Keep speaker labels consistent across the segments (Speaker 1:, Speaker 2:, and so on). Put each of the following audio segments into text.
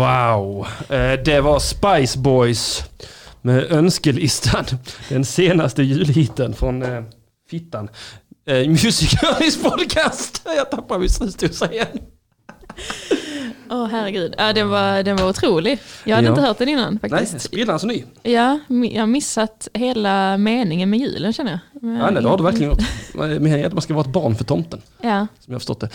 Speaker 1: Wow. Eh, Det var Spice Boys med önskelistan. Den senaste julhiten från eh, Fittan. Eh, Music Journeys podcast. Jag tappar min snusdosa igen.
Speaker 2: Åh herregud, ja, den, var, den var otrolig. Jag hade
Speaker 1: Ja.
Speaker 2: inte hört den innan
Speaker 1: Nej,
Speaker 2: faktiskt.
Speaker 1: sprillans ny.
Speaker 2: Ja, mi- jag har missat hela meningen med julen känner jag. Men-
Speaker 1: Ja, nej, det har du verkligen gjort. Meningen är att man ska vara ett barn för tomten.
Speaker 2: Ja,
Speaker 1: Som jag har förstått det.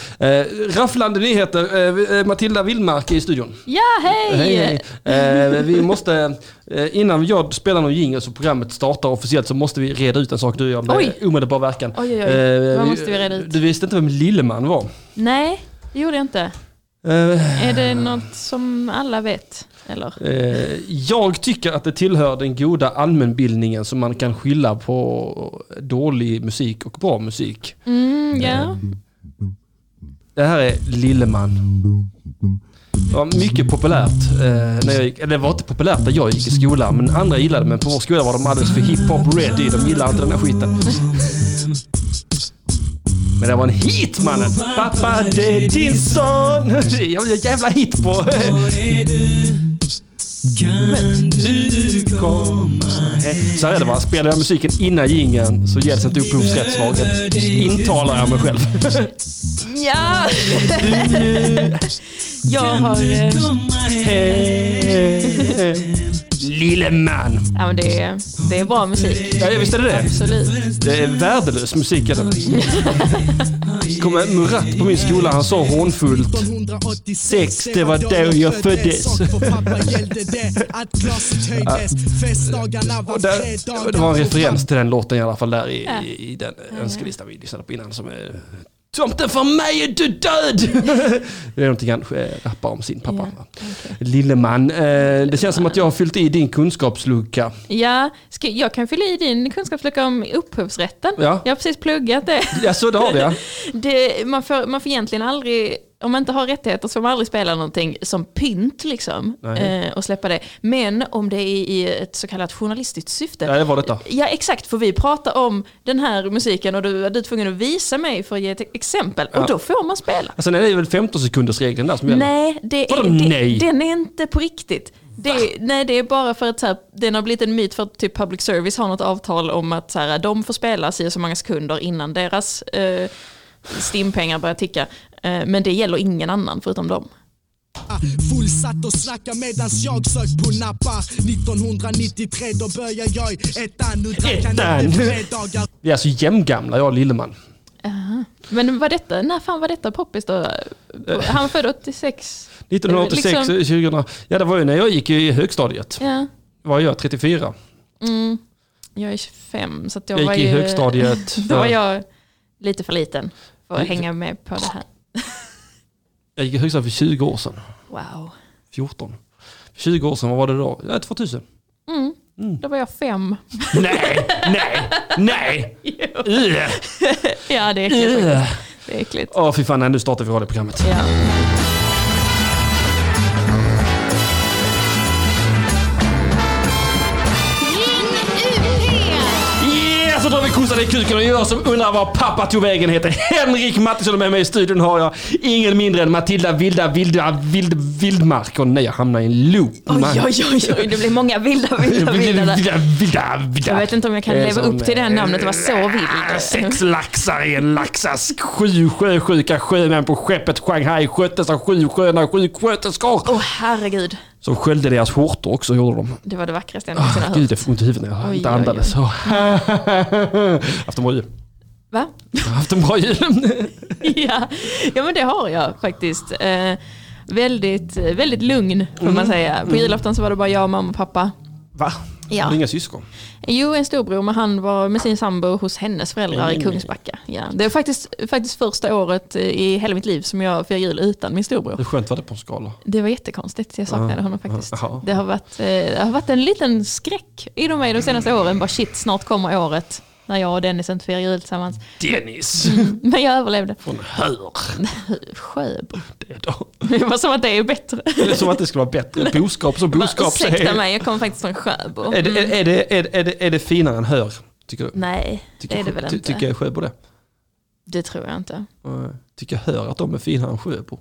Speaker 1: Eh, rafflande nyheter. Eh, Matilda Willmark är i studion.
Speaker 2: ja hej!
Speaker 1: Hej, hej. Eh, vi måste, eh, innan jag spelar någon jingel så programmet startar officiellt så måste vi reda ut en sak du och jag med
Speaker 2: Oj.
Speaker 1: omedelbar verkan.
Speaker 2: Oj, oj, oj.
Speaker 1: Eh,
Speaker 2: Vad måste vi reda ut?
Speaker 1: Du visste inte vem Lilleman var?
Speaker 2: Nej, det gjorde jag inte.
Speaker 1: Eh,
Speaker 2: Är det något som alla vet? Eller?
Speaker 1: eh, jag tycker att det tillhör den goda allmänbildningen som man kan skylla på dålig musik och bra musik.
Speaker 2: Mm,
Speaker 1: Eh.
Speaker 2: ja.
Speaker 1: Det här är Lilleman. Det var mycket populärt. Eh, när jag gick, eller det var inte populärt när jag gick i skolan, men andra gillade det. Men på vår skola var de alldeles för hiphop ready. De gillade inte den här skiten. Men det var en hit mannen! Pappa det är din son! Jag vill ha jävla hit på... Men du komma hem? Så här är det va, spelar jag musiken innan jingeln så gälls inte upphovsrättslagen. Intalar jag mig själv.
Speaker 2: ja. jag har... eh,
Speaker 1: Lille man.
Speaker 2: Ja, men det, är, det är bra musik.
Speaker 1: Ja, visst är det det?
Speaker 2: Absolut.
Speaker 1: Det är värdelös musik. Alltså. kommer Murat på min skola, han sa hånfullt.
Speaker 3: Sex, det var då jag föddes.
Speaker 1: Och där, det var en referens till den låten i alla fall där i,
Speaker 2: Ja.
Speaker 1: i, i den önskelista vi lyssnade på innan som är Tomten för mig är du död! det är någonting han eh, rappar om sin pappa.
Speaker 2: Ja,
Speaker 1: va? Lilleman, eh, det känns som att jag har fyllt i din kunskapslucka.
Speaker 2: Ja, ska, jag kan fylla i din kunskapslucka om upphovsrätten.
Speaker 1: Ja.
Speaker 2: Jag har precis pluggat det.
Speaker 1: Ja, så det har du ja.
Speaker 2: det man, får, man får egentligen aldrig, om man inte har rättigheter så får man aldrig spela någonting som pynt liksom.
Speaker 1: Nej.
Speaker 2: Eh, och släppa det. Men om det är i ett så kallat journalistiskt syfte.
Speaker 1: Ja, det var detta.
Speaker 2: Ja exakt, för vi pratar om den här musiken och du är du tvungen att visa mig för att ge ett exempel.
Speaker 1: Ja.
Speaker 2: Och då får man spela.
Speaker 1: Alltså, nej, det är väl 15 sekunders regeln där som gäller?
Speaker 2: Nej, det är,
Speaker 1: Vadå nej?
Speaker 2: det, den är inte på riktigt. Det, nej, det är bara för att så här, den har blivit en myt för att typ public service har något avtal om att så här, de får spela si och så många sekunder innan deras eh, stimpengar börjar ticka. Eh, men det gäller ingen annan förutom dem.
Speaker 3: Fullsatt och snacka medans jag sökt på Napa 1993 då började jag i ettan Nu drack
Speaker 1: Ettan.
Speaker 3: han inte tre dagar
Speaker 1: Vi är alltså jämngamla, jag och Lilleman.
Speaker 2: Men var detta, när fan var detta poppis då?
Speaker 1: Eh.
Speaker 2: Han föddes 86.
Speaker 1: 1986,
Speaker 2: Liksom-
Speaker 1: 2000. Ja, det var ju när jag gick i högstadiet.
Speaker 2: Ja,
Speaker 1: Var jag 34?
Speaker 2: mm, jag är 25 så att jag,
Speaker 1: Jag
Speaker 2: var
Speaker 1: gick i
Speaker 2: ju...
Speaker 1: högstadiet.
Speaker 2: Då var
Speaker 1: För, jag...
Speaker 2: jag lite för liten för att hänga med på det här.
Speaker 1: gick i högstadiet för 20 år sedan.
Speaker 2: Wow.
Speaker 1: 14. 20 år sedan, vad var det då? Ja, 2000.
Speaker 2: Mm. Då var jag fem.
Speaker 1: Nej, nej, nej! Ugh,
Speaker 2: Ja, det är äckligt. faktiskt.
Speaker 1: ugh.
Speaker 2: Det är äckligt.
Speaker 1: Åh fy fan, nej, nu startar vi radioprogrammet.
Speaker 2: Ja.
Speaker 1: Yeah, så drar vi kossan i kuken och jag som undrar var pappa tog vägen heter Henrik Mattisson och med mig i studion har jag ingen mindre än Matilda Vilda Vilda Vild, Vildmark. Och nej, jag hamnar i en loop.
Speaker 2: Oj, oj, oj, oj, det blir många vilda, vilda, vilda
Speaker 1: Vilda,
Speaker 2: där.
Speaker 1: vilda, vilda, vilda.
Speaker 2: Jag vet inte om jag kan
Speaker 1: Eh,
Speaker 2: leva
Speaker 1: som,
Speaker 2: upp till det här
Speaker 1: eh,
Speaker 2: namnet och vara så vild.
Speaker 1: Sex laxar i en laxask. Sju sjösjuka sjömän på skeppet Shanghai sköttes av sju sköna sjuksköterskor.
Speaker 2: Åh herregud,
Speaker 1: Som sköljde deras skjortor också, gjorde de. Ah,
Speaker 2: det var det vackraste jag någonsin har
Speaker 1: Gud,
Speaker 2: hört.
Speaker 1: jag får ont i huvudet när jag
Speaker 2: Oj,
Speaker 1: inte
Speaker 2: oj, oj.
Speaker 1: andades. Så. Haft en bra jul.
Speaker 2: Va?
Speaker 1: Jag har Haft en bra jul.
Speaker 2: Ja. ja, men det har jag faktiskt. Eh, väldigt, eh, väldigt lugn får man säga. På julafton så var det bara jag, mamma och pappa.
Speaker 1: Va?
Speaker 2: Ja.
Speaker 1: Har du inga syskon?
Speaker 2: Jo, en storbror, men han var med sin sambo hos hennes föräldrar i
Speaker 1: Mm.
Speaker 2: Kungsbacka. Ja. Det är faktiskt, faktiskt första året eh, i hela mitt liv som jag firar jul utan min storbror.
Speaker 1: Hur skönt var det på en skala?
Speaker 2: Det var jättekonstigt, jag saknade honom faktiskt.
Speaker 1: Jaha.
Speaker 2: Det har, varit, eh, det har varit en liten skräck inom mig de senaste åren. Bara shit, snart kommer året när jag och Dennis inte firar jul tillsammans.
Speaker 1: Dennis!
Speaker 2: Men jag överlevde.
Speaker 1: Från Hör.
Speaker 2: Sjöbo.
Speaker 1: Det är då.
Speaker 2: Det var som att det är bättre.
Speaker 1: Det är som att det skulle vara bättre. Boskap som boskap.
Speaker 2: Ursäkta
Speaker 1: säger-
Speaker 2: mig, jag kommer faktiskt från Sjöbo.
Speaker 1: Är det, är, är, det, är, det- är, det, är det finare än hör? Tycker du?
Speaker 2: Mm. Nej,
Speaker 1: Tycker,
Speaker 2: det är det väl
Speaker 1: ty,
Speaker 2: inte.
Speaker 1: Tycker Sjöbo det? eh,
Speaker 2: Det tror jag inte.
Speaker 1: Nej. Tycker hör att de är finare än Sjöbo?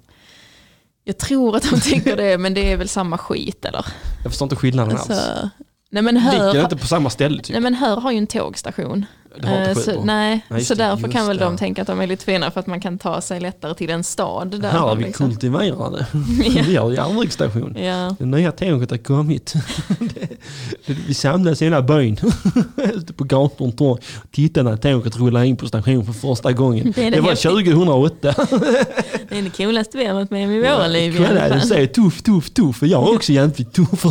Speaker 2: Jag tror att de tänker det, men det är väl samma skit eller?
Speaker 1: Jag förstår inte skillnaden alls.
Speaker 2: Alltså, nej men
Speaker 1: Ligger det
Speaker 2: hör,
Speaker 1: inte på samma ställe typ?
Speaker 2: nej men hör har ju en tågstation.
Speaker 1: Det har inte
Speaker 2: Eh,
Speaker 1: skit
Speaker 2: så,
Speaker 1: på.
Speaker 2: nej,
Speaker 1: Nej, just
Speaker 2: så
Speaker 1: det,
Speaker 2: därför kan
Speaker 1: just
Speaker 2: väl
Speaker 1: det.
Speaker 2: de tänka att de är lite finare för att man kan ta sig lättare till en stad. Där
Speaker 1: Här är
Speaker 2: man
Speaker 1: vi
Speaker 2: liksom-
Speaker 1: kultiverade.
Speaker 2: Ja.
Speaker 1: Vi har järnvägsstation.
Speaker 2: Ja.
Speaker 1: Det nya tåget har kommit. Det- Vi samlas i hela byn ute på gator och torg. Titta när tåget rullar in på stationen för första gången.
Speaker 2: Det är
Speaker 1: Det
Speaker 2: det
Speaker 1: var
Speaker 2: häftigt.
Speaker 1: 2008.
Speaker 2: Det är det coolaste vi har varit med om i våra liv i alla
Speaker 1: Kolla,
Speaker 2: fall.
Speaker 1: de säger tuff, tuff, tuff. Och jag är också jävligt tuff.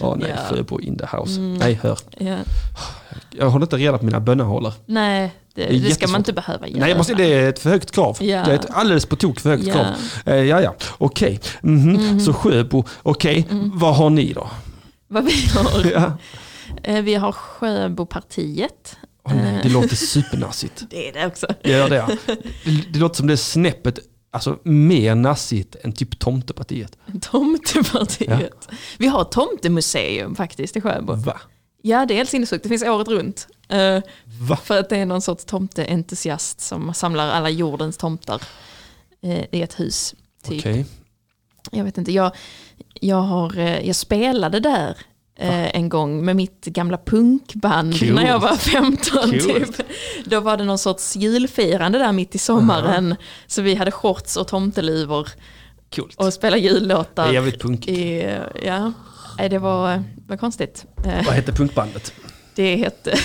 Speaker 1: Åh nej,
Speaker 2: Ja. Mm.
Speaker 1: Sjöbo in the house. Nej, hör.
Speaker 2: Ja.
Speaker 1: Jag håller inte reda på mina bönehålor.
Speaker 2: Nej, det,
Speaker 1: är
Speaker 2: det, ska
Speaker 1: jättesvårt.
Speaker 2: man inte behöva göra.
Speaker 1: Nej, jag måste, det är ett för högt krav.
Speaker 2: Ja.
Speaker 1: Det är ett alldeles på tok för högt
Speaker 2: Ja. Mm.
Speaker 1: krav. Eh, ja, ja, okej. Mhm. Så Sjöbo, okej, vad har ni då?
Speaker 2: Vad vi har.
Speaker 1: Ja.
Speaker 2: Eh, Vi har Sjöbopartiet.
Speaker 1: Åh,
Speaker 2: Eh.
Speaker 1: nej, det låter supernassigt.
Speaker 2: Det är det också.
Speaker 1: Gör det, ja. Det- Det låter som det är snäppet, alltså mer nassigt än typ tomtepartiet.
Speaker 2: Tomtepartiet. Vi har ett tomtemuseum faktiskt i Sjöbo.
Speaker 1: Va?
Speaker 2: Ja, det är helt sinnessjukt. Det finns året runt. Eh,
Speaker 1: Va?
Speaker 2: För att det är någon sorts tomteentusiast som samlar alla jordens tomtar eh, i ett hus. Typ.
Speaker 1: Okej.
Speaker 2: Jag vet inte, jag, jag, har, eh, jag spelade där eh, en gång med mitt gamla punkband
Speaker 1: Coolt.
Speaker 2: när jag var 15.
Speaker 1: Coolt.
Speaker 2: Typ. Då var det någon sorts julfirande där mitt i sommaren. Så vi hade shorts och tomteluvor
Speaker 1: Coolt.
Speaker 2: och spelade jullåtar.
Speaker 1: Det är jävligt punkigt.
Speaker 2: I, ja, Nej, det var, var konstigt. Eh,
Speaker 1: Vad hette punkbandet?
Speaker 2: Det hette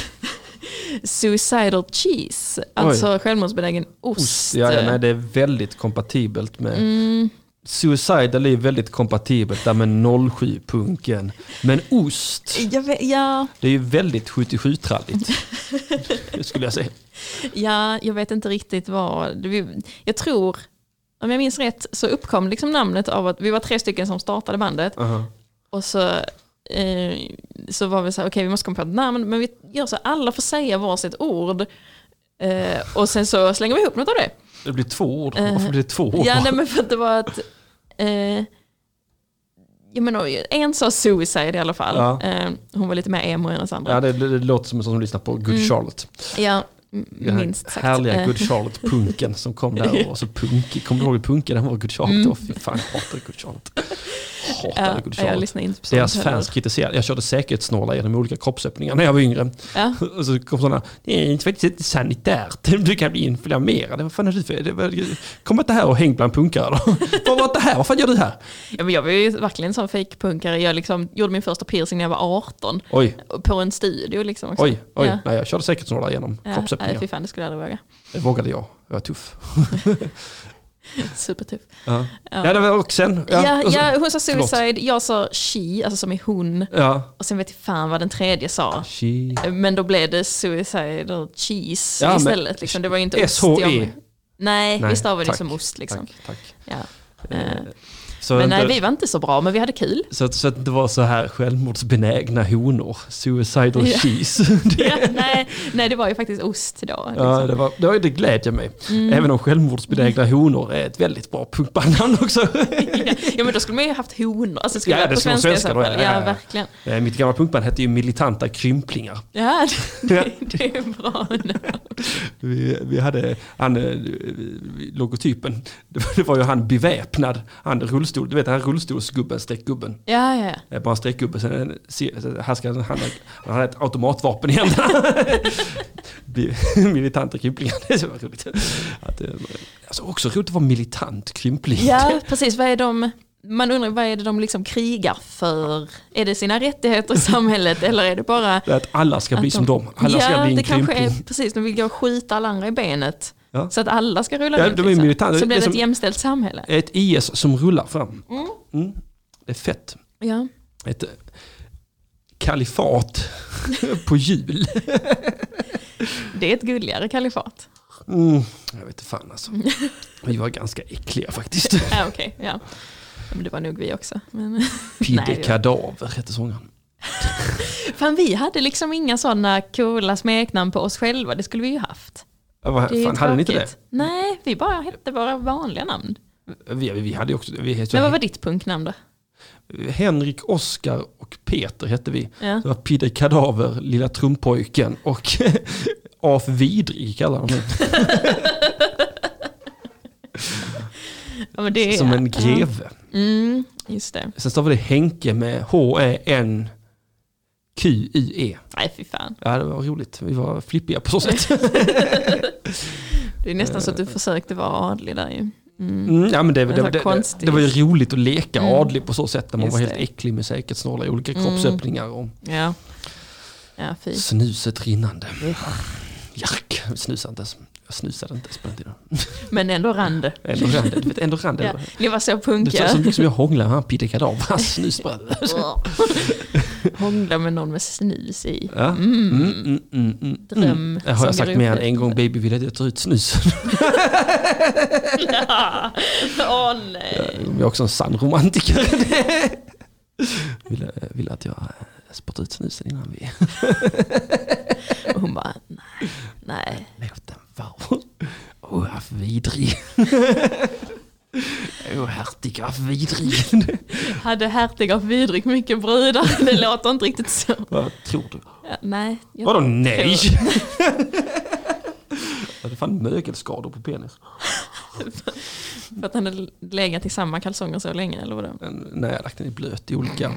Speaker 2: Suicidal Cheese, alltså självmordsbenägen ost.
Speaker 1: Ost. Ja, ja, nej, det är väldigt kompatibelt med...
Speaker 2: Mm.
Speaker 1: Suicidal är väldigt kompatibelt där med 07-punken. Men ost,
Speaker 2: Jag vet, ja,
Speaker 1: det är ju väldigt 77-tralligt. Det skulle jag säga.
Speaker 2: Ja, jag vet inte riktigt vad. vi- Jag tror, om jag minns rätt, så uppkom liksom namnet av att vi var tre stycken som startade bandet.
Speaker 1: Aha.
Speaker 2: Och så, eh, så var vi så här, okej vi måste komma på ett namn, men vi gör så här, alla får säga varsitt ord. Eh, och sen så slänger vi ihop något av det.
Speaker 1: Det blir två ord.
Speaker 2: Eh,
Speaker 1: Varför blir det två ord?
Speaker 2: Ja, nej, men för att det var att... Eh, jag menar, en sa suicide i alla fall.
Speaker 1: Ja.
Speaker 2: Eh, hon var lite mer emo än oss andra.
Speaker 1: Ja, det, det, det låter som en sån som lyssnar på Good Charlotte.
Speaker 2: Ja, m-
Speaker 1: Den här
Speaker 2: Mm. minst sagt.
Speaker 1: härliga
Speaker 2: Eh,
Speaker 1: Good Charlotte-punken som kom där och var så punkig. Kommer du ihåg hur punkig den var, Good Charlotte? Åh, fy fan, jag hatade Good Charlotte. Hatade
Speaker 2: Mm. ja,
Speaker 1: Good
Speaker 2: jag
Speaker 1: Charlotte.
Speaker 2: lyssnar inte på sånt
Speaker 1: Deras
Speaker 2: heller.
Speaker 1: fans kritiserade, jag körde säkerhetssnåla genom olika kroppsöppningar när jag var yngre.
Speaker 2: Ja.
Speaker 1: Och så kom sådana, det är inte faktiskt inte sanitärt, du kan bli inflammerad. Vad fan är du för? det var- Kom inte här och häng bland punkare då. Vad var det här? Vad fan gör du här?
Speaker 2: Ja, men jag var ju verkligen sån fejkpunkare. Jag liksom gjorde min första piercing när jag var 18.
Speaker 1: Oj,
Speaker 2: På en studio liksom också.
Speaker 1: oj, oj.
Speaker 2: Ja.
Speaker 1: Nej, jag körde säkerhetssnåla genom
Speaker 2: Ja, nej,
Speaker 1: kroppsöppningar.
Speaker 2: fy fan, det skulle jag aldrig våga.
Speaker 1: Det vågade jag. Jag var tuff.
Speaker 2: Supertuff.
Speaker 1: Ja, ja det var och sen...
Speaker 2: Ja, ja,
Speaker 1: och så-
Speaker 2: hon sa
Speaker 1: förlåt.
Speaker 2: suicide, jag sa she, alltså som i hon.
Speaker 1: ja.
Speaker 2: Och sen vet jag fan vad den tredje sa.
Speaker 1: Shit.
Speaker 2: Men då blev det suicide och cheese
Speaker 1: Ja, men-
Speaker 2: istället. Liksom. Det var ju inte ost.
Speaker 1: SHE.
Speaker 2: jag- Nej,
Speaker 1: Nej,
Speaker 2: vi stavade det
Speaker 1: tack,
Speaker 2: som ost liksom.
Speaker 1: Tack, tack.
Speaker 2: Ja.
Speaker 1: Eh,
Speaker 2: Eh,
Speaker 1: Så,
Speaker 2: Men nej,
Speaker 1: inte-
Speaker 2: vi var inte så bra, men vi hade kul.
Speaker 1: så, att, så att det inte var så här självmordsbenägna honor, suicidal
Speaker 2: Ja.
Speaker 1: cheese.
Speaker 2: Ja, nej, nej, det var ju faktiskt ost då. Liksom.
Speaker 1: Ja, det, var, det, var, det glädjer mig.
Speaker 2: Mm.
Speaker 1: Även om självmordsbenägna honor är ett väldigt bra punkbandnamn också.
Speaker 2: Ja, men då skulle man ju haft honor. Alltså, skulle
Speaker 1: Ja,
Speaker 2: ja,
Speaker 1: det
Speaker 2: på
Speaker 1: skulle vara
Speaker 2: svenska i
Speaker 1: svenska
Speaker 2: så
Speaker 1: då,
Speaker 2: fall.
Speaker 1: ja, ja,
Speaker 2: Ja,
Speaker 1: ja.
Speaker 2: verkligen.
Speaker 1: Eh, Mitt gamla punkband hette ju Militanta Krymplingar.
Speaker 2: Ja, det, det, det är bra.
Speaker 1: Vi, vi hade han, eh, logotypen, det var- det var ju han beväpnad, han rullstol, du vet han rullstolsgubben, streckgubben.
Speaker 2: Ja, ja,
Speaker 1: Det är bara en streckgubbe, sen en, se- sen här ska han, han, han har ett automatvapen i händerna. Bi- Militanta krymplingar, det är så roligt. Att, eh, alltså också roligt att vara militant krympling.
Speaker 2: ja, precis. Vad är de, man undrar vad är det de liksom krigar för? Är det sina rättigheter i samhället eller är det bara...
Speaker 1: Det är Att alla ska bli
Speaker 2: att de-
Speaker 1: som dem, alla
Speaker 2: ja,
Speaker 1: ska bli en
Speaker 2: det kanske
Speaker 1: krympling.
Speaker 2: är precis. De vill gå och skjuta alla andra i benet.
Speaker 1: Ja.
Speaker 2: Så att alla ska rulla
Speaker 1: Ja,
Speaker 2: runt.
Speaker 1: de är militanta.
Speaker 2: Så
Speaker 1: Det
Speaker 2: blir
Speaker 1: är
Speaker 2: det ett
Speaker 1: som-
Speaker 2: jämställt samhälle.
Speaker 1: Ett IS som rullar fram. Mm. Det är fett.
Speaker 2: Ja.
Speaker 1: Ett eh, kalifat på hjul.
Speaker 2: Det är ett gulligare kalifat.
Speaker 1: Mm. Jag vet inte fan alltså. Vi var ganska äckliga faktiskt.
Speaker 2: Ja, okej. ja. Men det var nog vi också. Men...
Speaker 1: Pidde
Speaker 2: Nej, det-
Speaker 1: Kadaver hette sångaren.
Speaker 2: Fan, vi hade liksom inga sådana coola smeknamn på oss själva. Det skulle vi ju haft.
Speaker 1: Ja, vad
Speaker 2: Det är ju
Speaker 1: Fan, hade ni inte det?
Speaker 2: tråkigt. Nej, vi bara hette våra vanliga namn.
Speaker 1: Vi, vi hade ju också, vi hette
Speaker 2: Men
Speaker 1: ju
Speaker 2: vad var ditt punknamn då?
Speaker 1: Henrik, Oskar och Peter hette vi.
Speaker 2: Ja.
Speaker 1: Det var Pidde Kadaver, Lilla Trumpojken och Af Vidrig kallar de mig.
Speaker 2: Ja, men det är,
Speaker 1: Som en greve.
Speaker 2: Mm, just det.
Speaker 1: Sen står det Henke med E H-E-N-Q-I-E.
Speaker 2: Nej, fy fan.
Speaker 1: E. Ja, det var roligt. Vi var flippiga på så sätt.
Speaker 2: Det är nästan så att du försökte vara adlig där ju. Mm.
Speaker 1: Mm, ja, men det, det,
Speaker 2: Det var
Speaker 1: det, det,
Speaker 2: konstigt.
Speaker 1: det var ju roligt att leka
Speaker 2: Mm.
Speaker 1: adlig på så sätt när man
Speaker 2: Just
Speaker 1: var helt
Speaker 2: det.
Speaker 1: äcklig med säkert snåla i olika
Speaker 2: Mm.
Speaker 1: kroppsöppningar och
Speaker 2: Ja. Ja, fy.
Speaker 1: snuset rinnande. Jark, jag snusade inte ens. Jag snusade inte ens på den tiden.
Speaker 2: Men ändå rann det.
Speaker 1: Ändå rann det. Du vet, Ändå rann det.
Speaker 2: Ja, Mm. ni var så
Speaker 1: Det
Speaker 2: punkiga.
Speaker 1: är som, som jag hånglar med han Peter Kadaver, hans snusbröd.
Speaker 2: Hångla med någon med snus i.
Speaker 1: Ja. Mm, mm, mm, mm.
Speaker 2: Dröm
Speaker 1: Det har
Speaker 2: som
Speaker 1: jag sagt
Speaker 2: går
Speaker 1: mer
Speaker 2: upp
Speaker 1: än
Speaker 2: i-
Speaker 1: en gång, baby vill att jag tar ut snus.
Speaker 2: Åh nej.
Speaker 1: Jag är också en sann romantiker. Vill, vill att jag eh, spottar ut snusen innan vi
Speaker 2: Och hon bara, nej. nej.
Speaker 1: låt den vara. Åh, vad vidrig. Åh, hertig, vad vidrig.
Speaker 2: Hade hertig av vidrig mycket brudar? Det låter inte riktigt så.
Speaker 1: Vad tror du?
Speaker 2: Ja, nej. jag-
Speaker 1: Vadå nej? Jag hade fan mögelskador på penis.
Speaker 2: För att han hade legat i samma kalsonger så länge eller vadå?
Speaker 1: Den- När jag lagt den i blöt i olika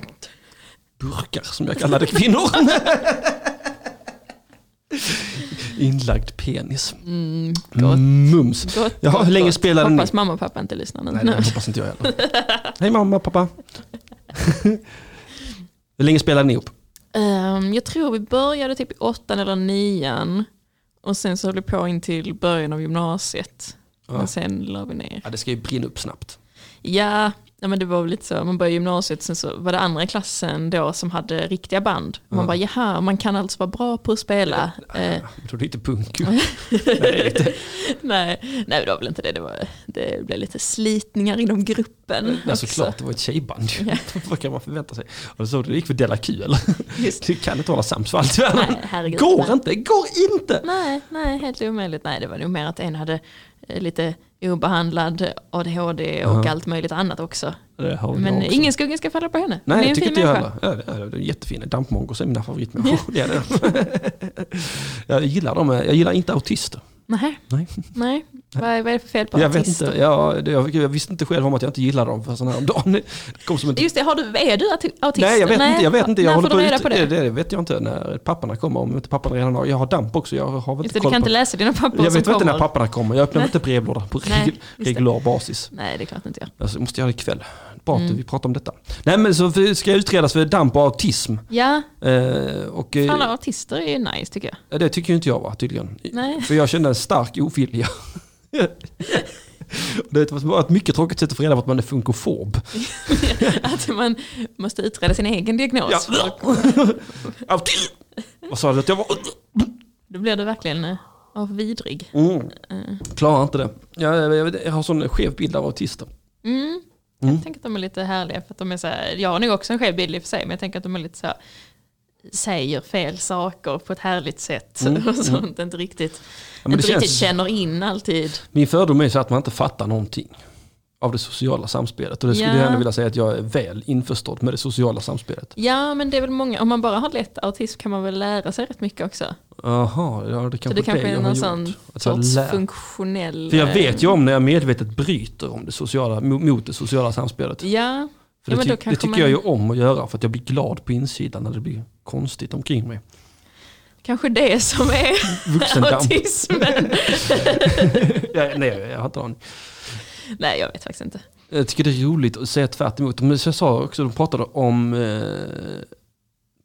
Speaker 1: burkar som jag kallade kvinnor. Inlagd penis.
Speaker 2: Mm, gott.
Speaker 1: Mums.
Speaker 2: Gott,
Speaker 1: Jaha,
Speaker 2: gott,
Speaker 1: hur länge
Speaker 2: gott.
Speaker 1: spelar den?
Speaker 2: Hoppas mamma och pappa inte lyssnar nu.
Speaker 1: Nej, det hoppas inte jag heller. Hej mamma, pappa. Hur länge spelade ni ihop?
Speaker 2: Ehm, jag tror vi började typ i åttan eller nian. Och sen så höll vi på in till början av gymnasiet.
Speaker 1: Ja.
Speaker 2: Och sen la vi ner.
Speaker 1: Ja, det ska ju brinna upp snabbt.
Speaker 2: Ja, ja, men det var väl lite så. Man började gymnasiet, sen så var det andra i klassen då som hade riktiga band. Och man
Speaker 1: Ja.
Speaker 2: bara, jaha, man kan alltså vara bra på att spela. Eh,
Speaker 1: Jag tror det är lite punk. Nej, lite.
Speaker 2: nej, nej, det var väl inte det. Det, var, det blev lite slitningar inom gruppen.
Speaker 1: Ja,
Speaker 2: också.
Speaker 1: såklart, det var ett tjejband ju. Vad kan man förvänta sig? Och så det gick för Della Q eller?
Speaker 2: Just.
Speaker 1: Du kan inte hålla sams för allt i världen.
Speaker 2: Nej, herregud.
Speaker 1: Går
Speaker 2: nej.
Speaker 1: inte, går inte!
Speaker 2: Nej, nej, helt omöjligt. Nej, det var nog mer att en hade eh, lite obehandlad ADHD och
Speaker 1: Ja.
Speaker 2: allt möjligt annat också.
Speaker 1: Det har jag
Speaker 2: Men
Speaker 1: också.
Speaker 2: ingen skugga ska falla på henne. Hon är
Speaker 1: Nej,
Speaker 2: en
Speaker 1: jag tycker
Speaker 2: fin
Speaker 1: inte jag
Speaker 2: människa.
Speaker 1: heller. Ja, det är, det är jättefina. Dampmongos är mina favoritmänniskor. Det är det. jag gillar dem. Jag gillar inte autister.
Speaker 2: Nej,
Speaker 1: Nej.
Speaker 2: nej. Vad är, vad är det för fel på
Speaker 1: Jag vet
Speaker 2: artister?
Speaker 1: inte, jag, det- jag, jag visste inte själv om att jag inte gillade dem för sån här om dagen. Det kom som ett,
Speaker 2: Just det, har du, är du arti- autist?
Speaker 1: nej, jag vet inte. Jag vet inte. Jag
Speaker 2: när
Speaker 1: håller
Speaker 2: får du
Speaker 1: på
Speaker 2: reda
Speaker 1: ut-
Speaker 2: på det?
Speaker 1: det? Det vet jag inte när papparna kommer. Om inte papparna redan har. Jag har damp också. Jag har väl
Speaker 2: Just
Speaker 1: inte
Speaker 2: det, du
Speaker 1: koll
Speaker 2: kan
Speaker 1: på.
Speaker 2: inte läsa dina papper
Speaker 1: jag
Speaker 2: som
Speaker 1: vet väl inte
Speaker 2: kommer.
Speaker 1: när papparna kommer. Jag öppnar inte brevlådan på
Speaker 2: Nej,
Speaker 1: reg,
Speaker 2: just det.
Speaker 1: regular basis.
Speaker 2: Nej, det är klart inte jag.
Speaker 1: Alltså, det måste jag göra ikväll. Bra att
Speaker 2: Mm.
Speaker 1: vi pratar om detta. Nej men så för- ska jag utredas för damp och autism.
Speaker 2: Ja,
Speaker 1: Eh, och, eh,
Speaker 2: alla autister är ju nice tycker jag.
Speaker 1: Ja, Det tycker ju inte jag va, tydligen.
Speaker 2: Nej.
Speaker 1: För jag kände en stark ovilja. Det var ett mycket tråkigt sätt att få reda på att man är funkofob.
Speaker 2: Att man måste utreda sin egen diagnos.
Speaker 1: Ja.
Speaker 2: För-
Speaker 1: Autism! Vad sa du att jag var?
Speaker 2: Då blir du verkligen eh, av vidrig.
Speaker 1: Mm. Klarar inte det. Jag, jag, jag, vet- jag har sån skev bild av autister.
Speaker 2: Mm.
Speaker 1: Mm.
Speaker 2: Jag tänker att de är lite härliga för att de är så här, jag har nog också en skev bild i och för sig, men jag tänker att de är lite så här, säger fel saker på ett härligt sätt och sånt, inte riktigt,
Speaker 1: Mm. men det
Speaker 2: inte
Speaker 1: känns-
Speaker 2: riktigt känner in alltid.
Speaker 1: Min fördom är så att man inte fattar någonting av det sociala samspelet. Och det skulle
Speaker 2: Ja.
Speaker 1: jag gärna vilja säga att jag är väl införstådd med det sociala samspelet.
Speaker 2: Ja, men det är väl många, om man bara har lätt autism kan man väl lära sig rätt mycket också.
Speaker 1: Jaha, ja, det kanske,
Speaker 2: Så det kanske
Speaker 1: det
Speaker 2: är
Speaker 1: jag har
Speaker 2: någon
Speaker 1: gjort.
Speaker 2: sån
Speaker 1: Att jag
Speaker 2: sorts
Speaker 1: lär-
Speaker 2: funktionell... eh,
Speaker 1: För jag vet ju om när jag medvetet bryter om det sociala, mo- mot det sociala samspelet.
Speaker 2: Ja,
Speaker 1: För det,
Speaker 2: Ja, men då
Speaker 1: ty- det
Speaker 2: kanske
Speaker 1: tycker
Speaker 2: man-
Speaker 1: jag ju om att göra för att jag blir glad på insidan när det blir konstigt omkring mig.
Speaker 2: kanske det som är
Speaker 1: Vuxendamp.
Speaker 2: typ. autismen.
Speaker 1: jag, nej, jag har inte en aning.
Speaker 2: Nej, jag vet faktiskt inte.
Speaker 1: Jag tycker det är roligt att säga tvärt emot. Men som jag sa också, de pratade om eh,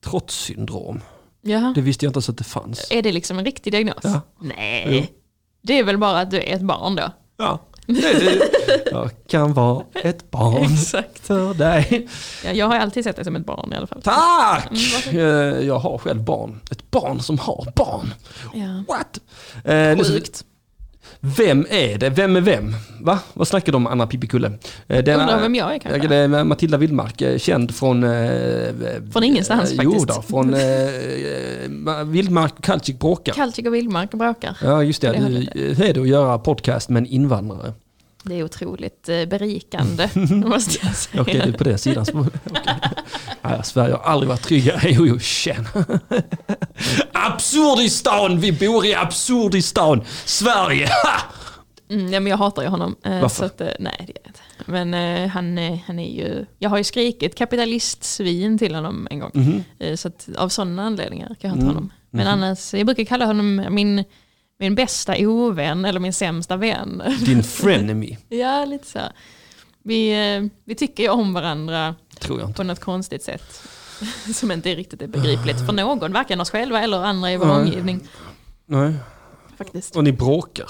Speaker 1: trotssyndrom.
Speaker 2: Jaha.
Speaker 1: Det visste jag inte ens att det fanns.
Speaker 2: Är det liksom en riktig diagnos?
Speaker 1: Ja.
Speaker 2: Nej. Det är väl bara att du är ett barn då?
Speaker 1: Ja. Det- det- Jag kan vara ett barn
Speaker 2: Exakt.
Speaker 1: för dig.
Speaker 2: Ja, jag har ju alltid sett dig som ett barn i alla fall.
Speaker 1: Tack!
Speaker 2: Mm,
Speaker 1: Eh, Jag har själv barn. Ett barn som har barn.
Speaker 2: Ja.
Speaker 1: What? Eh, nu-
Speaker 2: Sjukt.
Speaker 1: Vem är det? Vem är vem? Va? Vad snackar de om Anna Pippikulle? Eh, den-
Speaker 2: Undrar vem jag är
Speaker 1: Ja,
Speaker 2: kanske.
Speaker 1: Det är Matilda Wildmark, eh, känd från... eh,
Speaker 2: Från ingenstans,
Speaker 1: eh,
Speaker 2: faktiskt.
Speaker 1: Jo då, från eh, eh, Ma- Wildmark och Kalcik bråkar.
Speaker 2: Kalcik och Vildmark bråkar.
Speaker 1: Ja just det,
Speaker 2: Det hörde
Speaker 1: du, eh, hur är det att göra podcast med en invandrare?
Speaker 2: Det är otroligt eh, berikande, måste jag säga.
Speaker 1: Okej, det är på den sidan. som- Okej. Nej, Sverige har aldrig varit tryggare. Jo, jo, tjena. Absurdistan! Vi bor i absurdistan! Sverige! Ha!
Speaker 2: Mm, ja, men jag hatar ju honom. eh,
Speaker 1: Varför?
Speaker 2: Så att, eh, nej, det gör jag inte. Men eh, han, eh, han är ju, jag har ju skrikit kapitalistsvin till honom en
Speaker 1: Mm.
Speaker 2: gång. Eh, så att av sådana anledningar kan jag inte honom. Men annars, jag brukar kalla honom min, min bästa ovän eller min sämsta vän.
Speaker 1: Din frenemy,
Speaker 2: ja, lite så. här. Vi, eh, vi tycker ju om varandra
Speaker 1: tror jag inte.
Speaker 2: på något konstigt sätt. Som inte riktigt är begripligt för någon, varken oss själva eller andra i vår
Speaker 1: Nej.
Speaker 2: omgivning.
Speaker 1: Nej.
Speaker 2: Faktiskt.
Speaker 1: Och ni bråkar.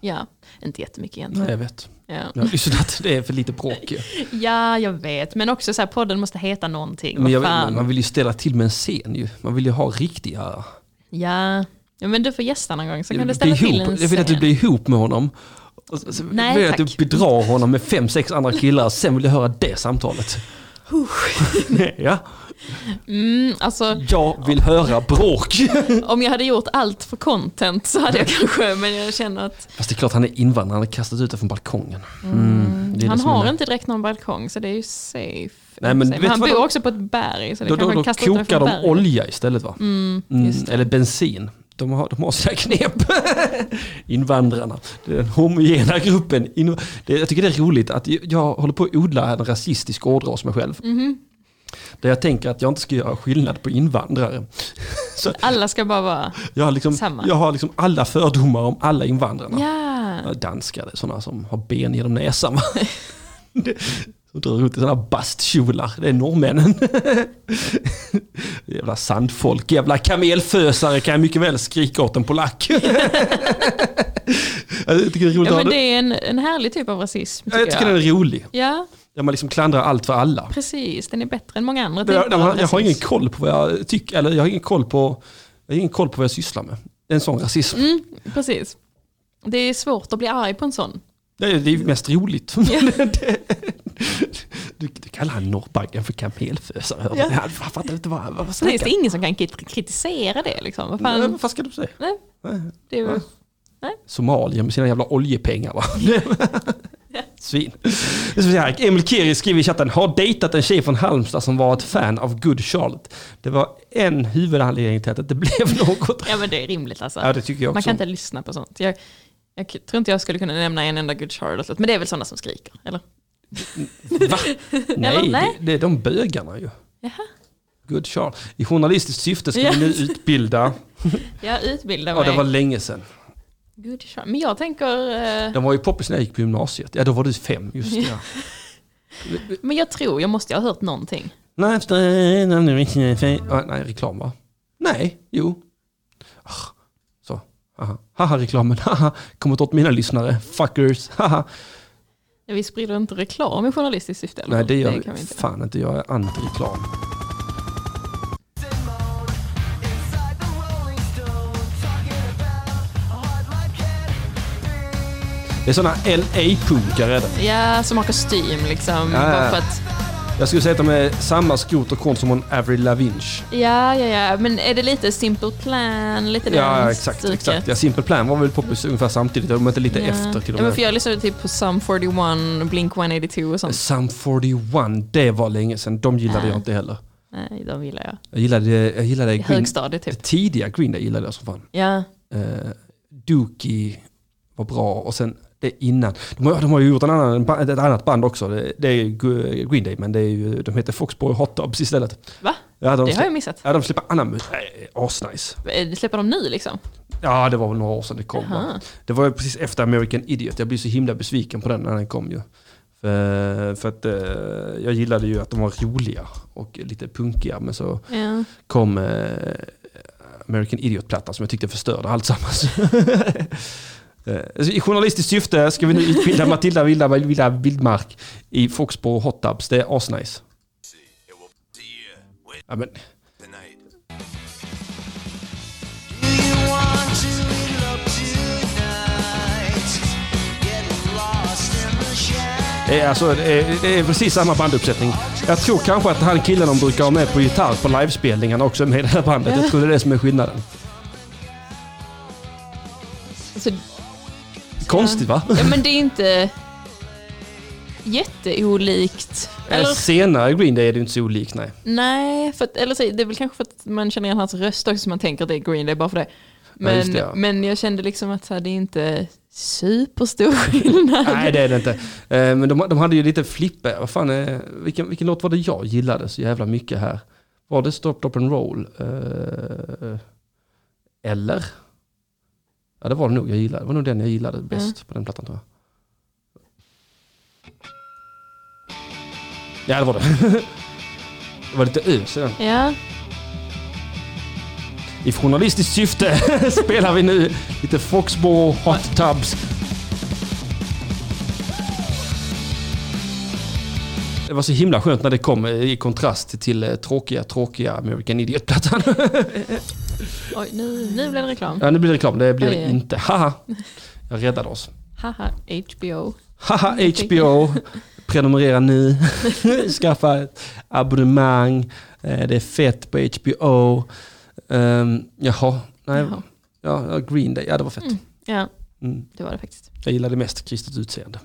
Speaker 2: Ja, inte jättemycket egentligen.
Speaker 1: Nej, jag vet.
Speaker 2: Ja.
Speaker 1: Jag har lyssnat, det är för lite bråk ju.
Speaker 2: ja, jag vet. Men också så här, podden måste heta någonting.
Speaker 1: Men jag
Speaker 2: Vad
Speaker 1: vet,
Speaker 2: fan.
Speaker 1: man vill ju ställa till med en scen ju. Man vill ju ha riktiga...
Speaker 2: Ja. ja, men du får gästa någon gång så kan du
Speaker 1: Bli
Speaker 2: ställa till
Speaker 1: ihop.
Speaker 2: en
Speaker 1: Jag vill att du
Speaker 2: scen.
Speaker 1: blir ihop med honom. Och så- så
Speaker 2: Nej,
Speaker 1: vill jag att
Speaker 2: tack.
Speaker 1: du bedrar honom med fem, sex andra killar. Sen vill jag höra det samtalet. ja,
Speaker 2: Mm, alltså,
Speaker 1: jag vill höra bråk.
Speaker 2: om jag hade gjort allt för content så hade jag kanske, men jag känner att
Speaker 1: Fast det är klart han är invandrare, han är kastat ut det från balkongen. Mm, det är
Speaker 2: han
Speaker 1: det som är
Speaker 2: har
Speaker 1: det.
Speaker 2: inte direkt någon balkong så det är ju safe.
Speaker 1: Nej, men vet du
Speaker 2: han
Speaker 1: vad
Speaker 2: bor
Speaker 1: de-
Speaker 2: också på ett berg så det
Speaker 1: Då, då, då
Speaker 2: kanske kastar ut det
Speaker 1: kokar
Speaker 2: från
Speaker 1: de
Speaker 2: berget.
Speaker 1: olja istället va? Mm, eller bensin. De har, de har sina knep. Invandrarna. Det är Den homogena gruppen. Inv- det, jag tycker det är roligt att jag, jag håller på att odla en rasistisk ådra hos mig själv.
Speaker 2: Mhm.
Speaker 1: Där jag tänker att jag inte ska göra skillnad på invandrare. Så
Speaker 2: Alla ska bara vara,
Speaker 1: jag, har liksom,
Speaker 2: Samma.
Speaker 1: jag har liksom alla fördomar om alla invandrarna.
Speaker 2: ja.
Speaker 1: Ja, Eh, Danskar, det är sådana som har ben genom näsan. va? Det- Som drar runt i sådana bastkjolar. Det är norrmännen. jävla sandfolk, jävla kamelfösare kan jag mycket väl skrika åt en polack. Ja, jag tycker det är roligt
Speaker 2: ja,
Speaker 1: att ha
Speaker 2: men det
Speaker 1: det.
Speaker 2: är en, en härlig typ av rasism
Speaker 1: Ja,
Speaker 2: tycker
Speaker 1: Jag tycker den är rolig.
Speaker 2: Ja,
Speaker 1: Där man liksom klandrar allt för alla.
Speaker 2: precis. Den är bättre än många andra
Speaker 1: Men Jag,
Speaker 2: typer
Speaker 1: jag,
Speaker 2: av
Speaker 1: har- jag har ingen
Speaker 2: rasism.
Speaker 1: koll på vad jag tycker, eller jag har ingen koll på, jag har ingen koll på vad jag sysslar med. Det är en sån rasism.
Speaker 2: Mm, precis. Det är svårt att bli arg på en sån.
Speaker 1: Det är det
Speaker 2: Mm.
Speaker 1: är mest roligt. Det- du, du kallar han norrbaggen för kamelfösare.
Speaker 2: Ja.
Speaker 1: Han han fattar inte vad han vad
Speaker 2: Så det är det
Speaker 1: snackar.
Speaker 2: är ingen som kan krit- kritisera det liksom. Vad
Speaker 1: Nej,
Speaker 2: fan?
Speaker 1: Vad ska du säga?
Speaker 2: Nej.
Speaker 1: Nej.
Speaker 2: Det är ju-
Speaker 1: Somalier med sina jävla oljepengar va? Svin. Det är så här, Emil Kiri skriver i chatten, har dejtat en tjej från Halmstad som var ett fan av Good Charlotte. Det var en huvudanledning till att det inte blev något.
Speaker 2: Ja men det är rimligt alltså.
Speaker 1: Ja det tycker jag också.
Speaker 2: Man kan inte lyssna på sånt. Jag, jag k- tror inte jag skulle kunna nämna en enda Good Charlotte-låt, men det är väl sådana som skriker? Eller?
Speaker 1: Va? Nej,
Speaker 2: nej.
Speaker 1: Det, det är de bögarna ju.
Speaker 2: Jaha.
Speaker 1: Good Charlotte. I journalistiskt syfte ska vi nu utbilda,
Speaker 2: Jag utbildar
Speaker 1: ja
Speaker 2: mig.
Speaker 1: det var länge sedan.
Speaker 2: Good Charlotte. Men jag tänker, eh,
Speaker 1: Den var ju poppis när jag gick på gymnasiet. Ja, då var du fem, just det. Ja.
Speaker 2: men jag tror, jag måste ju ha hört någonting.
Speaker 1: Nej, efter- nej, nej, nej, nej. Ah, nej, reklam va? Nej, jo. Ah, Så, haha, haha reklamen, haha, kommit åt mina lyssnare, fuckers, haha.
Speaker 2: Ja, Vi sprider inte reklam i journalistiskt syfte eller?
Speaker 1: Nej, det gör
Speaker 2: det
Speaker 1: vi
Speaker 2: kan vi inte.
Speaker 1: fan inte, jag är anti-reklam. Det är såna LA-punkare är det.
Speaker 2: Ja, som har kostym liksom.
Speaker 1: Ja, ja,
Speaker 2: bara
Speaker 1: ja.
Speaker 2: för att,
Speaker 1: Jag skulle säga att de är samma skot och kon som hon Avril Lavigne.
Speaker 2: ja, ja, ja, men är det lite Simple Plan, lite
Speaker 1: Ja,
Speaker 2: den
Speaker 1: exakt.
Speaker 2: stuket?
Speaker 1: exakt. Ja, Simple Plan var väl poppis ungefär samtidigt, om inte lite efter till och
Speaker 2: ja, men
Speaker 1: med.
Speaker 2: för jag lyssnade typ på Sum 41, Blink 182 och sånt.
Speaker 1: Sum 41, det var länge sedan. De gillade jag inte heller.
Speaker 2: Nej, de gillar jag.
Speaker 1: Jag gillade, jag gillade
Speaker 2: I
Speaker 1: Green,
Speaker 2: högstadiet typ.
Speaker 1: det tidiga Green Day gillade jag som fan.
Speaker 2: Ja,
Speaker 1: Eh, Dookie var bra och sen det innan. De har, de har ju gjort en annan, ba- ett annat band också. Det, det är ju Gu- Green Day men det är ju, de heter Foxboy Hot Tubs istället.
Speaker 2: va?
Speaker 1: Ja, de,
Speaker 2: Det har jag
Speaker 1: slä,
Speaker 2: missat.
Speaker 1: ja, de släpper annan musik. Nej, Asnice.
Speaker 2: Eh, Släpper de ny liksom?
Speaker 1: Ja det var väl några år sedan det kom. va?
Speaker 2: Jaha.
Speaker 1: Det var ju precis efter American Idiot. Jag blev så himla besviken på den när den kom ju. För, för att eh, jag gillade ju att de var roliga och lite punkiga. Men så
Speaker 2: Ja.
Speaker 1: kom eh, American Idiot-plattan som jag tyckte förstörde alltsammans. Eh, I journalistiskt syfte ska vi nu utbilda Matilda Vilda Vilda Vildmark i Foxborough Hot Tubs. Det är asnice.
Speaker 4: It will see you with
Speaker 1: Ja, men,
Speaker 4: the night.
Speaker 1: det, är alltså, det, är, det är precis samma banduppsättning. Jag tror kanske att han killen de brukar ha med på gitarr på livespelningarna också är med i det här bandet. Jag tror det är det som är skillnaden.
Speaker 2: Alltså,
Speaker 1: Konstigt va?
Speaker 2: ja, men det är inte jätteolikt. Eller,
Speaker 1: Senare Green Day är det ju inte så olikt nej.
Speaker 2: nej, för att, eller så, det är väl kanske för att man känner igen hans röst också, så man tänker att det är Green Day bara för det. Men,
Speaker 1: just det, ja.
Speaker 2: men jag kände liksom att så här, det är inte superstor skillnad.
Speaker 1: Nej det är det inte. Eh, Men de, de hade ju lite flipper. Vad fan är, vilken, vilken låt var det jag gillade så jävla mycket här? Var det Stop, Drop and Roll? Eh, Eller? Ja det var det nog jag gillade. Det var nog den jag gillade bäst på den plattan tror jag. Ja det var det. det var lite ös i den.
Speaker 2: Ja,
Speaker 1: I journalistiskt syfte spelar vi nu lite Foxborough Hot Tubs. Det var så himla skönt när det kom eh, i kontrast till eh, tråkiga, tråkiga American Idiot-plattan.
Speaker 2: oj nu, nu blev det reklam.
Speaker 1: ja, nu blir det reklam. Det blir det
Speaker 2: Oj, oj.
Speaker 1: inte. Haha! Jag räddade oss.
Speaker 2: Haha, HBO.
Speaker 1: Haha HBO, prenumerera nu, skaffa ett abonnemang, Eh, det är fett på HBO. Um, jaha, nej,
Speaker 2: Jaha.
Speaker 1: ja, ja, Green Day, ja det var fett.
Speaker 2: Ja,
Speaker 1: Mm.
Speaker 2: det var det faktiskt.
Speaker 1: Jag gillade mest kristet utseende.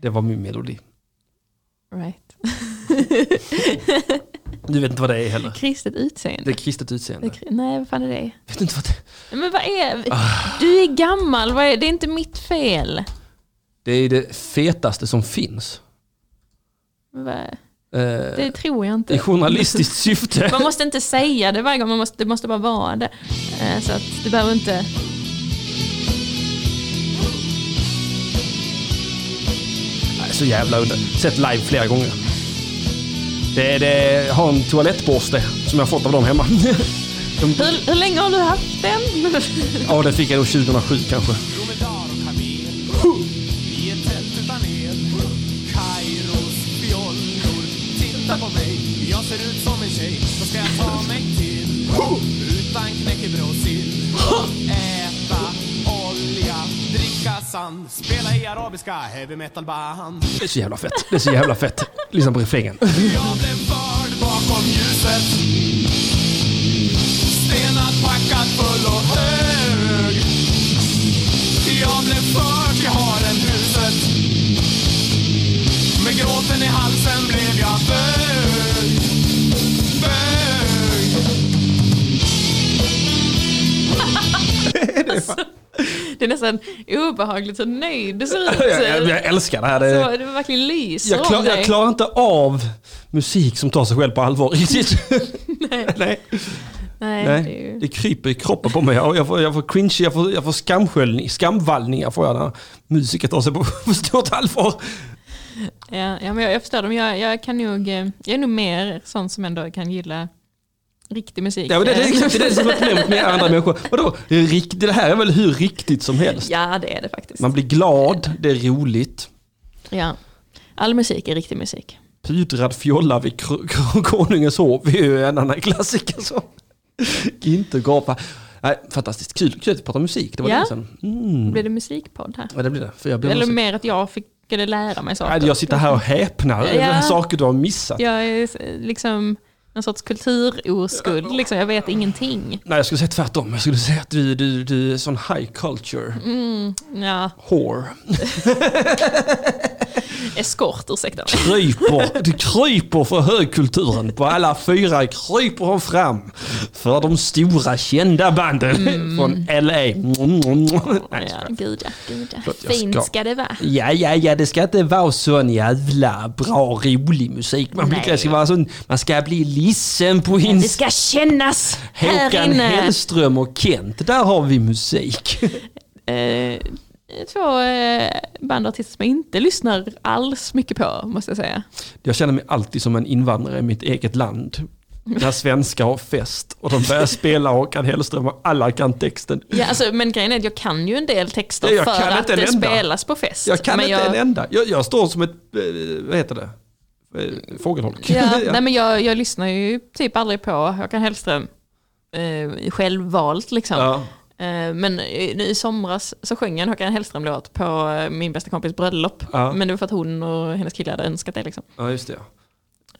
Speaker 1: Det var min melodi.
Speaker 2: Right.
Speaker 1: Du vet inte vad det är heller.
Speaker 2: Kristet
Speaker 1: Det
Speaker 2: utseende.
Speaker 1: är kristet
Speaker 2: Det
Speaker 1: utseende.
Speaker 2: är kri- Nej, vad fan är det?
Speaker 1: Vet inte vad det är?
Speaker 2: Men vad är...
Speaker 1: Ah.
Speaker 2: Du är gammal, vad är... det är inte mitt fel.
Speaker 1: Det är det fetaste som finns.
Speaker 2: Men vad-
Speaker 1: Eh,
Speaker 2: Det tror jag
Speaker 1: I
Speaker 2: inte.
Speaker 1: journalistiskt syfte.
Speaker 2: Man måste inte säga det varje gång, man måste, det måste bara vara det. Eh, Så att du behöver inte...
Speaker 1: Nej, Så jävla under. Sett live flera gånger. Det, det har en toalettborste som jag har fått av dem hemma. De,
Speaker 2: Hur, hur länge har du haft den?
Speaker 1: ja, den fick jag nog 2007 kanske.
Speaker 5: Dromedar och kamel I ett tält utan el Kairos fjollor Titta på mig Jag ser ut som en tjej Vad ska jag ta mig till? Utan knäckebröd och sill Äta olja Dricka sand Spela i arabiska heavy metal band
Speaker 1: Det är så jävla fett. Det är så jävla fett. Lyssna på refrängen.
Speaker 5: Jag blev förd bakom ljuset Stenat, packad, full och hög Jag blev förd till haren huset Med gråten i halsen blev jag bög Bög
Speaker 2: Det är nästan obehagligt hur nöjd du ser ut.
Speaker 1: Jag, jag, jag älskar det här. Det,
Speaker 2: Så det var verkligen lyser
Speaker 1: jag, klar,
Speaker 2: om
Speaker 1: jag
Speaker 2: dig.
Speaker 1: klarar inte av musik som tar sig själv på allvar riktigt. Nej.
Speaker 2: Nej, det är
Speaker 1: Nej.
Speaker 2: ju...
Speaker 1: Det kryper i kroppen på mig. Jag jag får, jag får cringe, jag får, jag får skamsköljning, skamvallningar får jag när musiker tar sig på, på stort allvar.
Speaker 2: Ja, ja, men jag, jag förstår dem. Jag, jag, kan nog, eh, jag är nog mer sån som ändå kan gilla riktig musik. Eh,
Speaker 1: Ja, men det, det är exakt det som är problemet med andra människor. Vadå? Det, är rikt, det här är väl hur riktigt som helst?
Speaker 2: Ja, det är det faktiskt.
Speaker 1: Man blir glad, det är roligt.
Speaker 2: Ja. All musik är riktig musik.
Speaker 1: Pudrad fjolla vid kr- kr- konungens hov är ju en annan klassiker som inte gapar. Nej, fantastiskt kul, kul att prata musik. Det var
Speaker 2: Ja.
Speaker 1: länge sedan. Mm.
Speaker 2: Blir det musikpodd här?
Speaker 1: Ja, det blir det. För jag, blir
Speaker 2: Eller
Speaker 1: musik-
Speaker 2: mer att jag fick skulle lära mig
Speaker 1: Nej,
Speaker 2: saker.
Speaker 1: jag sitter här och häpnar över
Speaker 2: Ja.
Speaker 1: saker du har missat.
Speaker 2: Jag är eh, liksom en sorts kulturoskuld. Liksom. Jag vet ingenting.
Speaker 1: Nej, jag skulle säga tvärtom. Jag skulle säga att du, du, du är sån high culture
Speaker 2: Mm. Ja,
Speaker 1: whore.
Speaker 2: eskort, ursäkta.
Speaker 1: kryper, det kryper för högkulturen på alla fyra, kryper hon fram för de stora kända banden
Speaker 2: Mm.
Speaker 1: från LA. Nej,
Speaker 2: Ja, gud ja, gud ja.
Speaker 1: Förlåt, jag ska-
Speaker 2: Fint ska det vara.
Speaker 1: Ja, ja, ja, det ska inte vara sån jävla bra, rolig musik. Man, blir,
Speaker 2: Nej.
Speaker 1: det ska vara sån, man ska bli ledsen på
Speaker 2: Det
Speaker 1: insidan.
Speaker 2: ska kännas här
Speaker 1: Håkan
Speaker 2: inne.
Speaker 1: Hellström och Kent, där har vi musik.
Speaker 2: Eh, två eh, bandartister som jag inte lyssnar alls mycket på, måste jag säga.
Speaker 1: Jag känner mig alltid som en invandrare i mitt eget land. När svenskar har fest och de börjar spela Håkan Hellström och alla kan texten
Speaker 2: Ja, alltså, men grejen är att jag kan ju en del texter
Speaker 1: Ja, jag
Speaker 2: för
Speaker 1: kan
Speaker 2: att
Speaker 1: inte en
Speaker 2: det
Speaker 1: enda.
Speaker 2: spelas på fest.
Speaker 1: Jag kan
Speaker 2: men
Speaker 1: inte
Speaker 2: jag,
Speaker 1: en enda. Jag, jag står som ett, eh, vad heter det? Eh, Fågelholk.
Speaker 2: Ja, nej, men jag, jag lyssnar ju typ aldrig på Håkan Hellström. Eh, självvalt liksom.
Speaker 1: Ja.
Speaker 2: Eh, men i, nu i somras så sjöng jag en Håkan Hellström-låt på eh, min bästa kompis bröllop.
Speaker 1: Ja.
Speaker 2: Men det var för att hon och hennes kille hade önskat det. Liksom.
Speaker 1: ja, just det. ja.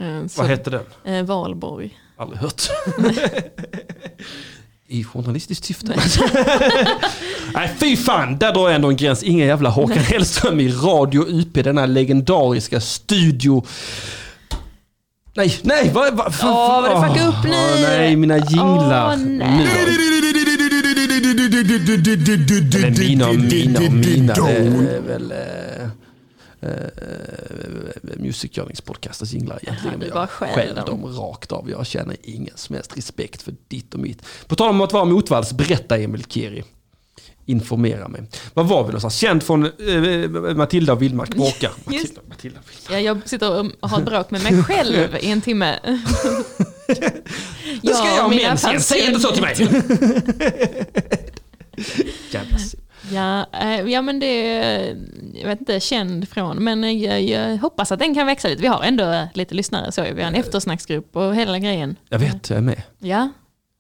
Speaker 2: Eh, så,
Speaker 1: Vad hette den?
Speaker 2: eh, Valborg.
Speaker 1: Aldrig hört. I journalistiskt syfte. Nej, fy fan. Där drar jag ändå en gräns. Ingen jävla Håkan Hellström i Radio UP, denna legendariska studio. Nej, nej, vad... vad fan-
Speaker 2: Åh, vad det
Speaker 1: åh,
Speaker 2: fuckade upp nu.
Speaker 1: åh, Nej, mina jinglar.
Speaker 2: Åh, nej.
Speaker 1: Nu. Eller mina och mina och mina. Det
Speaker 6: Don.
Speaker 1: är väl... Eh, eh, Music Journeys podcasters jinglar egentligen.
Speaker 2: du
Speaker 1: Men
Speaker 2: bara
Speaker 1: jag
Speaker 2: stjäl
Speaker 1: stjäl
Speaker 2: dem.
Speaker 1: dem rakt av. Jag känner ingen som helst respekt för ditt och mitt. På tal om att vara motvalls, berätta Emil Kiri. Informera mig. Vad var vi någonstans? Känd från eh, Matilda och Vildmark bråkar. Matilda, Matilda, Vildmark.
Speaker 2: Ja, jag sitter och har ett bråk med mig själv i en timme.
Speaker 1: Nu ska jag ha
Speaker 2: mina
Speaker 1: mens igen, säg inte så till mig! Jävla sill.
Speaker 2: Ja, eh, ja men det är, jag vet inte, känd från. Men eh, jag, jag hoppas att den kan växa lite. Vi har ändå eh, lite lyssnare, så vi har en
Speaker 1: Eh.
Speaker 2: eftersnacksgrupp och hela grejen.
Speaker 1: Jag vet, jag är med.
Speaker 2: Ja,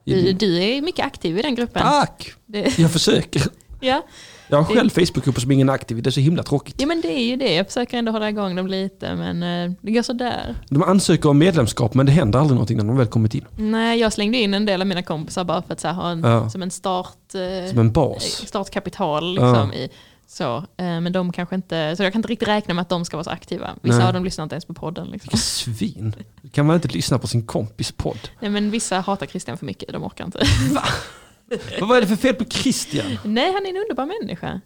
Speaker 1: Mm.
Speaker 2: du, du är mycket aktiv i den gruppen.
Speaker 1: Tack!
Speaker 2: Det,
Speaker 1: Jag försöker.
Speaker 2: ja.
Speaker 1: Jag har själv Facebookgrupper som ingen är aktiv i. Det är så himla tråkigt.
Speaker 2: ja, men det är ju det. Jag försöker ändå hålla igång dem lite, men eh, det går sådär.
Speaker 1: De ansöker om medlemskap men det händer aldrig någonting när de väl kommit in.
Speaker 2: Nej, jag slängde in en del av mina kompisar bara för att så här, ha en,
Speaker 1: Ja.
Speaker 2: som en start... eh,
Speaker 1: Som en bas.
Speaker 2: startkapital. Liksom, i, så, eh, men de kanske inte, så jag kan inte riktigt räkna med att de ska vara så aktiva. Vissa
Speaker 1: Nej.
Speaker 2: av dem lyssnar inte ens på podden. Liksom.
Speaker 1: Vilka svin. Kan man inte lyssna på sin kompis podd?
Speaker 2: Nej, men vissa hatar Christian för mycket, de orkar inte.
Speaker 1: Vad är det för fel på Christian?
Speaker 2: Nej, han är en underbar människa.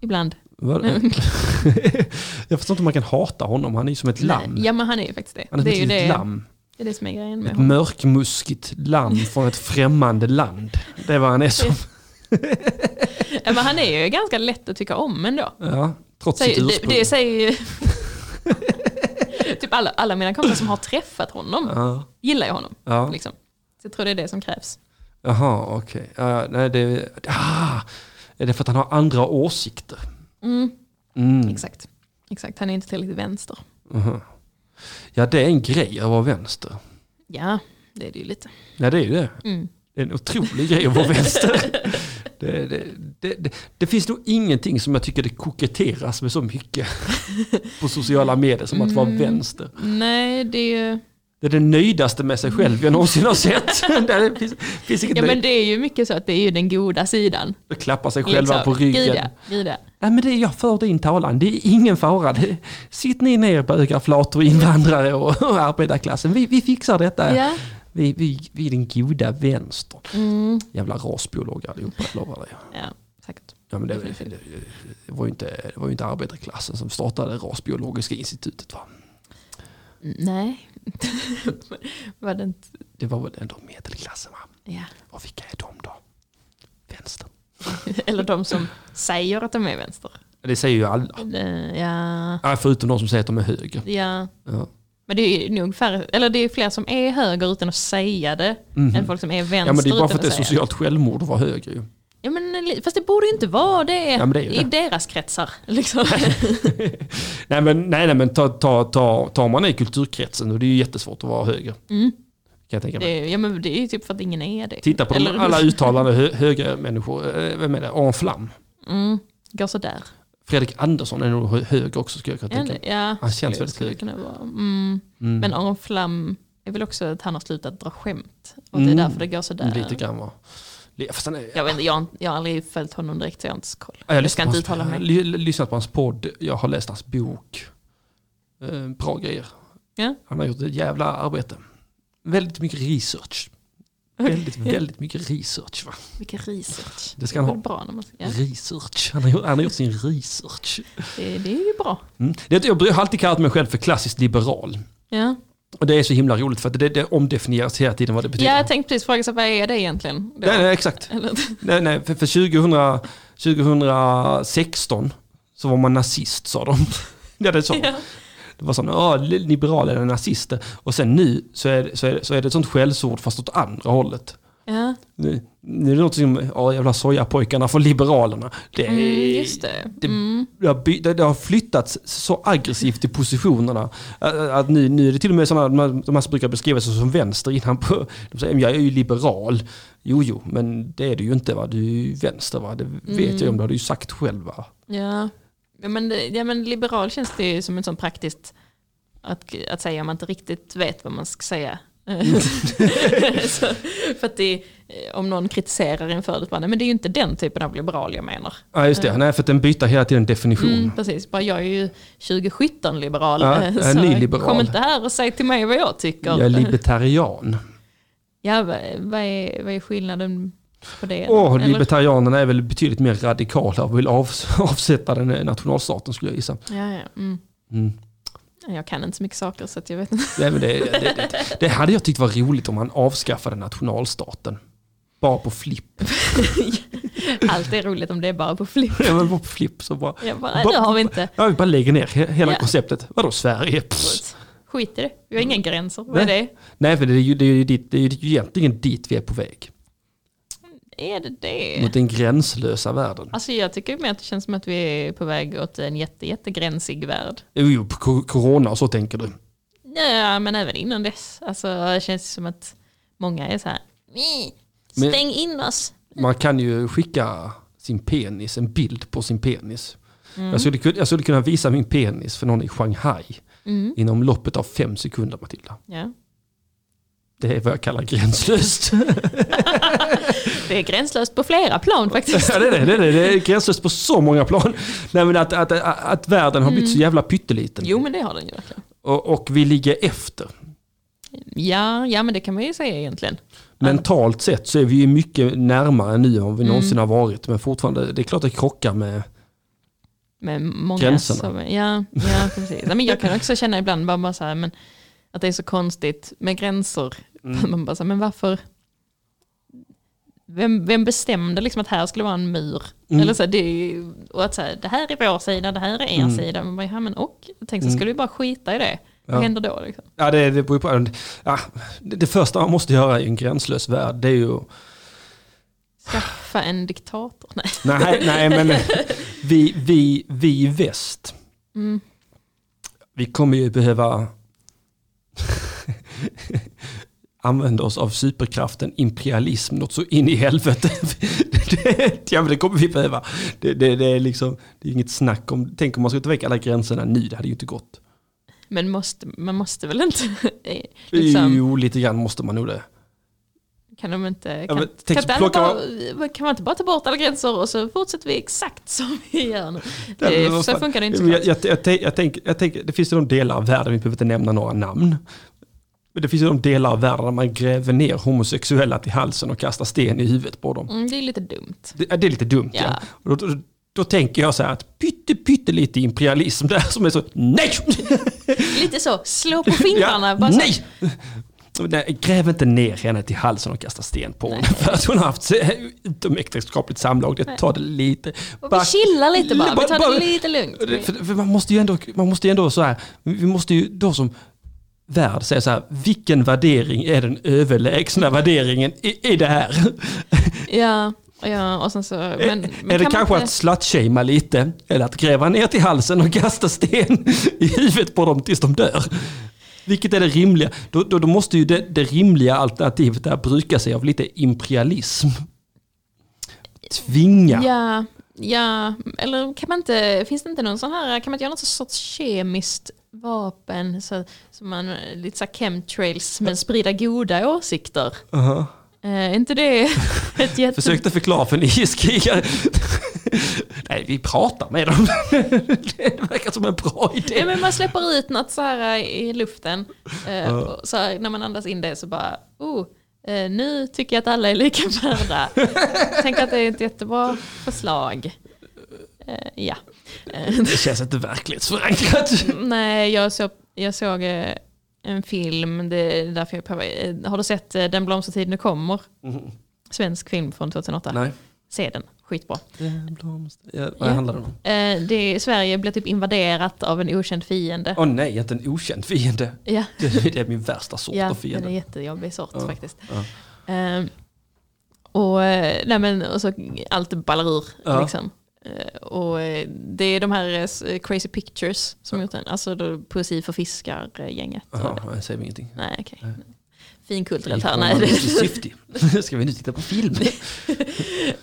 Speaker 2: Ibland.
Speaker 1: Vad- jag förstår inte hur man kan hata honom. Han är ju som ett lamm.
Speaker 2: Nej, Ja, men han är ju faktiskt det.
Speaker 1: Han är som
Speaker 2: det
Speaker 1: ett
Speaker 2: är ju
Speaker 1: litet
Speaker 2: det,
Speaker 1: lamm.
Speaker 2: det är det som är grejen med
Speaker 1: Ett
Speaker 2: honom.
Speaker 1: mörkmuskigt lamm från ett främmande land. Det är vad han är som.
Speaker 2: Ja, Men han är ju ganska lätt att tycka om ändå.
Speaker 1: Ja, trots
Speaker 2: Säger,
Speaker 1: sitt
Speaker 2: det,
Speaker 1: ursprung.
Speaker 2: det säger ju... typ alla, alla mina kompisar som har träffat honom
Speaker 1: Ja,
Speaker 2: gillar ju honom.
Speaker 1: Ja.
Speaker 2: Liksom. Så jag tror det är det som krävs.
Speaker 1: jaha, okej. Ja, nej, det... Ah, är det för att han har andra åsikter?
Speaker 2: Mm.
Speaker 1: Mm.
Speaker 2: Exakt. Exakt, han är inte tillräckligt vänster.
Speaker 1: Ja, det är en grej att vara vänster.
Speaker 2: Ja, det är det ju lite.
Speaker 1: Ja, det är ju det.
Speaker 2: Mm.
Speaker 1: Det är en otrolig grej att vara vänster. Det, det, det, det, det finns nog ingenting som jag tycker det koketteras med så mycket på sociala medier som att vara
Speaker 2: Mm.
Speaker 1: vänster.
Speaker 2: Nej, det är ju...
Speaker 1: Det är det nöjdaste med sig själv jag någonsin har sett. Det finns, finns inget
Speaker 2: Ja, men
Speaker 1: nöjd.
Speaker 2: det är ju mycket så att det är ju den goda sidan. Liksom.
Speaker 1: De klappar sig själva på
Speaker 2: Gud
Speaker 1: ryggen.
Speaker 2: ja, gud ja.
Speaker 1: Nej, men det är jag för din talan, det är ingen fara. Det, sitt ni ner bögar, flator, invandrare och, och arbetarklassen. Vi, vi fixar detta.
Speaker 2: Ja.
Speaker 1: Vi, vi, vi är den goda vänstern.
Speaker 2: Mm.
Speaker 1: Jävla rasbiologer allihopa, jag lovar dig.
Speaker 2: ja, säkert.
Speaker 1: Ja, men det, det, det, var ju inte, det var ju inte arbetarklassen som startade Rasbiologiska institutet. Va?
Speaker 2: Mm, Nej. Var det inte...
Speaker 1: Det var väl ändå medelklassen. Va?
Speaker 2: Ja.
Speaker 1: Och vilka är de då? Vänstern.
Speaker 2: Eller de som säger att de är vänster.
Speaker 1: Det säger ju alla.
Speaker 2: Eh, Ja,
Speaker 1: Ja, förutom de som säger att de är höger.
Speaker 2: ja.
Speaker 1: Ja.
Speaker 2: Men det är ju nog färre, eller det är fler som är höger utan att säga det än folk som är vänster
Speaker 1: Mhm. Ja, men det är bara för att
Speaker 2: utan
Speaker 1: det är
Speaker 2: säga
Speaker 1: socialt självmord att vara höger. Ju.
Speaker 2: Ja, men, li- fast det borde ju inte vara det,
Speaker 1: Ja, men det är ju det.
Speaker 2: i deras kretsar. Liksom.
Speaker 1: Nej men, nej, nej, men ta, ta, ta, tar man i kulturkretsen och det är ju jättesvårt att vara höger. Kan jag tänka mig.
Speaker 2: Mm. det, är- ja, men det är ju typ för att ingen är det.
Speaker 1: Titta på de,
Speaker 2: Eller-
Speaker 1: alla uttalande hö, högermänniskor. eh, Vem är det? Aron Flam.
Speaker 2: Går Mm, sådär.
Speaker 1: Fredrik Andersson är nog hö- höger också skulle jag kunna tänka
Speaker 2: Ja,
Speaker 1: mig.
Speaker 2: ja,
Speaker 1: Han känns
Speaker 2: skulle-
Speaker 1: väldigt
Speaker 2: skulle
Speaker 1: hög.
Speaker 2: kunna vara. Mm. Men Aron Flam är väl också att han har slutat dra skämt. Och det är därför det går sådär.
Speaker 1: Mm. Lite grann va. Li- Fast han är,
Speaker 2: Jag, vet, inte, jag, har inte- jag har aldrig följt honom direkt så jag har inte så koll.
Speaker 1: Ja,
Speaker 2: jag
Speaker 1: lyssnar
Speaker 2: ska
Speaker 1: på
Speaker 2: inte
Speaker 1: hans-
Speaker 2: uttala mig.
Speaker 1: Jag har lyssnat på hans podd, jag har läst hans bok. Eh, Bra grejer.
Speaker 2: Ja.
Speaker 1: Han har gjort ett jävla arbete. Väldigt mycket research. Väldigt, väldigt mycket research. Va?
Speaker 2: Vilken research.
Speaker 1: Det ska han
Speaker 2: Det är
Speaker 1: ha.
Speaker 2: bra när man, ja,
Speaker 1: Research. Han har, gjort- han har gjort sin research.
Speaker 2: det, det är ju bra.
Speaker 1: Mm. Det, jag har alltid kallat mig själv för klassiskt liberal.
Speaker 2: Ja.
Speaker 1: Och det är så himla roligt för att det, det omdefinieras hela tiden vad det betyder.
Speaker 2: ja, jag tänkte precis fråga, så vad är det egentligen? då?
Speaker 1: Nej, nej, exakt.
Speaker 2: Eller-
Speaker 1: Nej, nej, för, för 2000, 2016 så var man nazist sa de. Ja, det, är så.
Speaker 2: Ja.
Speaker 1: det var sådana, ja, li- liberaler eller nazister. Och sen nu så är, det- så är, det- så är det ett sånt skällsord fast åt andra hållet.
Speaker 2: Ja,
Speaker 1: Nu, nu är det något som, ja jävla sojapojkarna från Liberalerna. Det, är-
Speaker 2: mm, just det.
Speaker 1: det,
Speaker 2: Mm.
Speaker 1: det, har, by- det, det har flyttats så aggressivt i positionerna. Att, att nu, nu är det till och med sådana, de här- de här som brukar beskriva sig som vänster innan på, de säger jag är ju liberal. Jo, jo, men det är du ju inte va, du är ju vänster va, det vet
Speaker 2: Mm.
Speaker 1: jag ju om, det har du ju sagt själv va.
Speaker 2: Ja. Ja, men, det- ja, men liberal känns det ju som en sån praktiskt att, att säga om man inte riktigt vet vad man ska säga.
Speaker 1: Mm.
Speaker 2: så, för att det, är- om någon kritiserar en förut, bara, nej, men det är ju inte den typen av liberal jag menar. Mm.
Speaker 1: Ja just det, nej för att den byter hela tiden definition.
Speaker 2: Precis, bara jag är ju 2017 liberal.
Speaker 1: Mm. Ja, jag är
Speaker 2: så
Speaker 1: nyliberal.
Speaker 2: kom inte här och säg till mig vad jag tycker.
Speaker 1: Jag är libertarian.
Speaker 2: ja, vad, vad, är, vad är skillnaden på det.
Speaker 1: Och
Speaker 2: eller?
Speaker 1: libertarianerna är väl betydligt mer radikala och vill av, avsätta den eh, nationalstaten skulle jag gissa.
Speaker 2: Ja, ja. Mm.
Speaker 1: Mm.
Speaker 2: Jag kan inte så mycket saker så att jag vet inte.
Speaker 1: Nej, men det, det, det, det hade jag tyckt var roligt om han avskaffade nationalstaten. Bara på flipp.
Speaker 2: Allt är roligt om det är bara på flipp.
Speaker 1: Ja, men bara på flipp så bara.
Speaker 2: Jag bara, det har vi inte.
Speaker 1: Ja, vi bara lägger ner he- hela
Speaker 2: Ja.
Speaker 1: konceptet. Vadå Sverige? Pss.
Speaker 2: Skit i det. Vi har inga gränser. Vad är det?
Speaker 1: Mm. Nej, för det är ju, det är ju, dit, det är ju egentligen dit vi är på väg.
Speaker 2: Är det det?
Speaker 1: Mot den gränslösa världen.
Speaker 2: Alltså jag tycker mer att det känns som att vi är på väg åt en jätte, jättegränsig värld.
Speaker 1: Jo, jo, på co- corona och så tänker du.
Speaker 2: Ja, men även innan dess. Alltså det känns som att många är så här, "Nej,
Speaker 1: Men-
Speaker 2: stäng in oss.
Speaker 1: Man kan ju skicka sin penis, en bild på sin penis. Jag, skulle, kun- jag skulle kunna visa min penis för någon i Shanghai inom loppet av fem sekunder, Matilda.
Speaker 2: Ja.
Speaker 1: Det är vad jag kallar gränslöst.
Speaker 2: Det är gränslöst på flera plan faktiskt.
Speaker 1: Ja, det, är det, det, är det. det är gränslöst på så många plan. Nej, men att, att, att, att världen har blivit så jävla pytteliten.
Speaker 2: Mm. Jo men det har den ju verkligen.
Speaker 1: Och, och vi ligger efter.
Speaker 2: Ja, ja men det kan man ju säga egentligen.
Speaker 1: Mentalt sett så är vi ju mycket närmare nu än
Speaker 2: Mm.
Speaker 1: vi någonsin har varit. Men fortfarande, det är klart det krockar med...
Speaker 2: Med många
Speaker 1: Gränserna.
Speaker 2: Som, ja, ja precis. Nej, men jag kan också känna ibland bara, bara så här, men, att det är så konstigt med gränser.
Speaker 1: Mm.
Speaker 2: Man bara så här, men varför? Vem, vem bestämde liksom att här skulle vara en mur?
Speaker 1: Mm.
Speaker 2: Eller så här, det, är ju- och att så här, det här är vår sida, det här är er
Speaker 1: Mm.
Speaker 2: sida. Man bara, ja, men och? Tänk så skulle vi bara skita i det. Vad
Speaker 1: Ja.
Speaker 2: händer då? Liksom?
Speaker 1: Ja, det, det beror ju på. Ja, det, det första man måste göra i en gränslös värld, det är ju...
Speaker 2: Skaffa en diktator? Nej.
Speaker 1: Nej, nej men vi, vi, vi i väst,
Speaker 2: Mm.
Speaker 1: vi kommer ju behöva använda oss av superkraften imperialism något så in i helvete. Det, ja, men det kommer vi behöva. Det, det, det är liksom, det är inget snack om, tänk om man skulle ta väck alla gränserna nu, det hade ju inte gått.
Speaker 2: Men måste, man måste väl inte? eh, liksom,
Speaker 1: Jo, lite grann måste man nog det.
Speaker 2: kan, de inte,
Speaker 1: Ja,
Speaker 2: kan,
Speaker 1: men tänk
Speaker 2: kan,
Speaker 1: så
Speaker 2: inte alla
Speaker 1: plocka-
Speaker 2: bara, kan man inte bara ta bort alla gränser och så fortsätter vi exakt som vi gör nu?
Speaker 1: Nej,
Speaker 2: Det,
Speaker 1: men
Speaker 2: så
Speaker 1: vad fan.
Speaker 2: funkar det inte.
Speaker 1: Men
Speaker 2: såklart.
Speaker 1: Jag, jag, jag, tänk- jag, tänk, jag tänk, det finns ju de delar av världen, vi behöver inte nämna några namn. Men det finns ju de delar av världen där man gräver ner homosexuella till halsen och kastar sten i huvudet på dem.
Speaker 2: Mm, det är lite dumt.
Speaker 1: Det, ja, det är lite dumt. Ja.
Speaker 2: Ja.
Speaker 1: Och då, då, då tänker jag så här att pytte, pytte lite imperialism där som är så nej!
Speaker 2: Lite så, slå på fingrarna.
Speaker 1: Ja,
Speaker 2: bara så.
Speaker 1: nej! Nej, gräv inte ner henne till halsen och kasta sten på henne för att hon har haft se- utomäktenskapligt samlag. Det tar det lite...
Speaker 2: Och vi chillar lite bara, vi tar det lite
Speaker 1: Och det-
Speaker 2: lugnt.
Speaker 1: För, för man måste ju ändå, man måste ju ändå så här, vi måste ju då som värld säga så här, vilken värdering är den överlägsna värderingen i, i det här?
Speaker 2: Ja, ja, och sen så... Men, men
Speaker 1: är det
Speaker 2: kan man
Speaker 1: kanske
Speaker 2: inte-
Speaker 1: att slutshamea lite? Eller att gräva ner till halsen och kasta sten i huvudet på dem tills de dör? Vilket är det rimliga? Då, då, då måste ju det, det rimliga alternativet där bruka sig av lite imperialism. Tvinga.
Speaker 2: Ja, ja, eller kan man inte, finns det inte någon sån här, kan man inte göra något sorts kemiskt vapen så, som man, eh, lite så här chemtrails, men sprida goda åsikter?
Speaker 1: Aha.
Speaker 2: Eh, är inte det ett jätte...
Speaker 1: Försökte förklara för en IS-krigare. Nej, vi pratar med dem. Det verkar som en bra
Speaker 2: Nej,
Speaker 1: idé.
Speaker 2: men man släpper ut något så här i luften. Eh, och så här, när man andas in det så bara, oh, eh, nu tycker jag att alla är lika värda. Tänk att det är ett jättebra förslag. Eh, ja. Eh,
Speaker 1: Det känns inte verklighetsförankrat.
Speaker 2: nej, jag såg, jag såg eh, en film, det är därför jag är på väg. Eh, Har du sett eh, Den blomstertid nu kommer? Svensk film från 2008.
Speaker 1: Nej.
Speaker 2: Se den, skitbra.
Speaker 1: Ja, vad
Speaker 2: Ja.
Speaker 1: handlar det om?
Speaker 2: Eh, det är, Sverige blir typ invaderat av en okänd fiende.
Speaker 1: Åh nej, inte en okänd fiende.
Speaker 2: Ja.
Speaker 1: Det är det är min värsta sort av
Speaker 2: Ja, den är
Speaker 1: fiende.
Speaker 2: jättejobbig sort
Speaker 1: Ja,
Speaker 2: faktiskt. Ehm, och, eh, nej men, och så allt ballar ur.
Speaker 1: Ja.
Speaker 2: Liksom. Eh, och eh, det är de här eh, s- Crazy Pictures som gjort den. Alltså då, poesi för fiskar-gänget.
Speaker 1: Jaha, jag säger ingenting.
Speaker 2: Nej, okej. Finkulturellt här. Nej, det,
Speaker 1: Nej. Ska vi nu titta på film?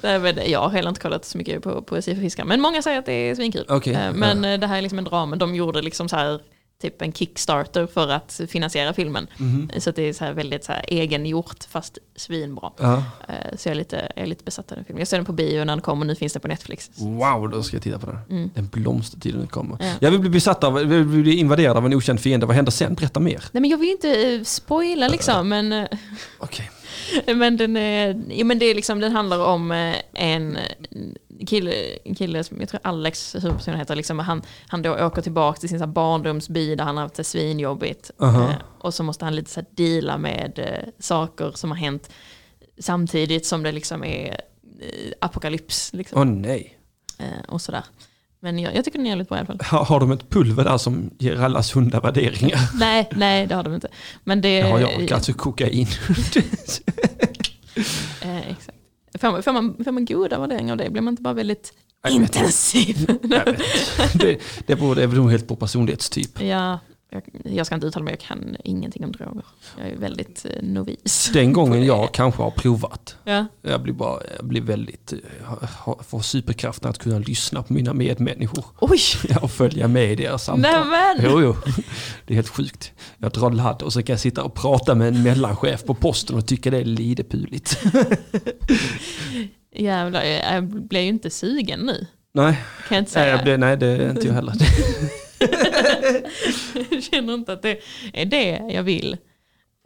Speaker 2: nej, men jag har heller inte kollat så mycket på poesi för fiskar. Men många säger att det är svinkul.
Speaker 1: Okej,
Speaker 2: Eh, men eh, det här är liksom en drama. De gjorde liksom så här typ en kickstarter för att finansiera filmen.
Speaker 1: Mhm.
Speaker 2: Så att det är så här väldigt så här egengjort fast svinbra.
Speaker 1: Ja.
Speaker 2: Eh, Så jag är, lite, jag är lite besatt av den filmen. Jag såg den på bio när den kom och nu finns den på Netflix.
Speaker 1: Wow, då ska jag titta på den.
Speaker 2: Mm.
Speaker 1: Den blomstertiden kommer. Jag vill bli besatt av, jag vill bli invaderad av en okänd fiende. Vad händer sen? Berätta mer.
Speaker 2: Nej men jag vill ju inte eh, spoila liksom men eh,
Speaker 1: Okej.
Speaker 2: Men, den, är, ja, men det är liksom, den handlar om eh, en kille, en kille som jag tror Alex huvudpersonen heter, liksom, han, han då åker tillbaka till sin så här, barndomsby där han har haft det svinjobbigt.
Speaker 1: Aha.
Speaker 2: Eh, Och så måste han lite så här, deala med eh, saker som har hänt samtidigt som det liksom är eh, apokalyps. Liksom.
Speaker 1: Åh nej.
Speaker 2: Eh, och sådär. Men jag, jag tycker den är jävligt bra i alla fall.
Speaker 1: Har, har de ett pulver där som ger alla sunda värderingar?
Speaker 2: Nej, nej det har de inte. Men det...
Speaker 1: Det har jag, alltså kokain.
Speaker 2: eh, exakt. Får man, får, man, får man goda värderingar av det? Blir man inte bara väldigt
Speaker 1: Jag vet inte.
Speaker 2: intensiv?
Speaker 1: Jag vet inte. det, det beror det är väl nog helt på personlighetstyp.
Speaker 2: ja, jag, jag ska inte uttala mig, jag kan ingenting om droger. Jag är väldigt eh, novis.
Speaker 1: Den gången jag kanske har provat.
Speaker 2: Ja,
Speaker 1: Jag blir, bara, jag blir väldigt, eh, ha- ha- får superkraften att kunna lyssna på mina medmänniskor.
Speaker 2: oj!
Speaker 1: Ja, och följa med i deras samtal.
Speaker 2: Nämen!
Speaker 1: Jo, jo. Det är helt sjukt. Jag drar ladd och så kan jag sitta och prata med en mellanchef på posten och tycka det är lidepuligt.
Speaker 2: Jävlar, jag, jag blir ju inte sugen nu.
Speaker 1: Nej,
Speaker 2: Kan jag inte
Speaker 1: nej,
Speaker 2: säga.
Speaker 1: jag blir, nej det är inte jag heller. Det-
Speaker 2: Jag känner inte att det är det jag vill.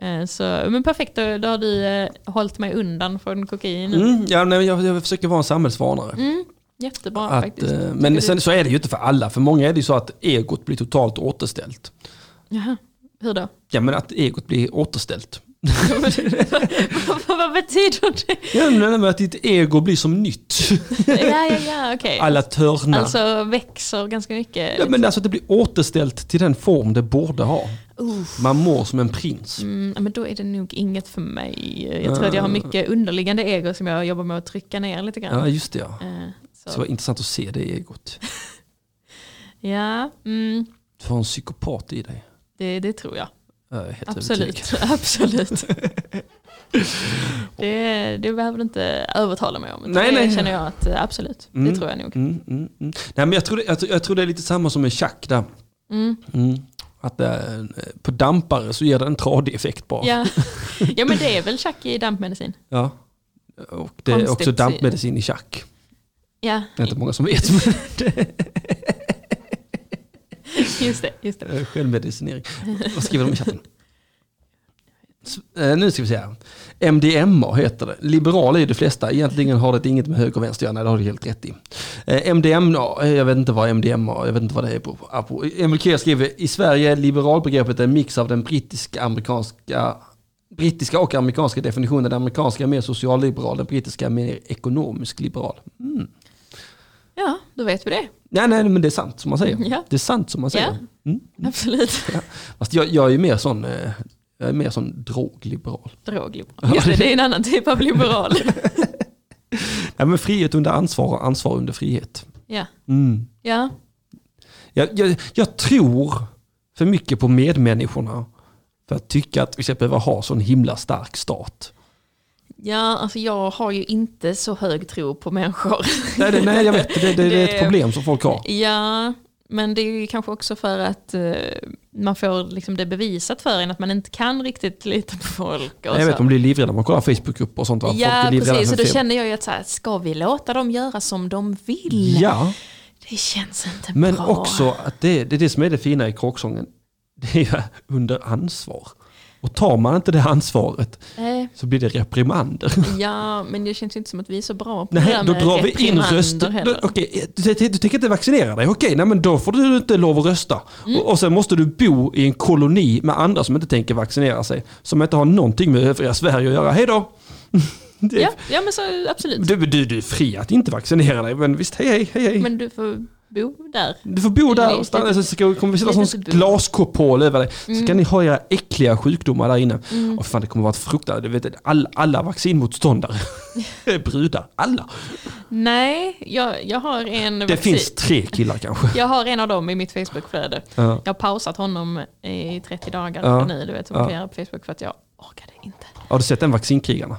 Speaker 2: Eh, Så, men perfekt, då, då har du eh, hållit mig undan från kokain.
Speaker 1: Mm, ja, nej, jag, jag försöker vara en samhällsvarnare.
Speaker 2: Mm, jättebra
Speaker 1: Att,
Speaker 2: faktiskt.
Speaker 1: eh, men sen så är det ju inte för alla. För många är det ju så att egot blir totalt återställt.
Speaker 2: Jaha, hur då?
Speaker 1: Ja, men att egot blir återställt.
Speaker 2: Vad betyder det?
Speaker 1: Ja, men att ditt ego blir som nytt.
Speaker 2: Ja, ja, ja, okej.
Speaker 1: Alla törnar.
Speaker 2: Alltså växer ganska mycket.
Speaker 1: Ja, men alltså att det blir återställt till den form det borde ha.
Speaker 2: Uff.
Speaker 1: Man mår som en prins.
Speaker 2: Mm, ja, men då är det nog inget för mig. Jag tror att jag har mycket underliggande ego som jag jobbar med att trycka ner lite
Speaker 1: Ah. Ja,
Speaker 2: grann.
Speaker 1: just det ja.
Speaker 2: Eh, Så.
Speaker 1: Så det var intressant att se det egot.
Speaker 2: Ja, mm,
Speaker 1: Du har en psykopat i dig.
Speaker 2: det, det tror jag.
Speaker 1: Jag är helt övertygad.
Speaker 2: Absolut. Absolut. Det, det behöver du inte övertala mig om. utan
Speaker 1: Nej,
Speaker 2: det
Speaker 1: nej.
Speaker 2: känner jag att eh, absolut,
Speaker 1: Mm.
Speaker 2: det tror jag nog.
Speaker 1: Mm, mm, mm. Nej, men jag, tror det, jag, tror- jag tror det är lite samma som med schack där.
Speaker 2: Mm.
Speaker 1: Mm. Att det är en- på dampare så ger det en tradig effekt bara.
Speaker 2: Ja. ja, men det är väl tjack i dampmedicin.
Speaker 1: Ja. Och det är
Speaker 2: Konstigt.
Speaker 1: också dampmedicin i schack.
Speaker 2: Ja,
Speaker 1: Det är inte många som vet. Men
Speaker 2: just det. Just det.
Speaker 1: det är självmedicinering. Vad skriver de i chatten? S- eh, Nu ska vi se här. MDMA heter det. Liberal är ju de flesta. Egentligen har det inget med höger och vänster att göra. Nej, det har du helt rätt i. Eh, MDMA, eh, jag vet inte vad MDMA, jag vet inte vad det är på. på. Emil Kier skriver, i Sverige är liberalbegreppet en mix av den brittiska, amerikanska brittiska och amerikanska definitionen. Den amerikanska är mer socialliberal, den brittiska är mer ekonomisk liberal. Mm.
Speaker 2: Ja, då vet vi det.
Speaker 1: Nej, nej, men det är sant som man säger.
Speaker 2: Ja.
Speaker 1: Det är sant som man säger. Mm.
Speaker 2: Absolut.
Speaker 1: Fast jag, jag är ju mer sån, eh, jag är mer sån drogliberal.
Speaker 2: Drogliberal. Just det, det är en annan typ av liberal.
Speaker 1: Nej, men frihet under ansvar och ansvar under frihet.
Speaker 2: Ja.
Speaker 1: Mm.
Speaker 2: Ja.
Speaker 1: Jag, jag, jag tror för mycket på medmänniskorna för att tycka att vi ska behöva ha sån himla stark stat.
Speaker 2: ja, alltså jag har ju inte så hög tro på människor.
Speaker 1: Nej, det, nej jag vet, det, det, det är
Speaker 2: Det-
Speaker 1: ett problem som folk har.
Speaker 2: Ja, men det är ju kanske också för att eh, man får liksom det bevisat för en att man inte kan riktigt lita på folk. Och
Speaker 1: Jag vet,
Speaker 2: så.
Speaker 1: de blir livrädda när man kollar Facebookgrupper och sånt. va? Folk
Speaker 2: Ja,
Speaker 1: är livrädda
Speaker 2: precis.
Speaker 1: för
Speaker 2: Och då
Speaker 1: fel.
Speaker 2: känner jag ju att så här, ska vi låta dem göra som de vill?
Speaker 1: Ja,
Speaker 2: Det känns inte
Speaker 1: men
Speaker 2: bra.
Speaker 1: också att det, det är det som är det fina i kråksången. Det är ju under ansvar. Och tar man inte det ansvaret
Speaker 2: Nej,
Speaker 1: så blir det reprimander.
Speaker 2: Eh, ja, men det känns ju inte som att vi är så bra på det
Speaker 1: Nej,
Speaker 2: där
Speaker 1: då
Speaker 2: med
Speaker 1: drar vi in
Speaker 2: reprimander
Speaker 1: röster.
Speaker 2: heller.
Speaker 1: Då- Okej, du, du, du tänker inte vaccinera dig? Okej, nej, men då får du inte lov att rösta.
Speaker 2: Mm.
Speaker 1: Och, och sen måste du bo i en koloni med andra som inte tänker vaccinera sig. Som inte har någonting med övriga Sverige att göra. Hej då! Det,
Speaker 2: Ja, ja, men så absolut.
Speaker 1: du, du, du är fri att inte vaccinera dig, men visst, hej hej, hej hej.
Speaker 2: Men du får bo där.
Speaker 1: du får bo där och
Speaker 2: Lite-
Speaker 1: stanna, Alltså, så ska, kommer vi sätta
Speaker 2: lite
Speaker 1: sån
Speaker 2: förbud.
Speaker 1: glaskopol över dig. Så
Speaker 2: Mm.
Speaker 1: kan ni ha era äckliga sjukdomar där inne. Och fan, det kommer vara ett fruktansvärt, du vet, alla, alla vaccinmotståndare är brudar. Alla.
Speaker 2: Nej, jag, jag har en
Speaker 1: Det
Speaker 2: vaccin-
Speaker 1: finns tre killar kanske.
Speaker 2: Jag har en av dem i mitt Facebookflöde.
Speaker 1: Ja.
Speaker 2: Jag har pausat honom i 30 dagar
Speaker 1: Ja.
Speaker 2: nu, du vet, som
Speaker 1: Ja.
Speaker 2: man kan göra på Facebook för att jag orkade inte.
Speaker 1: Har du sett den Vaccinkrigarna?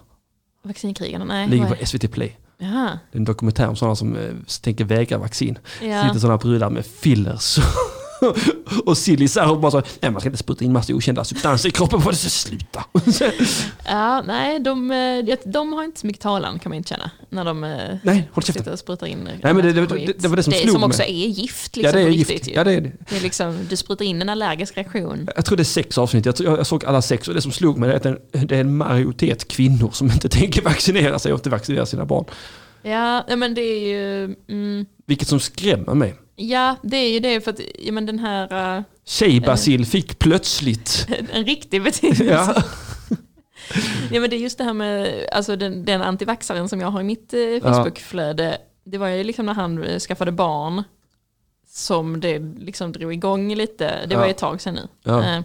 Speaker 2: Vaccinkrigarna, nej.
Speaker 1: Ligger
Speaker 2: vad är-
Speaker 1: på SVT Play.
Speaker 2: Jaha.
Speaker 1: Det är en dokumentär om sådana som eh, tänker vägra vaccin.
Speaker 2: Ja.
Speaker 1: Sitter sådana brudar med fillers och Silly Sarah bara så, nej man ska inte spruta in massa okända substanser i kroppen på det, så sluta.
Speaker 2: Ja, nej, de, eh, de har inte så mycket talan kan man inte känna. När de eh,
Speaker 1: nej, håll käften.
Speaker 2: sitter och sprutar in Nej,
Speaker 1: men det- det- det- det var det som slog
Speaker 2: som
Speaker 1: mig.
Speaker 2: också är gift. Liksom,
Speaker 1: Ja det är
Speaker 2: på
Speaker 1: gift.
Speaker 2: riktigt, ju.
Speaker 1: Ja, det är det.
Speaker 2: Det är liksom, du sprutar in en allergisk reaktion.
Speaker 1: Jag tror det är sex avsnitt. Jag, tror- jag såg alla sex och det som slog mig är att det är en- det är en majoritet kvinnor som inte tänker vaccinera sig och inte vaccinera sina barn.
Speaker 2: Ja, ja, men det är ju... Mm,
Speaker 1: Vilket som skrämmer mig.
Speaker 2: ja, det är ju det för att ja, men den här... eh,
Speaker 1: Tjejbasil fick plötsligt...
Speaker 2: en riktig betydelse.
Speaker 1: Ja.
Speaker 2: Ja, men det är just det här med alltså, den, den antivaxaren som jag har i mitt eh, Facebookflöde. Det var ju liksom när han eh, skaffade barn som det liksom drog igång lite. Det var
Speaker 1: Ja.
Speaker 2: ju ett tag sedan nu.
Speaker 1: Ja.
Speaker 2: Eh,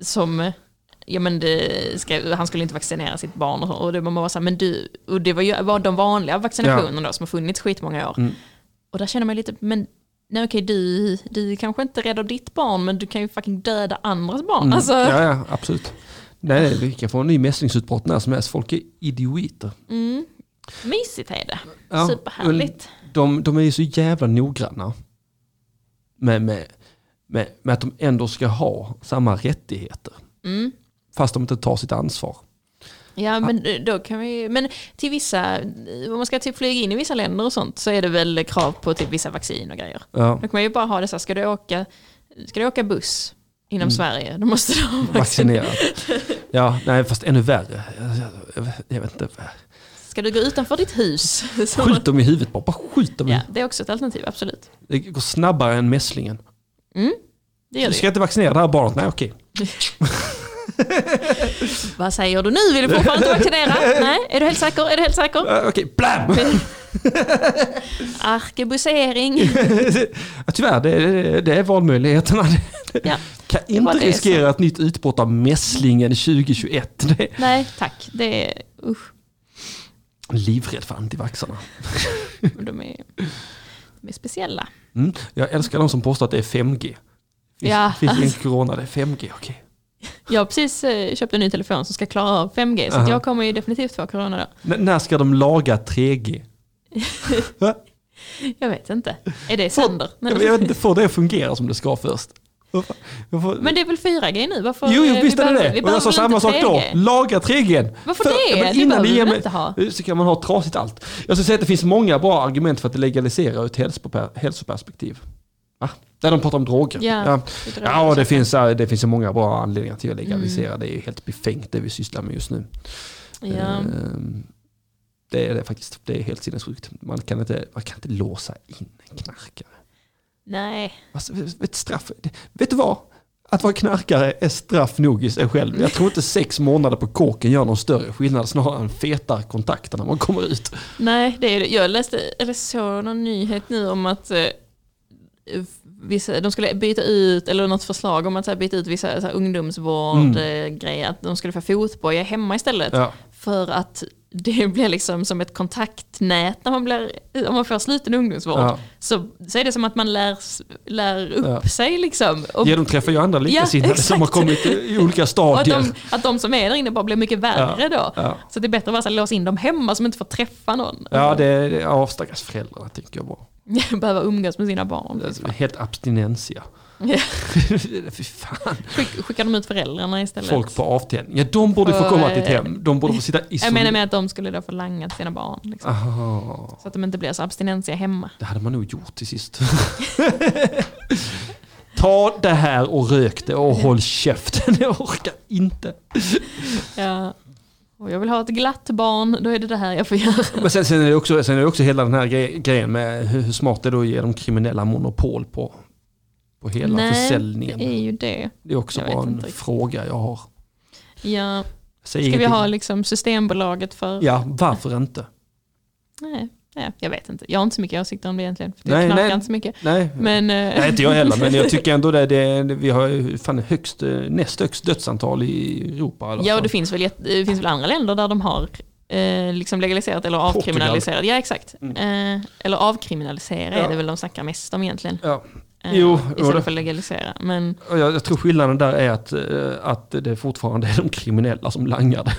Speaker 2: som, eh, ja men det skrev, han skulle inte vaccinera sitt barn och, så, och det var bara så här, men du, och det var ju var de vanliga vaccinationerna då som har funnits skitmånga år.
Speaker 1: Mm.
Speaker 2: Och där känner man ju lite, men nej okej du, du kanske inte räddar ditt barn men du kan ju fucking döda andras barn. Alltså,
Speaker 1: Mm. Ja, ja, absolut. Nej, nej, vi kan få en ny mässlingsutbrott när som helst. Folk är idioter.
Speaker 2: Mysigt är det.
Speaker 1: Ja,
Speaker 2: Superhärligt.
Speaker 1: men De, de är ju så jävla noggranna med, med, med, med att de ändå ska ha samma rättigheter. Mm. Fast de inte tar sitt ansvar.
Speaker 2: Ja, men eh, då kan vi Men till vissa, om man ska typ flyga in i vissa länder och sånt så är det väl krav på typ vissa vaccin och grejer.
Speaker 1: Ja.
Speaker 2: Då kan man ju bara ha det så här, ska du åka, ska du åka buss inom Sverige, då måste du ha vaccin.
Speaker 1: Vaccinerat. Ja, nej, fast ännu värre. Jag, jag, jag vet inte.
Speaker 2: Ska du gå utanför ditt hus? så-
Speaker 1: Skjut dem i huvudet bara. Bara skjut dem i
Speaker 2: ja,
Speaker 1: huvudet.
Speaker 2: det är också ett alternativ, absolut.
Speaker 1: Det går snabbare än mässlingen.
Speaker 2: Det gör
Speaker 1: Du
Speaker 2: det
Speaker 1: ska
Speaker 2: ju.
Speaker 1: inte vaccinera det här barnet? Nej, okej.
Speaker 2: Vad säger du nu? Vill du fortfarande inte vaccinera? Nej, är du helt säker? Är du helt säker?
Speaker 1: Äh, Okej, blam!
Speaker 2: Arkebusering.
Speaker 1: Ja, Tyvärr, det, det, det är valmöjligheterna.
Speaker 2: Ja.
Speaker 1: Kan
Speaker 2: Det
Speaker 1: inte
Speaker 2: var det som-
Speaker 1: riskera ett nytt utbrott av mässlingen 2021. Det är
Speaker 2: Nej, tack. Det är, usch.
Speaker 1: livrädd för antivaxarna.
Speaker 2: De är, de är speciella.
Speaker 1: Mm. Jag älskar de som påstår att det är 5G. Finns,
Speaker 2: Ja.
Speaker 1: finns ingen corona, det är 5G, okej.
Speaker 2: Jag har precis eh, köpt en ny telefon som ska klara av 5G, så att
Speaker 1: Aha.
Speaker 2: jag kommer ju definitivt få corona då.
Speaker 1: N- när ska de laga 3G? Va?
Speaker 2: Jag vet inte. Är det sönder? Nej,
Speaker 1: jag,
Speaker 2: det-
Speaker 1: jag vet inte, får det att fungera som det ska först? Jag får,
Speaker 2: Men det är väl 4G nu? Varför,
Speaker 1: jo,
Speaker 2: eh,
Speaker 1: jo,
Speaker 2: vi
Speaker 1: visst är det
Speaker 2: behöver-
Speaker 1: det.
Speaker 2: vi
Speaker 1: Och jag sa
Speaker 2: behöver
Speaker 1: samma
Speaker 2: inte
Speaker 1: sak då.
Speaker 2: 3G?
Speaker 1: Laga 3G.
Speaker 2: Varför det?
Speaker 1: men
Speaker 2: Det
Speaker 1: innan
Speaker 2: behöver
Speaker 1: det
Speaker 2: vi
Speaker 1: ger
Speaker 2: väl
Speaker 1: mig-
Speaker 2: inte ha?
Speaker 1: Så kan man ha trasigt allt. Jag skulle säga att det finns många bra argument för att legalisera ur ett hälsoper- hälsoperspektiv. Va? Där de pratar om droger.
Speaker 2: Ja,
Speaker 1: ja.
Speaker 2: det är droger. Mm.
Speaker 1: ja och det finns, eh, det finns ju många bra anledningar till att legalisera. Det är ju helt befängt det vi sysslar med just nu.
Speaker 2: Ja.
Speaker 1: Ehm, Det är det faktiskt. Det är helt sinnessjukt. Man kan inte, man kan inte låsa in en knarkare.
Speaker 2: Nej.
Speaker 1: Alltså, vet- vet, straff, vet du vad? Att vara knarkare är straff nog i sig själv. Jag tror inte sex månader på kåken gör någon större skillnad, snarare än fetare kontakter när man kommer ut.
Speaker 2: Nej, det är det. Jag läste, eller såg någon nyhet nu om att eh, vissa, de skulle byta ut, eller något förslag om att så här, byta ut vissa så här, ungdomsvård, eh, grejer, att de skulle få fotboja hemma istället.
Speaker 1: Mm. Ja.
Speaker 2: För att det blir liksom som ett kontaktnät när man, blir, om man får sluten ungdomsvård.
Speaker 1: Ja.
Speaker 2: Så, så är det som att man lär, s- lär upp
Speaker 1: Ja.
Speaker 2: sig liksom. Och,
Speaker 1: Ja, de träffar ju andra likasinnade som
Speaker 2: exakt.
Speaker 1: har kommit i olika
Speaker 2: och att,
Speaker 1: stadier.
Speaker 2: de, att de som är där inne bara blir mycket värre
Speaker 1: Ja,
Speaker 2: då.
Speaker 1: ja.
Speaker 2: Så det är bättre att bara så här låsa in dem hemma som inte får träffa någon.
Speaker 1: Ja, det, det ja, stackars föräldrarna tänker jag bara.
Speaker 2: Behöva umgås med sina barn.
Speaker 1: Helt abstinensia. Fy fan.
Speaker 2: Skick, skickar de ut föräldrarna istället?
Speaker 1: Folk på avtändning. Ja, de borde få komma till ett hem. De borde få sitta
Speaker 2: Jag menar
Speaker 1: isolerade.
Speaker 2: med att de skulle då få langa till sina barn. Liksom,
Speaker 1: Aha.
Speaker 2: så att de inte blir så abstinensiga hemma.
Speaker 1: Det hade man nog gjort till sist. Ta det här och rök det och håll käften. Jag orkar inte.
Speaker 2: Ja. Och jag vill ha ett glatt barn, då är det det här jag får göra.
Speaker 1: Men sen, sen, är det också, sen är det också hela den här gre- grejen med hur, hur smart det är då att ge de kriminella monopol på, på hela försäljningen.
Speaker 2: det är ju det.
Speaker 1: Det är också
Speaker 2: jag vet
Speaker 1: bara en
Speaker 2: inte riktigt.
Speaker 1: fråga jag har.
Speaker 2: Ja.
Speaker 1: Säg
Speaker 2: Ska vi
Speaker 1: ingenting.
Speaker 2: ha liksom Systembolaget för...
Speaker 1: Ja, varför inte?
Speaker 2: Nej, nej, jag vet inte. Jag har inte så mycket åsikter om det egentligen. För
Speaker 1: Nej,
Speaker 2: jag knarkar
Speaker 1: nej.
Speaker 2: inte så mycket.
Speaker 1: Nej,
Speaker 2: Men, eh,
Speaker 1: Nej, inte jag heller, men jag tycker ändå det. det är- vi har ju fan högst, eh, näst högst dödsantal i Europa. alltså. eller
Speaker 2: ja, och
Speaker 1: så.
Speaker 2: det finns, väl, jätte- det finns väl andra länder där de har eh, liksom legaliserat eller
Speaker 1: Portugal. Mm.
Speaker 2: avkriminaliserat. Ja, exakt. Eh, eller avkriminalisera
Speaker 1: Ja.
Speaker 2: är det väl de snackar mest om egentligen.
Speaker 1: ja.
Speaker 2: Eh,
Speaker 1: Jo, och det-
Speaker 2: istället för legalisera. Men
Speaker 1: Och Jag, jag tror skillnaden där är att, eh, att det fortfarande är de kriminella som langar det.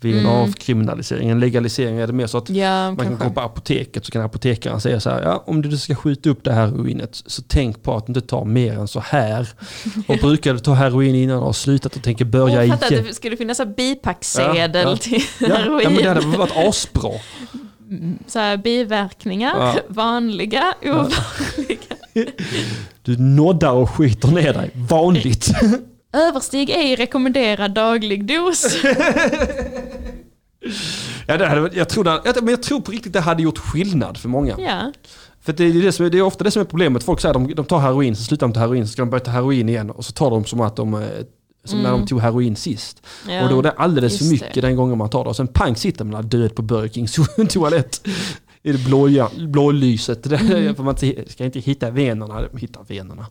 Speaker 1: vid en avkriminalisering, en legalisering är det mer så att
Speaker 2: Mm. Ja,
Speaker 1: man kan
Speaker 2: kanske.
Speaker 1: gå på apoteket så kan apotekaren säga så här, ja, om du ska skjuta upp det här heroinet så tänk på att inte ta mer än så här. Och brukar du ta heroin innan och har slutat och tänker börja
Speaker 2: Jag
Speaker 1: igen.
Speaker 2: fattar att det skulle finnas en bipacksedel
Speaker 1: Ja, ja.
Speaker 2: till
Speaker 1: Ja,
Speaker 2: heroin.
Speaker 1: ja, men det hade varit asbra.
Speaker 2: så här, biverkningar,
Speaker 1: Ja.
Speaker 2: vanliga, ovanliga.
Speaker 1: Du noddar och skiter ner dig, vanligt.
Speaker 2: Överstig ej rekommenderad daglig dos.
Speaker 1: Ja, det hade, varit- jag, tror det, jag, men jag tror på riktigt det hade gjort skillnad för många.
Speaker 2: ja.
Speaker 1: För det är, det, som är, det är ofta det som är problemet. Folk säger de, de tar heroin, så slutar de ta heroin, så ska de börja ta heroin igen och så tar de som att de eh, som när de tog heroin sist.
Speaker 2: Mm. Ja.
Speaker 1: Och då är det alldeles för
Speaker 2: Just
Speaker 1: mycket
Speaker 2: det.
Speaker 1: den gången man tar det. Och sen pang sitter man där död på Burger Kings toalett. I det blåja, blålyset. Det är
Speaker 2: Mm.
Speaker 1: För man inte- ska inte hitta venerna. De hittar venerna.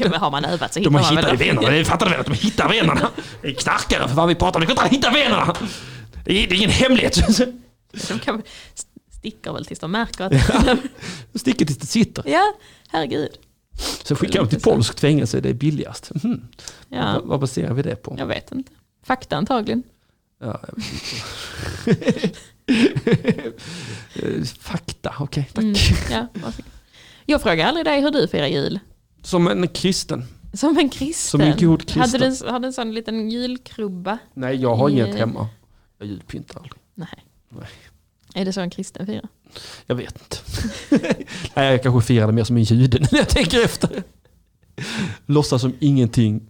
Speaker 2: Men har man övat så hittar
Speaker 1: De
Speaker 2: man
Speaker 1: har hittat
Speaker 2: väl
Speaker 1: venerna. Det fattar du väl? Att de hittar venerna. Det är knarkare för fan vi pratar om. De kan inte hitta venerna. Det är det är ingen hemlighet.
Speaker 2: De kan, sticker väl tills de märker att... Ja,
Speaker 1: Sticker tills det sitter.
Speaker 2: herregud.
Speaker 1: Sen skickar de till polskt fängelse. Det är billigast. Mhm.
Speaker 2: Ja,
Speaker 1: Vad- Vad baserar vi det på?
Speaker 2: jag vet inte. Fakta antagligen.
Speaker 1: Ja, jag vet inte. Eh, Fakta, okej. tack.
Speaker 2: Mm, ja, varsågod. jag frågar aldrig dig hur du firar jul.
Speaker 1: Som en kristen.
Speaker 2: Som en kristen.
Speaker 1: Som en god kristen.
Speaker 2: Hade du en, hade en sån liten julkrubba?
Speaker 1: Nej, jag har inget
Speaker 2: Nej.
Speaker 1: hemma. Jag julpyntar aldrig.
Speaker 2: Nej.
Speaker 1: Nej.
Speaker 2: Är det så en kristen firar?
Speaker 1: Jag vet inte. Nej, jag kanske firade mer som en jude när jag tänker efter. Låtsas som ingenting.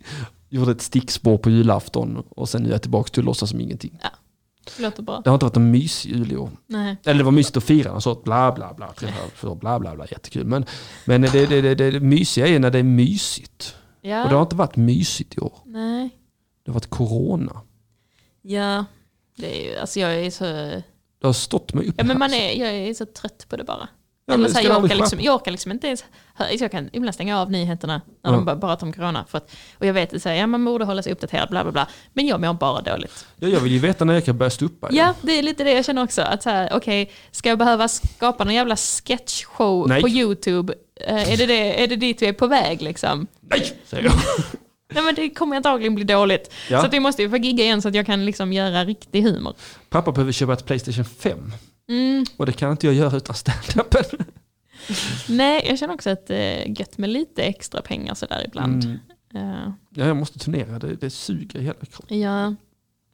Speaker 1: Gjorde ett stickspår på julafton och sen nu är jag tillbaka till att låtsas som ingenting.
Speaker 2: Låter bra.
Speaker 1: Det har inte varit en mysig jul i år.
Speaker 2: Nej.
Speaker 1: Eller det var mysigt att fira och så bla bla bla, för bla bla bla, jättekul. Men, men det, det, det, det mysiga är när det är mysigt.
Speaker 2: Ja.
Speaker 1: Och det har inte varit mysigt i år.
Speaker 2: Nej.
Speaker 1: Det har varit corona.
Speaker 2: Ja. Det är, ju- alltså jag är så...
Speaker 1: Det har stått mig upp
Speaker 2: Ja men man
Speaker 1: här.
Speaker 2: är, jag är så trött på det bara.
Speaker 1: Ja,
Speaker 2: Eller
Speaker 1: men
Speaker 2: så här,
Speaker 1: ska
Speaker 2: jag,
Speaker 1: aldrig
Speaker 2: orkar liksom,
Speaker 1: skärpa-
Speaker 2: jag orkar liksom inte ens, hö- jag kan ibland stänga av nyheterna när
Speaker 1: Ja.
Speaker 2: de bara pratar om corona. För att, och jag vet att så här, ja, man borde hålla sig uppdaterad, bla bla bla. Men jag mår bara dåligt.
Speaker 1: Ja, jag vill ju veta när jag kan börja stå upp här.
Speaker 2: Ja, det är lite det jag känner också. Att så här, okej, ska jag behöva skapa någon jävla sketchshow
Speaker 1: Nej.
Speaker 2: på YouTube? Eh, är, det det, är det dit vi är på väg liksom?
Speaker 1: Nej, säger jag.
Speaker 2: Nej men det kommer antagligen bli dåligt.
Speaker 1: Ja.
Speaker 2: Så att vi måste ju få gigga igen så att jag kan liksom göra riktig humor. Mm,
Speaker 1: Pappa behöver köpa ett Playstation 5. Och det kan inte jag göra utan standupen.
Speaker 2: Nej, jag känner också att det är gött med lite extra pengar sådär ibland. Eh,
Speaker 1: Mm. Ja, jag måste turnera, det, det suger i hela kroppen.
Speaker 2: Ja.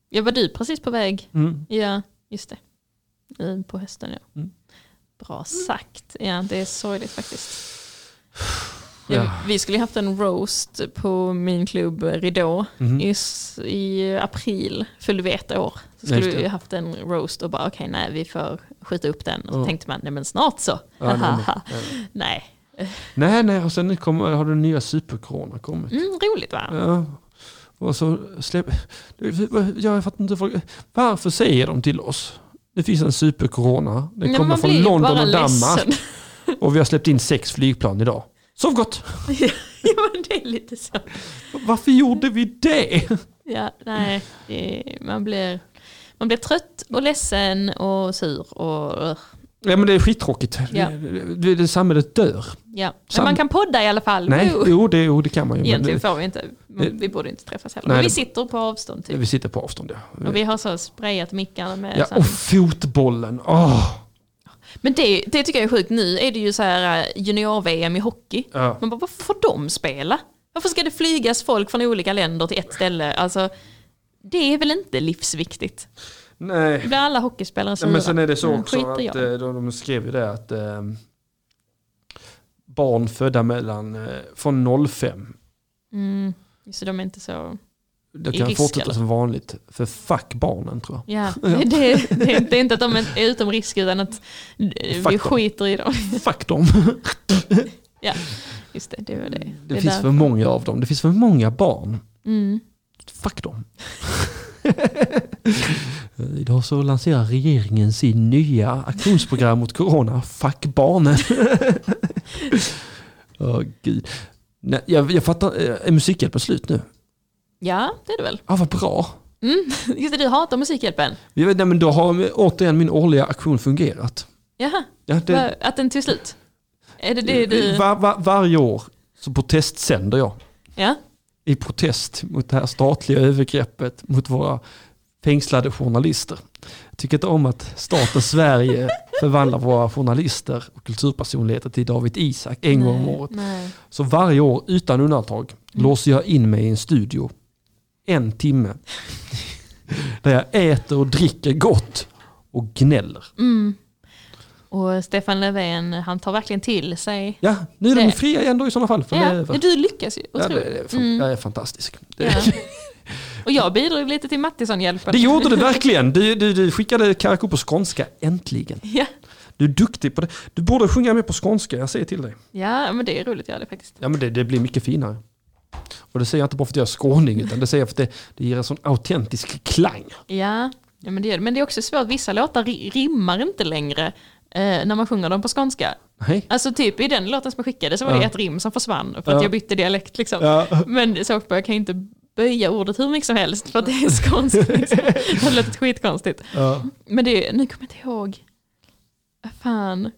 Speaker 2: ja, var du precis på väg?
Speaker 1: Mm.
Speaker 2: Ja, just det. I- På hösten ja.
Speaker 1: Mm.
Speaker 2: Bra sagt. Ja, det är sorgligt faktiskt.
Speaker 1: Ja.
Speaker 2: Ja. Vi skulle ju haft en roast på min klubb Ridå
Speaker 1: Mhm.
Speaker 2: i, s- i april, fyllde vi ett år. Så
Speaker 1: Ja, just
Speaker 2: skulle vi
Speaker 1: det.
Speaker 2: ju haft en roast och bara okej nej vi får skjuta upp den. Och så
Speaker 1: Ja.
Speaker 2: tänkte man nej men snart så.
Speaker 1: Ja, nej, nej,
Speaker 2: nej. nej.
Speaker 1: Nej, nej, och sen kommer, har den nya supercorona kommit.
Speaker 2: Mm, roligt va?
Speaker 1: Ja. Och så släpp... Jag fattar inte. folk- Varför säger de till oss? Det finns en supercorona. Den
Speaker 2: Nej, men
Speaker 1: kommer
Speaker 2: man
Speaker 1: från
Speaker 2: blir ju
Speaker 1: London
Speaker 2: bara
Speaker 1: och Danmark.
Speaker 2: ledsen.
Speaker 1: Och vi har släppt in sex flygplan idag. Sov gott!
Speaker 2: ja men det är lite så.
Speaker 1: Varför gjorde vi det?
Speaker 2: Ja, nej, det, man, blir, man blir trött och ledsen och sur. Och,
Speaker 1: Ja, men det är skittråkigt.
Speaker 2: Ja.
Speaker 1: Det, det, det, samhället dör.
Speaker 2: ja. Men
Speaker 1: Sam-
Speaker 2: man kan podda i alla fall.
Speaker 1: Nej,
Speaker 2: Jo.
Speaker 1: jo det, jo, det kan man ju. Men
Speaker 2: Egentligen
Speaker 1: det,
Speaker 2: får vi inte, vi borde inte träffas heller.
Speaker 1: Nej,
Speaker 2: men vi
Speaker 1: det-
Speaker 2: sitter på avstånd typ.
Speaker 1: vi sitter på avstånd. Ja.
Speaker 2: Och vi har så sprayat mickarna med
Speaker 1: Ja,
Speaker 2: så här-
Speaker 1: och fotbollen. Åh.
Speaker 2: Men det, det tycker jag är sjukt. Nu är det ju så här eh, junior-VM i hockey.
Speaker 1: Ja.
Speaker 2: Man bara, varför får de spela? Varför ska det flygas folk från olika länder till ett ställe? Alltså, det är väl inte livsviktigt?
Speaker 1: Nej.
Speaker 2: Blir alla hockeyspelare sura?
Speaker 1: Nej, men sen är det så
Speaker 2: Mm,
Speaker 1: också
Speaker 2: skiter
Speaker 1: att
Speaker 2: jag.
Speaker 1: eh, de, de skrev ju det att eh, barn födda mellan eh, från 05
Speaker 2: Mm, så de är inte så...
Speaker 1: det
Speaker 2: I
Speaker 1: kan
Speaker 2: risk,
Speaker 1: fortsätta
Speaker 2: eller?
Speaker 1: som vanligt. För fuck barnen tror jag.
Speaker 2: Ja, det, det, det, det är inte att de är utom risk utan att eh, vi
Speaker 1: Faktum.
Speaker 2: skiter i dem.
Speaker 1: Fuck dem.
Speaker 2: Ja, just det, det var det.
Speaker 1: Det,
Speaker 2: är
Speaker 1: finns
Speaker 2: där.
Speaker 1: för många av dem. Det finns för många barn.
Speaker 2: Mm.
Speaker 1: Fuck dem. Idag så lanserar regeringen sin nya aktionsprogram mot corona. Fuck barnen. Åh gud. Nej, jag, jag fattar, eh, är Musikhjälpen slut nu?
Speaker 2: Ja, det är det väl. Mm.
Speaker 1: Ah, vad bra.
Speaker 2: Just det, du hatar Musikhjälpen.
Speaker 1: Jag vet, nej, men då har återigen min årliga aktion fungerat.
Speaker 2: Jaha,
Speaker 1: Ja, det,
Speaker 2: va- att den tog slut. Är det det du...
Speaker 1: var, var, varje år så protestsänder jag
Speaker 2: Ja,
Speaker 1: i protest mot det här statliga övergreppet mot våra fängslade journalister. Jag tycker inte om att staten Sverige förvandlar våra journalister och kulturpersonligheter till David Isak en gång om året.
Speaker 2: Nej. Mm.
Speaker 1: Så varje år, utan undantag, låser jag in mig i en studio en timme. Där jag äter och dricker gott och gnäller.
Speaker 2: Och Stefan Löfven, han tar verkligen till sig.
Speaker 1: Ja, nu är de
Speaker 2: Det-
Speaker 1: fria igen då i sådana fall. För det är
Speaker 2: Ja,
Speaker 1: över.
Speaker 2: du lyckas ju
Speaker 1: Ja,
Speaker 2: otroligt.
Speaker 1: det är, fan, Jag är fantastisk. Det,
Speaker 2: Mm. Ja. Och jag bidrog lite till Mattisson-hjälpen.
Speaker 1: det gjorde du verkligen. Du, du, du skickade Karakou på skånska, äntligen.
Speaker 2: Ja.
Speaker 1: Du är duktig på det. Du borde sjunga med på skånska, jag säger till dig.
Speaker 2: ja, men det är roligt att göra det faktiskt.
Speaker 1: Ja men det, det blir mycket finare. Och det säger jag inte bara för att jag är skåning, utan det säger jag för att det, det ger en sån autentisk klang.
Speaker 2: Ja, ja men, det gör det. men det är också svårt. Vissa låtar ri- rimmar inte längre eh, när man sjunger dem på skånska.
Speaker 1: Nej.
Speaker 2: Alltså typ i den låten som jag skickade så var det
Speaker 1: Ja.
Speaker 2: ett rim som försvann för att
Speaker 1: Ja.
Speaker 2: jag bytte dialekt liksom.
Speaker 1: Ja.
Speaker 2: Men så jag kan ju inte böja ordet hur mycket som helst för att det är skånskt. Liksom. Det har låtit skitkonstigt.
Speaker 1: Ja.
Speaker 2: Men det, nu kommer jag inte ihåg. Ah, Fan.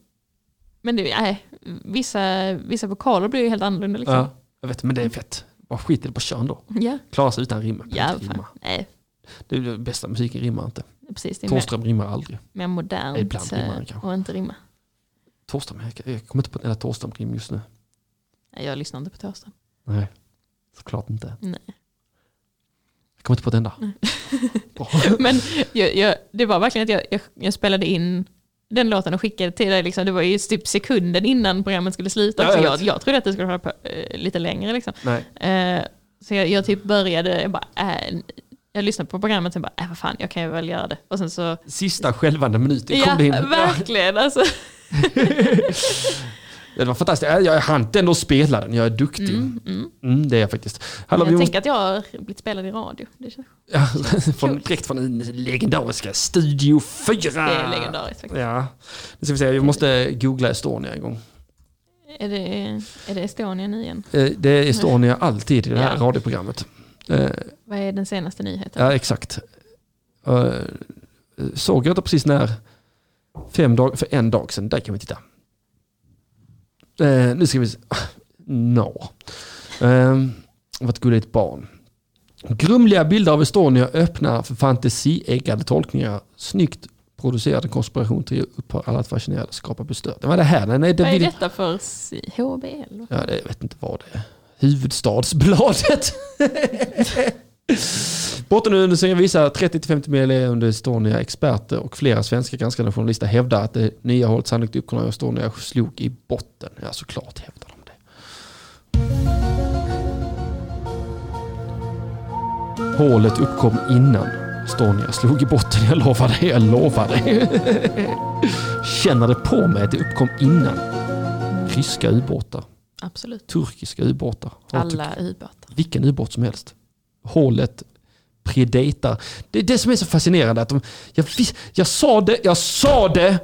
Speaker 2: Men det, nej, vissa, vissa vokaler blir ju helt annorlunda liksom.
Speaker 1: Ja, jag vet, men det är fett. Bara skit i det, bara kör ändå.
Speaker 2: Ja,
Speaker 1: Klara sig utan rim.
Speaker 2: ja fan.
Speaker 1: rimma.
Speaker 2: Nej,
Speaker 1: Det är det bästa, musiken rimmar inte.
Speaker 2: precis. Det är mer,
Speaker 1: Thåström rimmar aldrig.
Speaker 2: mer modernt
Speaker 1: Ibland rimmar det
Speaker 2: eh,
Speaker 1: kanske.
Speaker 2: och inte rimma.
Speaker 1: Thåström, jag, jag kommer inte på ett enda Thåström-rim just nu.
Speaker 2: Nej, jag lyssnar inte på Thåström.
Speaker 1: Nej, såklart inte.
Speaker 2: Nej.
Speaker 1: Jag kommer inte på ett enda. Bra.
Speaker 2: Men jag, jag, det var verkligen att jag, jag, jag spelade in den låten och skickade till dig. Liksom. Det var ju typ sekunden innan programmet skulle sluta.
Speaker 1: Ja,
Speaker 2: också.
Speaker 1: jag
Speaker 2: jag,
Speaker 1: vet.
Speaker 2: jag trodde att det skulle hålla på eh, lite längre. Liksom.
Speaker 1: Nej.
Speaker 2: Eh, så jag, jag typ började, jag, bara, äh, jag lyssnade på programmet och sen bara, äh, vad fan, jag kan ju väl göra det. Och sen så,
Speaker 1: Sista skälvande minuten kom
Speaker 2: ja,
Speaker 1: det in.
Speaker 2: verkligen alltså.
Speaker 1: Det var fantastiskt. Jag jag hann inte ändå spela den. Jag är duktig. Mm, det är jag faktiskt. Hallå, vi
Speaker 2: jag
Speaker 1: måste,
Speaker 2: tänker att jag har blivit spelad i radio. Det känns
Speaker 1: ja, från, direkt från den legendariska Studio 4.
Speaker 2: det är legendariskt faktiskt.
Speaker 1: Ah, Ja, nu ska vi se. Vi måste googla Estonia en gång.
Speaker 2: Är, det, är det Estonia nu igen?
Speaker 1: Eh, Det är Estonia alltid i det här
Speaker 2: Ja.
Speaker 1: radioprogrammet. Eh,
Speaker 2: Vad är den senaste nyheten?
Speaker 1: Ja, exakt. Eh, Såg jag inte precis när? Fem dag, för en dag sedan. Där kan vi titta. Eh, Nu ska vi se. No. Eh, Vad gulligt barn. Grumliga bilder av Estonia öppnar för fantasieggade tolkningar. Snyggt producerad konspiration till upphör alla att fascinera och skapa bestört. Det var det här. Nej, nej, det
Speaker 2: Vad är
Speaker 1: vill-
Speaker 2: detta för s- HBL?
Speaker 1: Ja, det, jag vet inte vad det är. Huvudstadsbladet. Bottenundersökningen visar att 30-50 medlemmar under Estonia experter och flera svenska granskande journalister hävdar att det nya hållet sannolikt uppkunnar Estonia slog i botten. Ja, såklart hävdar de det. Hålet uppkom innan Estonia slog i botten. Jag lovar det, jag lovar det. Känner det på mig att det uppkom innan. Ryska ubåtar
Speaker 2: Absolut.
Speaker 1: turkiska ubåtar. Har
Speaker 2: Alla ubåtar.
Speaker 1: tyckt Vilken ubåt som helst. Hålet predatar. Det är det som är så fascinerande. Att de, jag, vis- jag sa det, jag sa det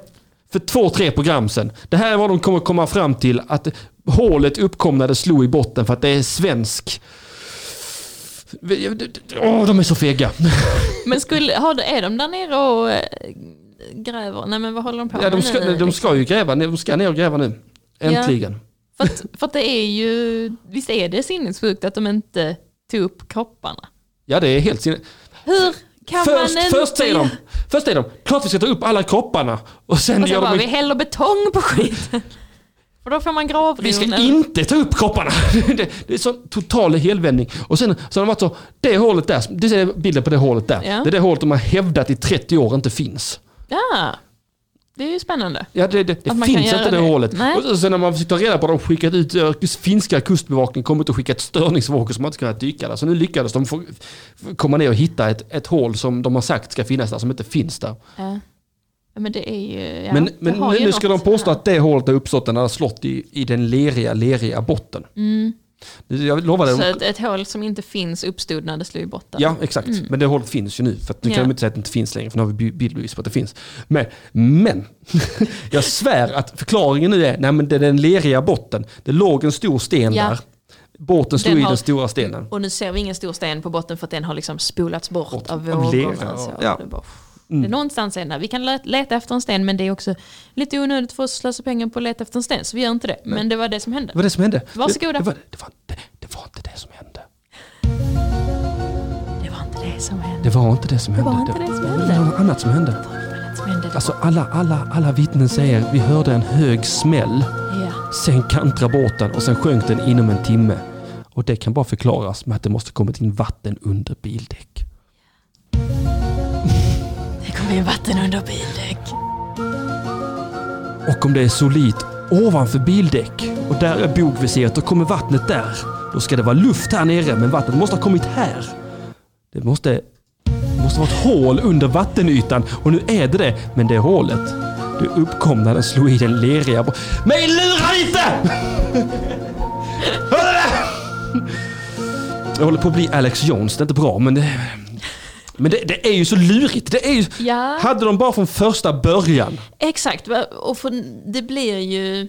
Speaker 1: för två, tre program sedan. Det här är vad de kommer komma fram till. Att hålet uppkom när det slog i botten för att det är svensk. Åh, de är så fega.
Speaker 2: Men skulle, har, det- är de där nere och eh, gräver? Nej men vad håller de på
Speaker 1: Ja, de,
Speaker 2: med
Speaker 1: ska,
Speaker 2: nu? liksom.
Speaker 1: de ska ju gräva, ner- de ska ner och gräva nu. Äntligen.
Speaker 2: För, att, för att det är ju, visst är det sinnessjukt att de inte tog upp kropparna?
Speaker 1: Ja, det är helt sinne.
Speaker 2: Hur kan
Speaker 1: Först,
Speaker 2: man inte...
Speaker 1: först säger de, först säger de, klart vi ska ta upp alla kropparna. Och sen,
Speaker 2: Och sen
Speaker 1: gör
Speaker 2: bara,
Speaker 1: de
Speaker 2: vi häller betong på skiten. För då får man
Speaker 1: Vi
Speaker 2: gravrunnen.
Speaker 1: ska inte ta upp kropparna. Det, det är sån total helvändning. Och sen så har de varit så, det hålet där, du ser bilden på det hålet där.
Speaker 2: Ja.
Speaker 1: Det är det hålet de har hävdat i 30 år inte finns.
Speaker 2: Ja, det är ju spännande.
Speaker 1: Ja, det, det, det
Speaker 2: Att man kan
Speaker 1: finns
Speaker 2: göra
Speaker 1: inte det,
Speaker 2: det.
Speaker 1: hålet.
Speaker 2: Nej.
Speaker 1: Och så- sen när man försökt ta reda på det, de skickat ut eh, finska kustbevakningen, kommit och skickat störningsvågor som man inte kunnat dyka där. Så nu lyckades de få, få komma ner och hitta ett, ett hål som de har sagt ska finnas där, som inte finns där.
Speaker 2: Ja. Men det är ju... Ja,
Speaker 1: men
Speaker 2: det
Speaker 1: men
Speaker 2: har ju
Speaker 1: nu ska de
Speaker 2: något.
Speaker 1: påstå att det hålet har uppstått när det har slått i, i den leriga, leriga botten. Jag lovade,
Speaker 2: Mm. Så ett, ett hål som inte finns uppstod när det slog i botten.
Speaker 1: Ja, exakt. Men det hålet finns ju nu. För att nu
Speaker 2: Mm. Ja.
Speaker 1: kan de inte säga att det inte finns längre, för nu har vi bi- bildbevis på att det finns. Men, men jag svär att förklaringen nu är, nej men det är den leriga botten. Det låg en stor sten
Speaker 2: Ja.
Speaker 1: där. Båten stod
Speaker 2: Den
Speaker 1: i
Speaker 2: har-
Speaker 1: den stora stenen.
Speaker 2: Och nu ser vi ingen stor sten på botten för att den har liksom spolats bort,
Speaker 1: Bort
Speaker 2: av
Speaker 1: av
Speaker 2: vågor.
Speaker 1: lera,
Speaker 2: och så.
Speaker 1: ja.
Speaker 2: Och det är bara, pff. Det är någonstans är den där. Vi kan le- leta efter en sten men det är också lite onödigt för oss att slösa pengar på att leta efter en sten så vi gör inte det. Men det var det som hände.
Speaker 1: Det var det som hände.
Speaker 2: Varsågoda.
Speaker 1: Det, det, var, det, var, inte- det var inte det som hände.
Speaker 2: Det var inte det. det som hände.
Speaker 1: Det var inte det som
Speaker 2: Det
Speaker 1: hände.
Speaker 2: var inte det som hände.
Speaker 1: Det var något annat som hände.
Speaker 2: som hände.
Speaker 1: Alltså alla, alla, alla vittnen säger vi hörde en hög smäll.
Speaker 2: Ja.
Speaker 1: Sen kantrade båten och sen sjönk den inom en timme. Och det kan bara förklaras med att det måste kommit in vatten under bildäck.
Speaker 2: Det kom in vatten under bildäck.
Speaker 1: Och om det är solit ovanför bildäck och där är bogvisiret, då kommer vattnet där. Då ska det vara luft här nere, men vattnet måste ha kommit här. Det måste, det måste vara ett hål under vattenytan och nu är det det, men det hålet, det uppkom när den slog i den leriga... bo- Mig lura inte! Hör du det? Jag håller på att bli Alex Jones, det är inte bra, men det... Men det, det är ju så lurigt. Det är ju,
Speaker 2: Ja.
Speaker 1: Hade de bara från första början
Speaker 2: Exakt, va- och för, det blir ju...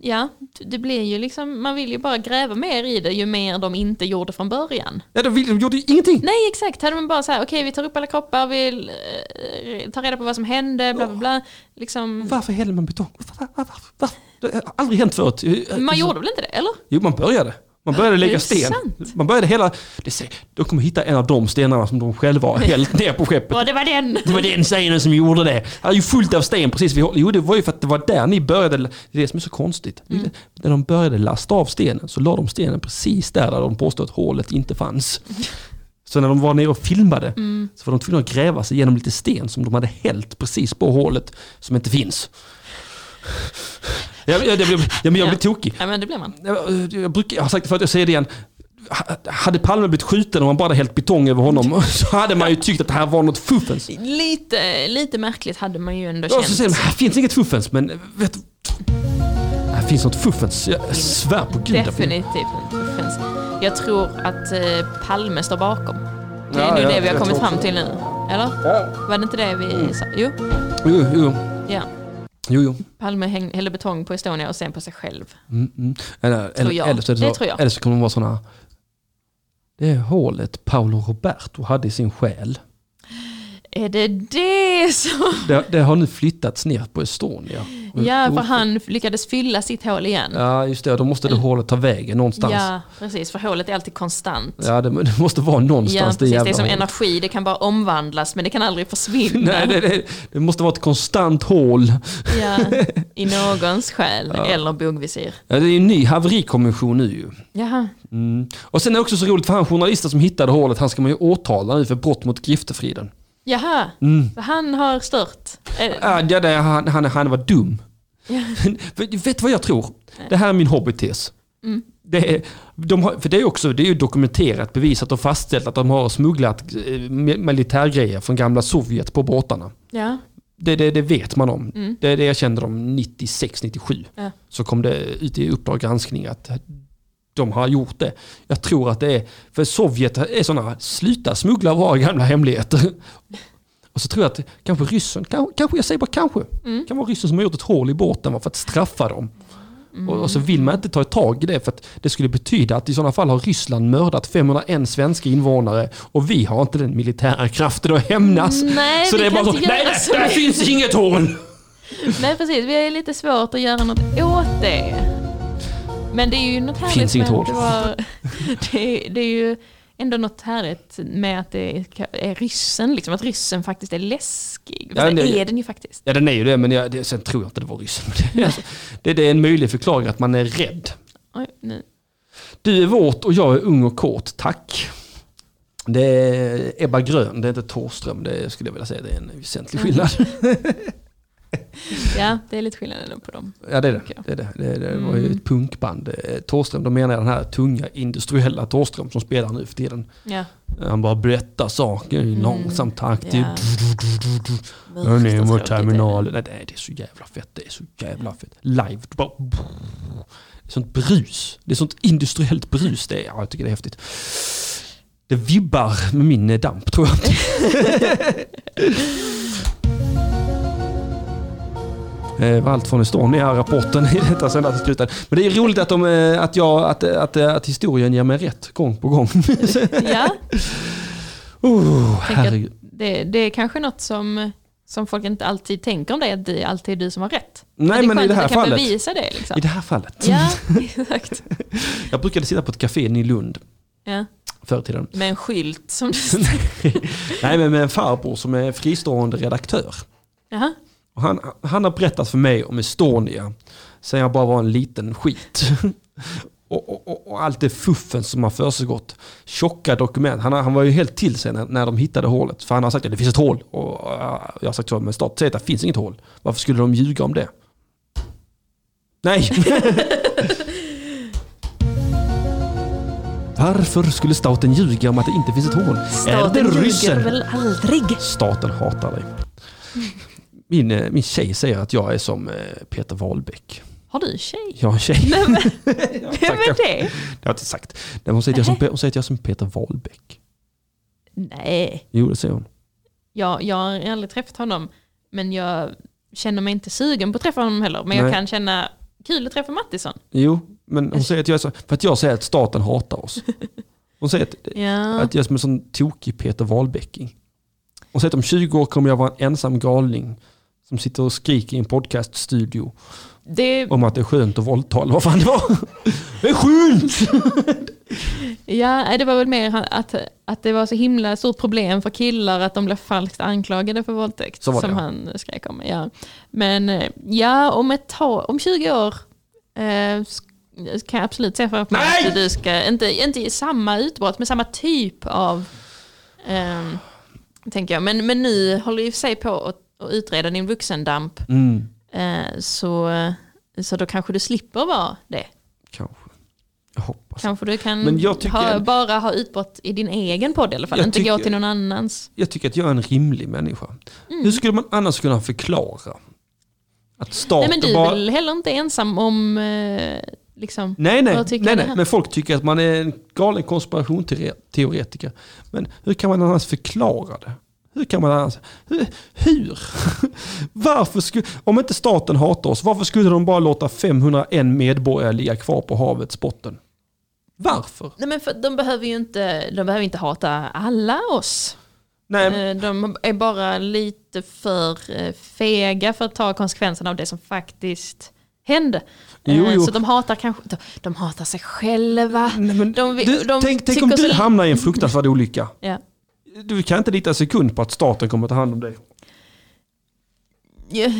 Speaker 2: Ja, det blir ju liksom, man vill ju bara gräva mer i det ju mer de inte gjorde från början.
Speaker 1: Ja, de, ville, de gjorde ju ingenting.
Speaker 2: Nej exakt, hade man bara så här, okej vi tar upp alla kroppar, vi eh, tar reda på vad som hände, bla bla bla. Liksom,
Speaker 1: Varför häller man betong? Varför, varför, varför? Det har aldrig hänt förut. Eh,
Speaker 2: man gjorde väl inte det, eller?
Speaker 1: Jo, man började. Man började
Speaker 2: Det
Speaker 1: lägga
Speaker 2: är
Speaker 1: sten.
Speaker 2: sant.
Speaker 1: Man började hela... Det ser, de kommer hitta en av de stenarna som de själva har hällt ner på skeppet.
Speaker 2: Ja, det var den!
Speaker 1: Det var den stenen som gjorde det. Det är ju fullt av sten precis. vid håll- Jo, det var ju för att det var där ni började. Det är det som är så konstigt. Det är det- När de började lasta av stenen så la de stenen precis där, där de påstod att hålet inte fanns. Så när de var nere och filmade så var de tvungna att gräva sig igenom lite sten som de hade hällt precis på hålet som inte finns. Jag, jag, jag, jag, jag, men jag blir tokig.
Speaker 2: Ja men det blir man.
Speaker 1: Jag, jag, brukar, jag har sagt det förut, jag säger det igen. Ha- Hade Palme blivit skjuten och man bara hade hällt betong över honom så hade man ju tyckt att det här var något fuffens.
Speaker 2: Lite, lite märkligt hade man ju ändå
Speaker 1: Ja,
Speaker 2: känt.
Speaker 1: så säger de, här finns inget fuffens, men vet du- Här finns något fuffens, jag svär på gud.
Speaker 2: Definitivt fuffens. Jag tror att eh, Palme står bakom. Det är
Speaker 1: Ja,
Speaker 2: nu
Speaker 1: ja,
Speaker 2: det vi har
Speaker 1: jag
Speaker 2: kommit
Speaker 1: tror
Speaker 2: fram
Speaker 1: också. Mm.
Speaker 2: till nu. Eller? Var det inte det vi sa? Jo.
Speaker 1: Jo, jo,
Speaker 2: Ja.
Speaker 1: jo. jo.
Speaker 2: Palme häng, hällde betong på Estonia och sen på sig själv.
Speaker 1: Mm, mm. Eller, eller,
Speaker 2: jag.
Speaker 1: eller, så är det, så,
Speaker 2: Det tror jag.
Speaker 1: eller så kommer de vara sådana... Det är hålet Paolo Roberto hade i sin själ.
Speaker 2: Är det det som...
Speaker 1: Det, det har nu flyttats ner på Estonia.
Speaker 2: Ja, för han lyckades fylla sitt hål igen.
Speaker 1: Mm. Ja, just det. Då måste det hålet ta vägen någonstans. Ja,
Speaker 2: Ja, precis. För hålet är alltid konstant.
Speaker 1: det, det måste vara någonstans.
Speaker 2: Ja, precis. Det är som
Speaker 1: hålet.
Speaker 2: energi, det kan bara omvandlas men det kan aldrig försvinna.
Speaker 1: Nej, det, det, det måste vara ett konstant hål.
Speaker 2: Ja, I någons själ eller bogvisir.
Speaker 1: Ja, det är en ny haverikommission nu ju.
Speaker 2: Jaha,
Speaker 1: Mm. Och sen är det också så roligt för han journalisten som hittade hålet, han ska man ju åtala nu för brott mot griftefriden.
Speaker 2: Jaha. Så han har stört. Eh,
Speaker 1: Mm. Ja, det, det, han, han, han var dum. Men vet du vad jag tror? Det här är min hobbytes. Det är, de har, för det är, också, det är ju dokumenterat, bevisat och fastställt att de har smugglat eh, mi- militärgrejer från gamla Sovjet på båtarna.
Speaker 2: Ja.
Speaker 1: Det, det, det vet man om. Det, det erkände de 96-97.
Speaker 2: Ja.
Speaker 1: Så kom det ut i Uppdrag granskning att de har gjort det. Jag tror att det är, för Sovjet är sådana, sluta smuggla våra gamla hemligheter. Och så tror jag att kanske ryssen, kanske, kanske jag säger bara kanske, kan vara ryssen som har gjort ett hål i båten va, för att straffa dem. Och, och så vill man inte ta tag i det för att det skulle betyda att i sådana fall har Ryssland mördat 501 svenska invånare och vi har inte den militära kraften att hämnas.
Speaker 2: Nej,
Speaker 1: så
Speaker 2: vi
Speaker 1: det är
Speaker 2: kan
Speaker 1: bara så,
Speaker 2: inte
Speaker 1: nej,
Speaker 2: göra
Speaker 1: nej,
Speaker 2: så
Speaker 1: där
Speaker 2: mycket."
Speaker 1: finns inget hål!
Speaker 2: Nej precis, vi är lite svårt att göra något åt det. Men det är ju något härligt
Speaker 1: Finns inget
Speaker 2: med
Speaker 1: hål.
Speaker 2: att det, var, det, är- det är ju ändå något härligt med att det är- är ryssen, liksom, att ryssen faktiskt är läskig. Fast
Speaker 1: Ja,
Speaker 2: det
Speaker 1: nej.
Speaker 2: är den ju faktiskt.
Speaker 1: Ja den är ju det, men jag, det, sen tror jag inte det var ryssen. Men det- Alltså, det, det är en möjlig förklaring att man är rädd.
Speaker 2: Oj, nu.
Speaker 1: Du är våt och jag är ung och kåt, tack. Det är Ebba Grön, det är inte Thåström. Det skulle jag vilja säga, det är en väsentlig skillnad.
Speaker 2: Ja, det är lite skillnad ändå på dem.
Speaker 1: Ja det är det.
Speaker 2: Okej. Mm.
Speaker 1: Det, är det. det, det var ju ett punkband. Eh, Thåström, då menar jag den här tunga industriella Thåström som spelar nu för tiden.
Speaker 2: Ja.
Speaker 1: Han bara berättar saker i långsam takt. Det är
Speaker 2: Mm. Ja.
Speaker 1: Hörni, mot
Speaker 2: Fruktansvärt tråkigt är det.
Speaker 1: terminalen. Nej, det är så jävla fett. Det är så jävla fett. Live. Det bara... Sånt brus. Det är sånt industriellt brus. Det är, ja, jag tycker det är häftigt. Det vibbar med min eh, damp tror jag. Eh, var allt från Estonia-rapporten i detta sända till slutet. Men det är roligt att, de, eh, att, jag, att, eh, att, eh, att historien ger mig rätt gång på gång.
Speaker 2: Ja,
Speaker 1: oh,
Speaker 2: tänk att
Speaker 1: herregud.
Speaker 2: det, det är kanske något som, som folk inte alltid tänker om dig, att det är alltid du som har rätt.
Speaker 1: Nej, men i
Speaker 2: skönt
Speaker 1: det
Speaker 2: att
Speaker 1: här
Speaker 2: du kan
Speaker 1: fallet-
Speaker 2: bevisa det. Liksom.
Speaker 1: I det här fallet.
Speaker 2: Ja, exakt.
Speaker 1: Jag brukade sitta på ett café i Lund
Speaker 2: Ja.
Speaker 1: förr i tiden.
Speaker 2: Med en skylt som det
Speaker 1: Nej men med en farbror som är fristående redaktör.
Speaker 2: Jaha.
Speaker 1: Och han, han har berättat för mig om Estonia sen jag bara var en liten skit. och, och, och, och allt det fuffen som har försiggått. Tjocka dokument. Han, har- han var ju helt till sig när, när de hittade hålet. För han har sagt att det finns ett hål. Och, äh, jag har sagt så, men staten säger att det finns inget hål. Varför skulle de ljuga om det? Nej! Varför skulle staten ljuga om att det inte finns ett hål?
Speaker 2: Staten
Speaker 1: är det
Speaker 2: ljuger
Speaker 1: ryssen?
Speaker 2: väl aldrig?
Speaker 1: Staten hatar dig. Min, eh, min tjej säger att jag är som eh, Peter Wahlbeck.
Speaker 2: Har du tjej?
Speaker 1: Jag har en tjej.
Speaker 2: Nej, men, vem
Speaker 1: tackar.
Speaker 2: är det?
Speaker 1: Det har jag inte sagt. Nej, hon, säger att jag är som, hon säger att jag är som Peter Wahlbeck.
Speaker 2: Nej,
Speaker 1: Jo, det säger hon.
Speaker 2: jag, jag har aldrig träffat honom. Men jag känner mig inte sugen på att träffa honom heller. Men jag
Speaker 1: Nej.
Speaker 2: kan känna kul att träffa Mattisson.
Speaker 1: Jo, men hon säger att jag är så, för att jag säger att staten hatar oss. Hon säger att,
Speaker 2: Ja.
Speaker 1: att jag är som en sån tokig Peter Wahlbecking. Hon säger att om 20 år kommer jag vara en ensam galning som sitter och skriker i en podcaststudio
Speaker 2: Det,
Speaker 1: om att det är skönt att våldta eller vad fan det var. Det är skönt!
Speaker 2: ja, nej, det var väl mer han- att, att det var så himla stort problem för killar att de blev falskt anklagade för våldtäkt.
Speaker 1: Så var det,
Speaker 2: som
Speaker 1: ja.
Speaker 2: han skrek om. Ja. Men eh, ja, om, ett tag, om 20 år eh, sk- kan jag absolut se framför mig
Speaker 1: Nej!
Speaker 2: att du ska, inte, inte i samma utbrott, men samma typ av, ehm, tänker jag. Men, men nu håller ju för sig på att, att utreda din vuxendamp.
Speaker 1: Mm,
Speaker 2: Eh, så, så då kanske du slipper vara det.
Speaker 1: kanske. Jag hoppas.
Speaker 2: Kanske du kan
Speaker 1: Men jag tycker-
Speaker 2: ha, bara ha utbrott i din egen podd i alla fall,
Speaker 1: Jag
Speaker 2: inte gå
Speaker 1: tycker-
Speaker 2: till någon annans.
Speaker 1: jag tycker att jag är en rimlig människa. Hur skulle man annars kunna förklara? Att
Speaker 2: Mm. Nej
Speaker 1: staten
Speaker 2: men du är
Speaker 1: bara...
Speaker 2: väl heller inte ensam om eh, liksom,
Speaker 1: Nej, nej,
Speaker 2: Vad tycker
Speaker 1: nej,
Speaker 2: ni
Speaker 1: nej.
Speaker 2: här?
Speaker 1: men folk tycker att man är en galen konspirationsteoretiker. Men hur kan man annars förklara det? Hur kan man annars... Hur? hur? Varför skulle... Om inte staten hatar oss, varför skulle de bara låta 501 medborgare ligga kvar på havets botten? Varför?
Speaker 2: Nej men för de behöver ju inte, de behöver inte hata alla oss.
Speaker 1: Nej, men-
Speaker 2: Eh, De är bara lite för eh, fega för att ta konsekvenserna av det som faktiskt hände. Eh,
Speaker 1: Jo, jo.
Speaker 2: Så de hatar kanske, de, de hatar sig själva.
Speaker 1: nej, men
Speaker 2: de vi-
Speaker 1: du,
Speaker 2: de
Speaker 1: tänk, tänk
Speaker 2: tycker
Speaker 1: om
Speaker 2: så
Speaker 1: du
Speaker 2: li-
Speaker 1: hamnar i en fruktansvärd olycka.
Speaker 2: Ja.
Speaker 1: Du kan inte lita en sekund på att staten kommer att ta hand om dig.
Speaker 2: Jag,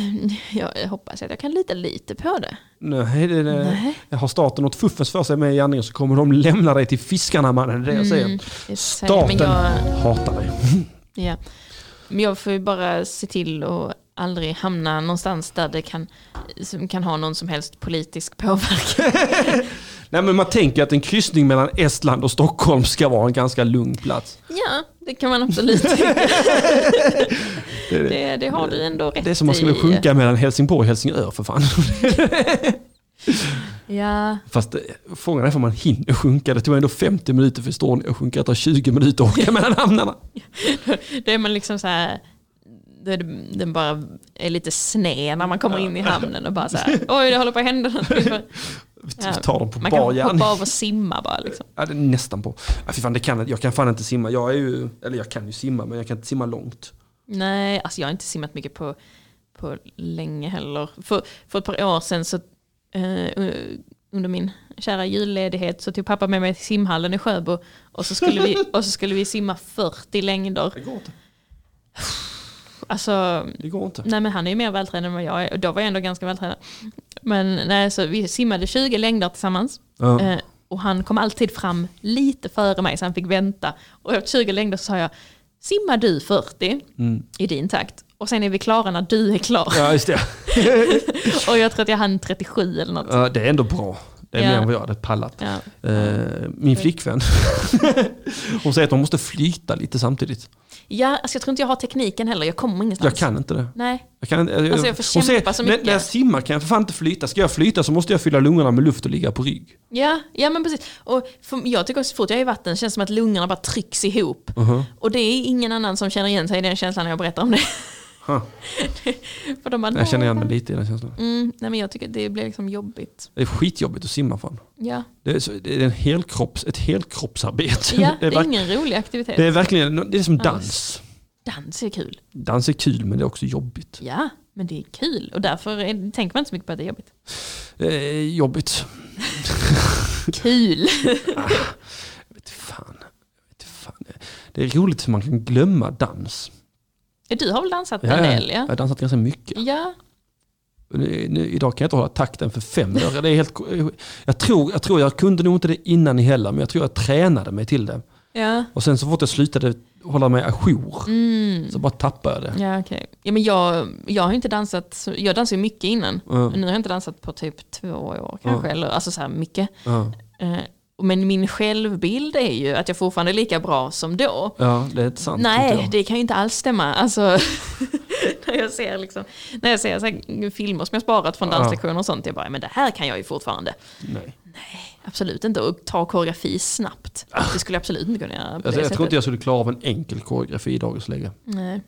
Speaker 2: jag hoppas att jag kan lita lite på det.
Speaker 1: Nej, det, det,
Speaker 2: Nej.
Speaker 1: Har staten något fuffens för sig med i gärningen så kommer de lämna dig till fiskarna mannen. Det är det jag säger.
Speaker 2: Det är så-
Speaker 1: Staten
Speaker 2: Mm. Men jag,
Speaker 1: hatar dig.
Speaker 2: Ja. Men jag får ju bara se till att aldrig hamna någonstans där det kan, som kan ha någon som helst politisk påverkan.
Speaker 1: Nej men man tänker att en kryssning mellan Estland och Stockholm ska vara en ganska lugn plats.
Speaker 2: Ja, det kan man absolut tycka. det, det har du ändå rätt
Speaker 1: Det är som om man skulle
Speaker 2: i.
Speaker 1: sjunka mellan Helsingborg och Helsingör för fan.
Speaker 2: Ja,
Speaker 1: Fast eh, frågan är om man hinner sjunka. Det tog ändå 50 minuter för Estonia att sjunka. Det tar 20 minuter att åka mellan hamnarna.
Speaker 2: då är man liksom så här, då är det- den bara är lite sned när man kommer in i hamnen och bara så här, oj det håller på att hända någonting."
Speaker 1: Vi tar dem på
Speaker 2: Man
Speaker 1: bar
Speaker 2: kan
Speaker 1: gärning.
Speaker 2: hoppa av och simma bara liksom.
Speaker 1: Ja, det är nästan på. Ja, fy fan, det kan, jag- jag kan fan inte simma. Jag är ju, eller jag kan ju simma men jag kan inte simma långt.
Speaker 2: Nej, alltså jag har inte simmat mycket på, på länge heller. För, för ett par år sedan så, eh, u- under min kära julledighet så tog pappa med mig till simhallen i Sjöbo och så skulle vi, och så skulle vi simma 40 längder.
Speaker 1: Det går inte.
Speaker 2: Alltså,
Speaker 1: Det går inte.
Speaker 2: nej men han är ju mer vältränad än vad jag är och då var jag ändå ganska vältränad. Men nej, så vi simmade 20 längder tillsammans.
Speaker 1: Ja.
Speaker 2: Eh, och han kom alltid fram lite före mig så han fick vänta. Och efter 20 längder så sa jag, simmar du 40 i din takt och sen är vi klara när du är klar.
Speaker 1: Mm. Ja, just det.
Speaker 2: Och jag tror att jag hann 37 eller något.
Speaker 1: Ja, det är ändå bra. Det är
Speaker 2: Ja.
Speaker 1: mer än vad jag hade pallat.
Speaker 2: Ja.
Speaker 1: Eh, Min flickvän, hon säger att hon måste flyta lite samtidigt.
Speaker 2: Ja, alltså jag tror inte jag har tekniken heller, jag kommer ingenstans.
Speaker 1: Jag kan inte det.
Speaker 2: Nej,
Speaker 1: Jag kan, inte-
Speaker 2: Alltså, jag får
Speaker 1: hon
Speaker 2: kämpa så
Speaker 1: "När-
Speaker 2: mycket."
Speaker 1: När jag simmar kan jag för fan inte flyta. Ska jag flyta så måste jag fylla lungorna med luft och ligga på rygg.
Speaker 2: ja, ja men precis. Och för, jag tycker också så fort jag är i vatten känns det som att lungorna bara trycks ihop.
Speaker 1: Uh-huh.
Speaker 2: Och det är ingen annan som känner igen sig i den känslan när jag berättar om det.
Speaker 1: Huh.
Speaker 2: för de bara,
Speaker 1: Jag känner igen
Speaker 2: "Nej."
Speaker 1: mig lite i den känslan.
Speaker 2: Mm, nej men jag tycker det blir liksom jobbigt.
Speaker 1: Det är skitjobbigt att simma fan.
Speaker 2: Ja,
Speaker 1: Det är, så- det är en helkropps, ett helkroppsarbete.
Speaker 2: ja det
Speaker 1: verk-
Speaker 2: är ingen rolig aktivitet.
Speaker 1: det är verkligen det är som
Speaker 2: Alls.
Speaker 1: dans.
Speaker 2: Dans är kul.
Speaker 1: Dans är kul men det är också jobbigt.
Speaker 2: Ja, men det är kul. Och därför är, tänker man inte så mycket på att det är jobbigt.
Speaker 1: Det är jobbigt.
Speaker 2: Kul!
Speaker 1: Vet fan. Det är roligt hur man kan glömma dans.
Speaker 2: Du har väl dansat
Speaker 1: Ja,
Speaker 2: en
Speaker 1: ja.
Speaker 2: del?
Speaker 1: Jag
Speaker 2: Ja.
Speaker 1: har dansat ganska mycket.
Speaker 2: ja.
Speaker 1: Nu, nu, idag kan jag inte hålla takten för fem öre. Det är helt, jag, tror, jag tror jag kunde nog inte det innan heller, men jag tror jag tränade mig till det.
Speaker 2: Ja,
Speaker 1: Och sen så fort jag slutade hålla mig ajour så bara tappade jag det.
Speaker 2: ja okej. Ja, men jag, jag har ju inte dansat, så- jag dansade ju mycket innan.
Speaker 1: Ja.
Speaker 2: Nu har jag inte dansat på typ två år kanske, eller alltså så här mycket.
Speaker 1: Ja,
Speaker 2: Eh, Men min självbild är ju att jag fortfarande är lika bra som då.
Speaker 1: ja det är inte sant. tycker
Speaker 2: Nej,
Speaker 1: jag.
Speaker 2: det kan ju inte alls stämma. Alltså, när jag ser, liksom, när jag ser så här, filmer som jag sparat från
Speaker 1: Ja.
Speaker 2: danslektioner och sånt, jag bara, men det här kan jag ju fortfarande.
Speaker 1: Nej.
Speaker 2: Absolut inte, och ta koreografi snabbt. Det skulle jag absolut inte kunna göra på
Speaker 1: Ah. Alltså,
Speaker 2: det
Speaker 1: jag tror
Speaker 2: sättet.
Speaker 1: inte jag skulle klara av en enkel koreografi i dagens läge.
Speaker 2: Nej.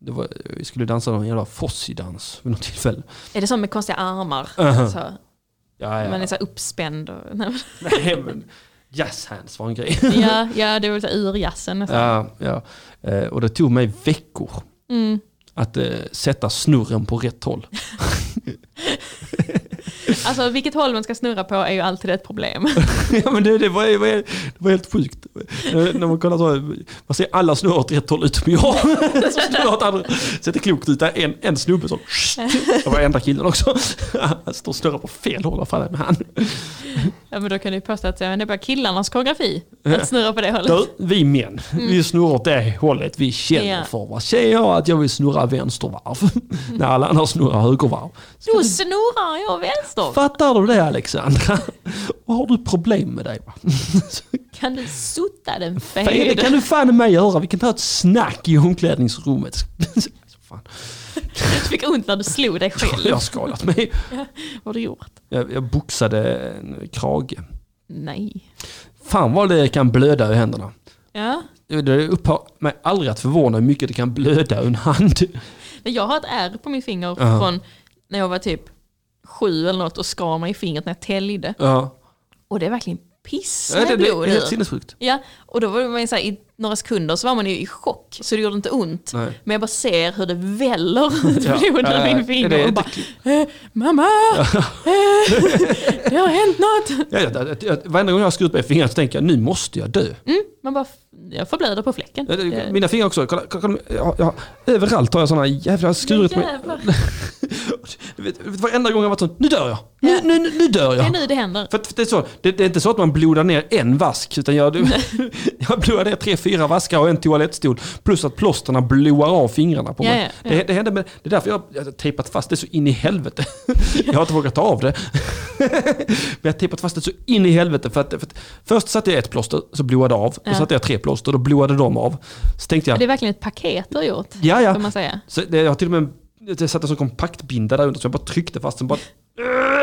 Speaker 1: Det var, jag skulle dansa någon jävla Fossi-dans vid något tillfälle.
Speaker 2: Är det som med konstiga armar? Så,
Speaker 1: Ja, ja.
Speaker 2: Man är så här uppspänd. Och, nej, men-
Speaker 1: Nej, men jazz hands var en grej.
Speaker 2: ja, ja, det är väl så här urjazzen nästan.
Speaker 1: Ja, ja. Eh, Och det tog mig veckor att eh, sätta snurren på rätt håll.
Speaker 2: Alltså vilket håll man ska snurra på är ju alltid ett problem.
Speaker 1: ja, men det, det, var, det, var, det var helt sjukt. Eh, När man kollar så, man ser alla snurrar åt rätt håll utom jag. Som snurrar åt andra. Ser inte klokt ut. Där är En, en snubbe som... Det var enda killen också. Han står och snurrar på fel håll. Vad fan är det med han?
Speaker 2: ja, men då kan du ju påstå att ja, men det är bara killarnas koreografi. Att snurra på det hållet.
Speaker 1: Du, vi män, vi snurrar åt det hållet vi känner
Speaker 2: Ja.
Speaker 1: för. Va? Säger jag att jag vill snurra vänstervarv när alla andra snurrar högervarv.
Speaker 2: Då snurrar jag vänster.
Speaker 1: Fattar du det Alexandra? Vad har du problem med dig? Va?
Speaker 2: Kan du sutta den
Speaker 1: Fan, Det
Speaker 2: fede?
Speaker 1: kan du fan i mig göra. Vi kan ta ett snack i omklädningsrummet. Fan,
Speaker 2: Du fick ont när du slog dig
Speaker 1: jag
Speaker 2: själv.
Speaker 1: har skadat mig.
Speaker 2: Vad har du gjort?
Speaker 1: Jag, jag boxade en krage.
Speaker 2: Nej.
Speaker 1: Fan vad det kan blöda i händerna.
Speaker 2: Ja.
Speaker 1: Det- Det upphör mig aldrig att förvåna hur mycket det kan blöda ur en hand.
Speaker 2: Men jag har ett ärr på min finger
Speaker 1: Ja.
Speaker 2: från när jag var typ sju eller något och skar mig i fingret när jag täljde.
Speaker 1: Ja.
Speaker 2: Och det är verkligen
Speaker 1: Ja, det
Speaker 2: pissande
Speaker 1: blir
Speaker 2: blod
Speaker 1: helt
Speaker 2: ur.
Speaker 1: sinnessjukt.
Speaker 2: Ja, och då var man ju så här, i några sekunder så var man ju i chock så det gjorde inte ont.
Speaker 1: Nej.
Speaker 2: Men jag bara ser hur det väller ut
Speaker 1: Ja,
Speaker 2: blod
Speaker 1: ja,
Speaker 2: ur
Speaker 1: ja.
Speaker 2: min
Speaker 1: Det
Speaker 2: finger
Speaker 1: är
Speaker 2: och bara eh, mamma! Eh, det har hänt något!
Speaker 1: Ja, ja, ja, ja, varenda gång jag har skurit mig i fingret så tänker jag nu måste jag dö.
Speaker 2: Man bara, jag förblöder på fläcken.
Speaker 1: Ja, det-
Speaker 2: Eh,
Speaker 1: Mina fingrar också, kolla, kolla, kolla, jag, jag, överallt har jag sådana jävla skurit mig.
Speaker 2: jävlar.
Speaker 1: Du vet, du vet, Varenda gång jag har varit så, nu dör jag, nu, nu, nu, nu dör
Speaker 2: Det är
Speaker 1: jag.
Speaker 2: nu det händer.
Speaker 1: För, att- för det, är så, det, det är inte så att man blodar ner en vask, utan jag, du, jag blodar ner tre, fyra vaskar och en toalettstol. Plus att plåsterna blåar av fingrarna på
Speaker 2: Ja,
Speaker 1: mig.
Speaker 2: ja,
Speaker 1: Det,
Speaker 2: ja.
Speaker 1: det, händer med, det är därför jag, jag har tejpat fast det så in i helvete. Jag har inte vågat ta av det. Men jag har tejpat fast det så in i helvete. För att, för att, först satte jag ett plåster, så blåade det av.
Speaker 2: Ja.
Speaker 1: Då satte jag tre plåster, då blåade de av. Så tänkte jag,
Speaker 2: Det är verkligen ett paket du har gjort.
Speaker 1: ja ja.
Speaker 2: Får man säga.
Speaker 1: Så det, jag har till och med en- det satt en sån kompaktbinda där under så jag bara tryckte fast den. Bara,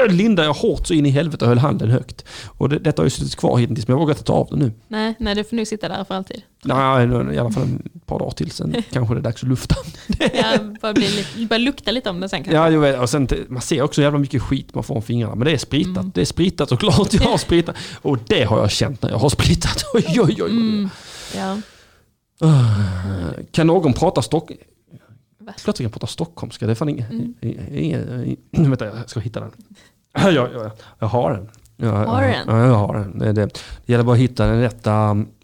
Speaker 1: Äh, lindade jag hårt så in i helvete och höll handen högt. Och det, detta har ju suttit kvar hittills men jag vågar inte ta av den nu.
Speaker 2: Nej, nej, du får nu sitta där för alltid.
Speaker 1: Nej, nu- i alla fall ett par dagar till sen kanske det är dags att lufta.
Speaker 2: Jag bara, blir lite, bara lukta lite om den sen kanske.
Speaker 1: Ja, jag vet, och sen, man ser också jävla mycket skit man får om fingrarna. Men det är spritat. Det är spritat såklart. Jag har spritat. Och det har jag känt när jag har spritat. Oj, oj, oj, oj.
Speaker 2: Ja.
Speaker 1: Ah, Kan någon prata stock...
Speaker 2: Va? Mm.
Speaker 1: Plötsligt kan jag prata stockholmska. Det är fan ingen... ingen, ingen vänta, jag ska hitta den. Jag, jag, jag har den. Jag,
Speaker 2: Har du den?
Speaker 1: Ja, jag har den. Det, det, det gäller bara att hitta den rätta.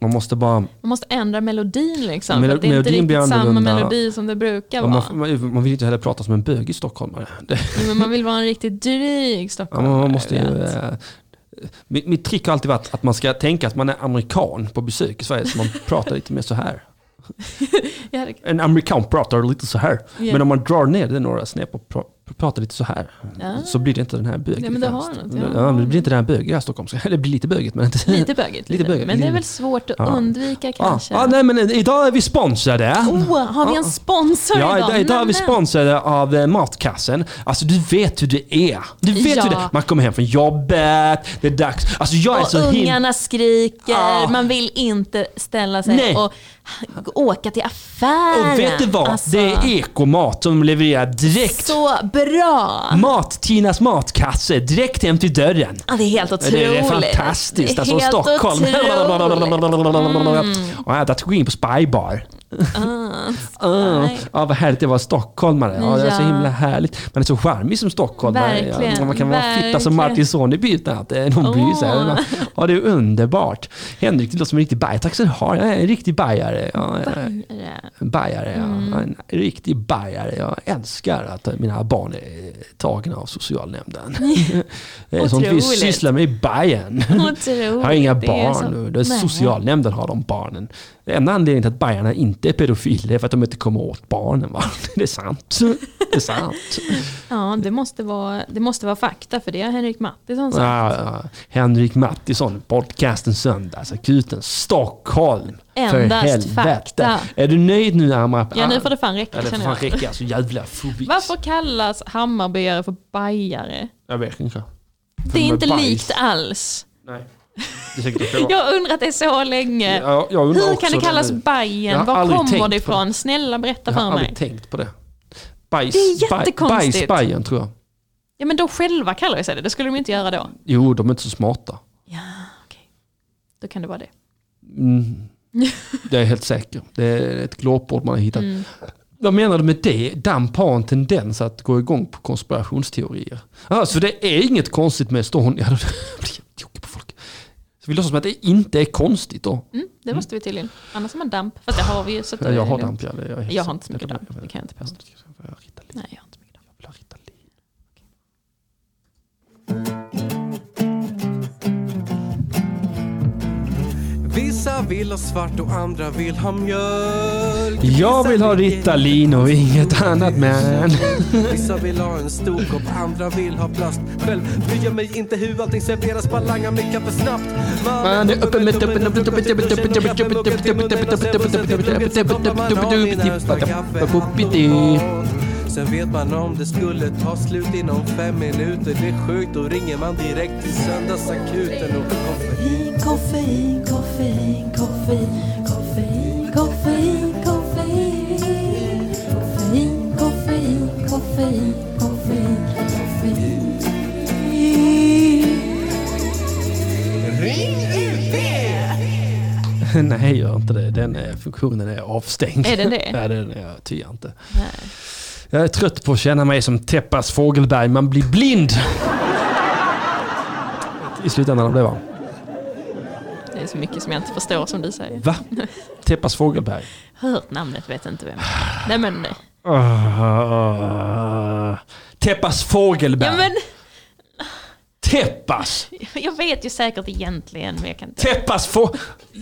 Speaker 1: Man måste bara...
Speaker 2: Man måste ändra melodin liksom.
Speaker 1: Melo-
Speaker 2: för att det är inte
Speaker 1: melodin blir
Speaker 2: riktigt samma
Speaker 1: annorlunda.
Speaker 2: melodi som det brukar vara.
Speaker 1: Man, man, man vill inte heller prata som en bög i stockholmare. Det,
Speaker 2: Jo, Men man vill vara en riktigt dryg
Speaker 1: ja,
Speaker 2: stockholmare.
Speaker 1: man, man måste
Speaker 2: du
Speaker 1: ju...
Speaker 2: vet.
Speaker 1: eh, Mitt, mitt trick har alltid varit att man ska tänka att man är amerikan på besök i Sverige. Så man pratar lite mer så här.
Speaker 2: Ja, det-
Speaker 1: En amerikan pratar lite så här.
Speaker 2: Ja.
Speaker 1: Men om man drar ner det några snäpp och pra- pratar lite så här.
Speaker 2: Ja.
Speaker 1: Så blir det inte den här bögen.
Speaker 2: Ja, men det har
Speaker 1: främst.
Speaker 2: något, ja.
Speaker 1: men det blir inte den här bögiga stockholmska. Det blir lite bögigt men inte...
Speaker 2: Lite bögigt.
Speaker 1: Lite bögigt,
Speaker 2: Men det är
Speaker 1: lite-
Speaker 2: väl svårt att
Speaker 1: Ja.
Speaker 2: undvika
Speaker 1: ah,
Speaker 2: kanske.
Speaker 1: ah, nej men eh, idag är vi sponsrade.
Speaker 2: Oh, har vi en sponsor
Speaker 1: Ja,
Speaker 2: idag?
Speaker 1: idag, idag är vi
Speaker 2: Nämen.
Speaker 1: sponsrade av eh, Matkassen. Alltså du vet hur det är. Du vet
Speaker 2: Ja.
Speaker 1: hur det är. Man kommer hem från jobbet, det är dags. Alltså jag är
Speaker 2: Och
Speaker 1: så himla...
Speaker 2: ungarna skriker,
Speaker 1: Ah.
Speaker 2: man vill inte ställa sig
Speaker 1: Nej.
Speaker 2: och åka till affären.
Speaker 1: Och vet du vad?
Speaker 2: Alltså,
Speaker 1: Det är ekomat som levererar direkt.
Speaker 2: Så bra!
Speaker 1: Mat, Tinas matkasse, direkt hem till dörren.
Speaker 2: Ja, det är helt otroligt.
Speaker 1: Det är fantastiskt.
Speaker 2: Det är
Speaker 1: Alltså
Speaker 2: helt
Speaker 1: Stockholm.
Speaker 2: otroligt.
Speaker 1: Och jag har att gå in på Spybar. Ah,
Speaker 2: Nej.
Speaker 1: ah, vad härligt det var stockholmare. Ja, det är så
Speaker 2: Ja.
Speaker 1: himla härligt. Man är så charmig som stockholmare.
Speaker 2: Verkligen,
Speaker 1: Ja, man kan vara fitta som
Speaker 2: verkligen.
Speaker 1: Martin Soneby utan att eh, någon bryr sig.
Speaker 2: Åh.
Speaker 1: Ja, det är underbart. Henrik, det låter som en riktig bajare. Tack så du har. Jag är en riktig bajare. Ja, jag är en bajare, ja.
Speaker 2: Mm.
Speaker 1: Jag är en riktig bajare. Jag älskar att eh, mina barn är tagna av socialnämnden. Det är sånt vi
Speaker 2: Otroligt.
Speaker 1: sysslar med i Bayern.
Speaker 2: Otroligt.
Speaker 1: Jag har inga
Speaker 2: det är så-
Speaker 1: barn nu. Det är
Speaker 2: Nej.
Speaker 1: socialnämnden har de barnen. Det enda anledningen till att Bajarna inte är pedofiler är för att de inte kommer åt barnen. Va? Det är sant. Det är sant.
Speaker 2: Ja, det måste, vara, det måste vara fakta för det har Henrik Mattisson sagt.
Speaker 1: Ja, ja. Henrik Mattisson, podcasten Söndagsakuten, Stockholm.
Speaker 2: Endast fakta.
Speaker 1: Är du nöjd nu Amra?
Speaker 2: Ja, nu får det fan räcka
Speaker 1: Ja, det får
Speaker 2: känner
Speaker 1: fan
Speaker 2: jag.
Speaker 1: räcka. Så jävla fobis.
Speaker 2: Varför kallas hammarbyare för bajare?
Speaker 1: Jag vet inte.
Speaker 2: Det är
Speaker 1: de är
Speaker 2: inte
Speaker 1: bajs.
Speaker 2: likt alls.
Speaker 1: Nej. Det är säkert inte bra.
Speaker 2: Jag har undrat det så länge.
Speaker 1: Jag- jag undrar
Speaker 2: Hur
Speaker 1: också
Speaker 2: kan det kallas
Speaker 1: nu.
Speaker 2: Bajen?
Speaker 1: Jag har
Speaker 2: Var
Speaker 1: aldrig
Speaker 2: kommer
Speaker 1: tänkt
Speaker 2: det
Speaker 1: på
Speaker 2: ifrån? Snälla berätta
Speaker 1: Jag
Speaker 2: för
Speaker 1: har
Speaker 2: mig.
Speaker 1: aldrig tänkt på det. Bajs,
Speaker 2: Det är
Speaker 1: baj-
Speaker 2: jättekonstigt.
Speaker 1: Bajsbajen tror jag.
Speaker 2: Ja men de själva kallar sig det, det skulle de inte göra då.
Speaker 1: Jo, de är inte så smarta.
Speaker 2: Ja, okej. Då kan det vara det.
Speaker 1: Mm. Det är jag helt säker. Det är ett glåpord man har hittat.
Speaker 2: Mm.
Speaker 1: Vad menar du med det? Damp har en tendens att gå igång på konspirationsteorier. Alltså det är inget konstigt med Estonia. Jag blir tokig på folk. Så vi låtsas som att det inte är konstigt då.
Speaker 2: Mm, det måste vi tydligen. Annars har man damp. Fast det har vi ju. Så att
Speaker 1: Ja,
Speaker 2: det är
Speaker 1: jag har
Speaker 2: lugnt.
Speaker 1: damp, ja. Det är Jag, helt
Speaker 2: Jag har
Speaker 1: säker.
Speaker 2: inte så mycket
Speaker 1: Jag Mm.
Speaker 2: damp, det kan jag inte påstå.
Speaker 1: vill ha Ritalin.
Speaker 2: Nej, jag har inte mycket damp.
Speaker 1: Jag vill ha Ritalin.
Speaker 5: Vissa vill ha svart och andra vill ha mjölk
Speaker 1: Jag vill ha Ritalin och inget annat men.
Speaker 5: Vissa vill ha en stor kopp, andra vill ha plast Själv bryr jag mig inte hur allting serveras, bara langar mig kaffe snabbt
Speaker 1: Man är uppe med tuppen, tuppen, tuppen, tuppen, tuppen, tuppen, tuppen, tuppen, tuppen, tuppen, tuppen, tuppen, tuppen, tuppen, tuppen, tuppen, tuppen, tuppen.
Speaker 5: Sen vet man om det skulle ta slut inom fem minuter Det är sjukt, då ringer man direkt till söndagsakuten och koffein
Speaker 6: Koffein, koffein, koffein, koffein, koffein, koffein, koffein, koffein, koffein, koffein, koffein.
Speaker 1: Nej, gör inte det. Den eh, funktionen är avstängd.
Speaker 2: Är den det?
Speaker 1: Ja, den är, jag tyar inte.
Speaker 2: Nej.
Speaker 1: Jag är trött på att känna mig som Teppas Fågelberg. Man blir blind. I slutändan av det va?
Speaker 2: Det är så mycket som jag inte förstår som du säger.
Speaker 1: Va? Teppas Fågelberg.
Speaker 2: Hört namnet, vet inte vem. Nej men, nej.
Speaker 1: Ah, Teppas Fågelberg.
Speaker 2: ja, men
Speaker 1: Teppas!
Speaker 2: jag vet ju säkert egentligen men jag kan inte.
Speaker 1: Teppas få...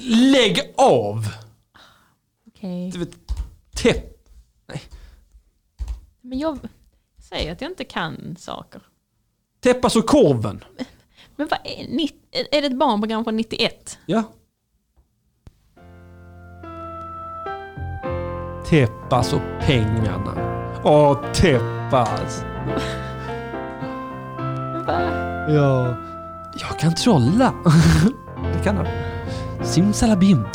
Speaker 1: Lägg av!
Speaker 2: Okej.
Speaker 1: Du vet, Tepp...
Speaker 2: Men jag säger att jag inte kan saker.
Speaker 1: Teppas och korven.
Speaker 2: Men vad är, ni- är det ett barnprogram från 91?
Speaker 1: Ja. Teppas och pengarna. Åh, Teppas.
Speaker 2: Men vad-
Speaker 1: Ja. Jag kan trolla. Det kan han. Simsalabim.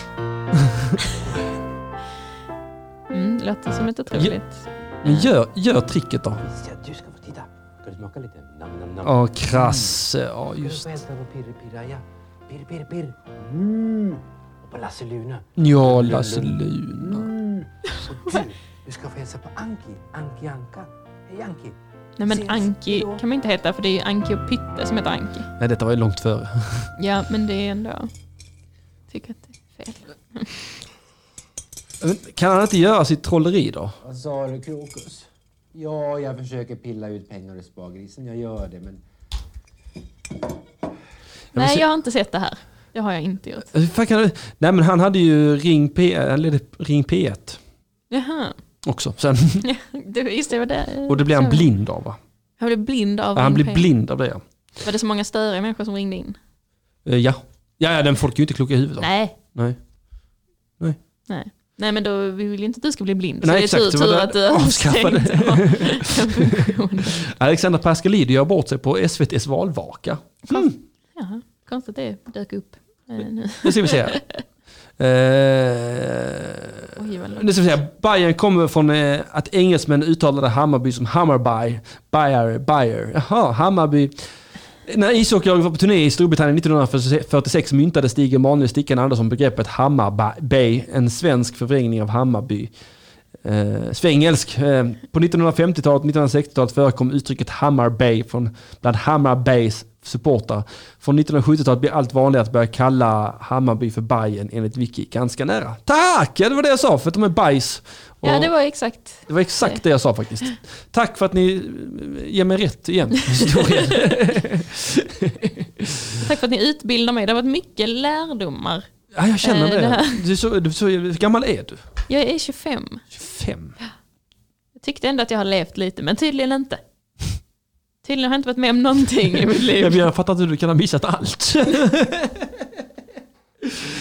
Speaker 2: Mm, det låter som ett otroligt...
Speaker 1: Men gör, gör tricket då.
Speaker 7: Ja, du ska få titta. Ska du smaka lite? Nam, nam, nam.
Speaker 1: Ja, krasse. Ja, just
Speaker 7: Ska du få hälsa på Pirre Pirraja? Pirre Pirre Pirr. Mm. Och på Lasse Lune.
Speaker 1: Ja, Lasse Luna.
Speaker 7: Och du, du ska få hälsa på Anki. Anki Anka. Hej Anki.
Speaker 2: Nej men Anki kan man inte heta för det är ju Anki och Pytte som heter Anki.
Speaker 1: Nej, detta var ju långt före.
Speaker 2: Ja men det är ändå... Tycker att det är fel.
Speaker 1: Kan han inte göra sitt trolleri då?
Speaker 7: Vad sa du Krokus? Ja, jag försöker pilla ut pengar ur spargrisen. Jag gör det, men...
Speaker 2: Nej
Speaker 1: se-
Speaker 2: jag har inte sett det här. Det har jag inte gjort.
Speaker 1: Hur fan kan du- Nej, men han hade ju Ring, P... han ledde Ring P1
Speaker 2: Jaha.
Speaker 1: också sen.
Speaker 2: Det, just det, var det.
Speaker 1: Och det blev han
Speaker 2: så.
Speaker 1: blind av va?
Speaker 2: Han blev blind av
Speaker 1: Ja, han blev
Speaker 2: Ring P.
Speaker 1: blind av det ja.
Speaker 2: Var det så många störiga människor som ringde in?
Speaker 1: Eh, Ja, ja, ja den folk är ju inte kloka i huvudet. va?
Speaker 2: Nej.
Speaker 1: Nej.
Speaker 2: Nej. Nej men då vi vill ju inte att du ska bli blind.
Speaker 1: Nej,
Speaker 2: så det är
Speaker 1: exakt,
Speaker 2: tur,
Speaker 1: det var
Speaker 2: tur
Speaker 1: det-
Speaker 2: att du har
Speaker 1: avskaffade.
Speaker 2: avskaffat den funktionen.
Speaker 1: Alexander Pascalidou gör bort sig på SVTs valvaka.
Speaker 2: Jaha, konstigt det dök upp eh, nu.
Speaker 1: Nu ska vi se. Eh,
Speaker 2: Oj, vad långt.
Speaker 1: nu ska vi se. Bayern kommer från eh, att engelsmän uttalade Hammarby som Hammarby. Bayer, Bayer. Jaha, Hammarby. När ishockeylaget var på turné i Storbritannien 1946 myntade Stig Emanuel Stickan Andersson begreppet Hammarbay, en svensk förvrängning av Hammarby. Eh, svängelsk. Eh, på 1950-talet och 1960-talet förekom uttrycket Hammarbay från, bland Hammarbays supportrar. Från 1970-talet blir allt vanligare att börja kalla Hammarby för Bajen enligt Wiki ganska nära. Tack! Ja, det var det jag sa, för att de är bajs.
Speaker 2: Ja,
Speaker 1: Och-
Speaker 2: det var exakt.
Speaker 1: det var exakt det jag sa faktiskt. Tack för att ni eh, ger mig rätt igen. Historien.
Speaker 2: Tack för att ni utbildar mig. Det har varit mycket lärdomar.
Speaker 1: Ja, jag känner
Speaker 2: Eh,
Speaker 1: det.
Speaker 2: det här-
Speaker 1: Du, är så, du, är så, hur gammal är du?
Speaker 2: Jag är 25.
Speaker 1: 25.
Speaker 2: Jag tyckte ändå att jag har levt lite, men tydligen inte. Tydligen har jag inte varit med om någonting i mitt
Speaker 1: Jag,
Speaker 2: liv.
Speaker 1: jag fattar inte hur du kan ha missat allt.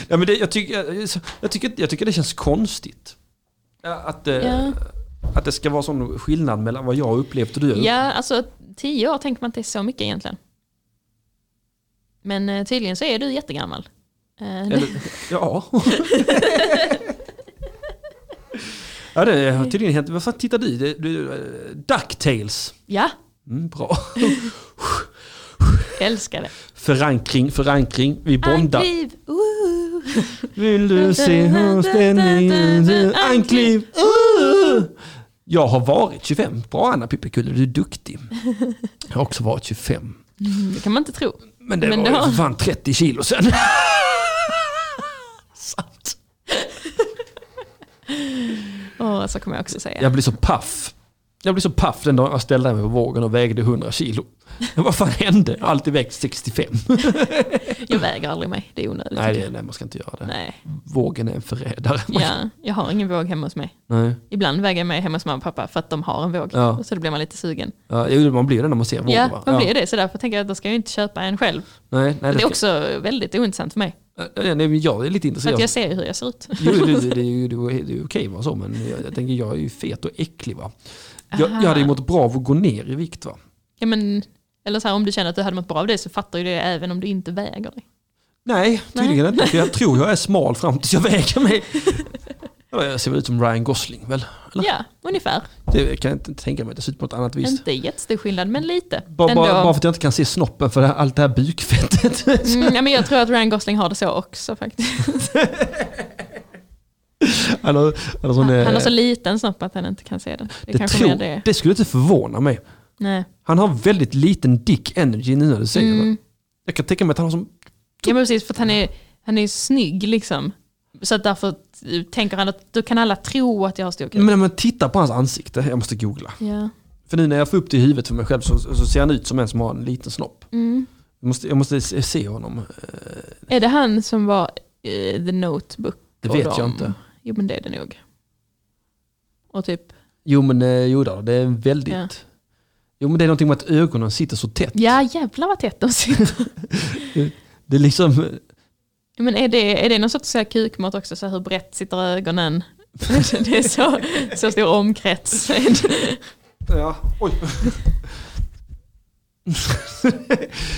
Speaker 1: ja, men det, jag, tycker, jag, jag, tycker, jag tycker det känns konstigt. Ja, Att, eh,
Speaker 2: Ja.
Speaker 1: att det ska vara sån skillnad mellan vad jag har upplevt och du har upplevt.
Speaker 2: Ja, alltså tio år tänker man inte är så mycket egentligen. Men eh, tydligen så är du jättegammal. Eh,
Speaker 1: Eller, ja. ja, det har tydligen hänt. Vad fan tittar du? Det- du eh, Ducktails.
Speaker 2: Ja,
Speaker 1: Mm, bra.
Speaker 2: jag älskar det.
Speaker 1: Förankring, förankring. Vi bondar.
Speaker 2: Ankliv, ooh.
Speaker 1: Vill du se hur spänningen är? Ankliv! Uh! Jag har varit 25. Bra Anna Pippekulle, du är duktig. Jag har också varit 25.
Speaker 2: Mm, Det kan man inte tro.
Speaker 1: Men det
Speaker 2: Men
Speaker 1: var
Speaker 2: det
Speaker 1: ju
Speaker 2: har-
Speaker 1: för fan 30 kilo sen. Sant.
Speaker 2: Åh, så kommer jag också säga.
Speaker 1: Jag blir så paff. Jag blir så paff den dagen jag ställde mig på vågen och vägde 100 kilo. Vad fan hände? Jag har alltid vägt 65.
Speaker 2: Jag väger aldrig mig, det är onödigt.
Speaker 1: Nej,
Speaker 2: tycker
Speaker 1: det,
Speaker 2: jag.
Speaker 1: nej, man ska inte göra det.
Speaker 2: Nej.
Speaker 1: Vågen är en förrädare.
Speaker 2: Ja, jag har ingen våg hemma hos mig.
Speaker 1: Nej.
Speaker 2: Ibland väger jag mig hemma hos mamma och pappa för att de har en våg.
Speaker 1: Ja.
Speaker 2: Så då blir man lite sugen.
Speaker 1: Ja, jo, man blir det när man ser vågen
Speaker 2: Ja,
Speaker 1: va?
Speaker 2: man blir det. Så därför tänker jag att då ska jag ju inte köpa en själv.
Speaker 1: Nej, nej,
Speaker 2: Det är
Speaker 1: ska-
Speaker 2: också väldigt ointressant för mig.
Speaker 1: Ja, nej, men jag är lite
Speaker 2: För
Speaker 1: intresserad.
Speaker 2: att jag ser ju hur jag ser ut.
Speaker 1: Jo, det, det, det, är ju- det, är- det är okej va, så, men jag, jag tänker jag är ju fet och äcklig va. Jag, jag hade ju mått bra av att gå ner i vikt va.
Speaker 2: Ja, men, eller så här, om du känner att du hade mått bra av det så fattar ju det även om du inte väger dig.
Speaker 1: Nej, tydligen inte. För jag tror jag är smal fram tills jag väger mig. Ja, Jag ser väl ut som Ryan Gosling väl?
Speaker 2: Ja, ungefär.
Speaker 1: Det kan jag inte tänka mig. Det ser ut på något annat vis.
Speaker 2: Inte jättestor skillnad, men lite.
Speaker 1: Bara,
Speaker 2: Ändå.
Speaker 1: bara, bara för att jag inte kan se snoppen för det här, allt det här bukfettet.
Speaker 2: Mm, ja, men jag tror att Ryan Gosling har det så också faktiskt.
Speaker 1: Han har, han har sån, eh,
Speaker 2: Han har så liten snopp att han inte kan se den. Det,
Speaker 1: det,
Speaker 2: kanske
Speaker 1: tror,
Speaker 2: mer det.
Speaker 1: det skulle inte förvåna mig.
Speaker 2: Nej.
Speaker 1: Han har väldigt liten dick energy nu när du säger
Speaker 2: Mm.
Speaker 1: det. Jag kan tänka mig att han har som
Speaker 2: Ja, men precis, för att han är, han är ju snygg liksom. Så att därför tänker han att då kan alla tro att jag har stor kuk.
Speaker 1: Men när man tittar på hans ansikte, jag måste googla.
Speaker 2: Ja.
Speaker 1: För nu när jag får upp det i huvudet för mig själv så, så ser han ut som en som har en liten snopp.
Speaker 2: Mm.
Speaker 1: Jag måste, jag måste se se honom.
Speaker 2: Är det han som var eh, The Notebook?
Speaker 1: Det
Speaker 2: och
Speaker 1: vet
Speaker 2: dem?
Speaker 1: jag inte.
Speaker 2: Jo men det är det nog. Och typ,
Speaker 1: Jo men eh, jo då, det är en väldigt...
Speaker 2: Ja.
Speaker 1: Jo men det är någonting med att ögonen sitter så tätt.
Speaker 2: ja jävlar vad tätt de sitter.
Speaker 1: Det är liksom...
Speaker 2: men är det, är det någon sorts så här kukmått också, så här, hur brett sitter ögonen? det är så, så stor omkrets.
Speaker 1: Ja, oj.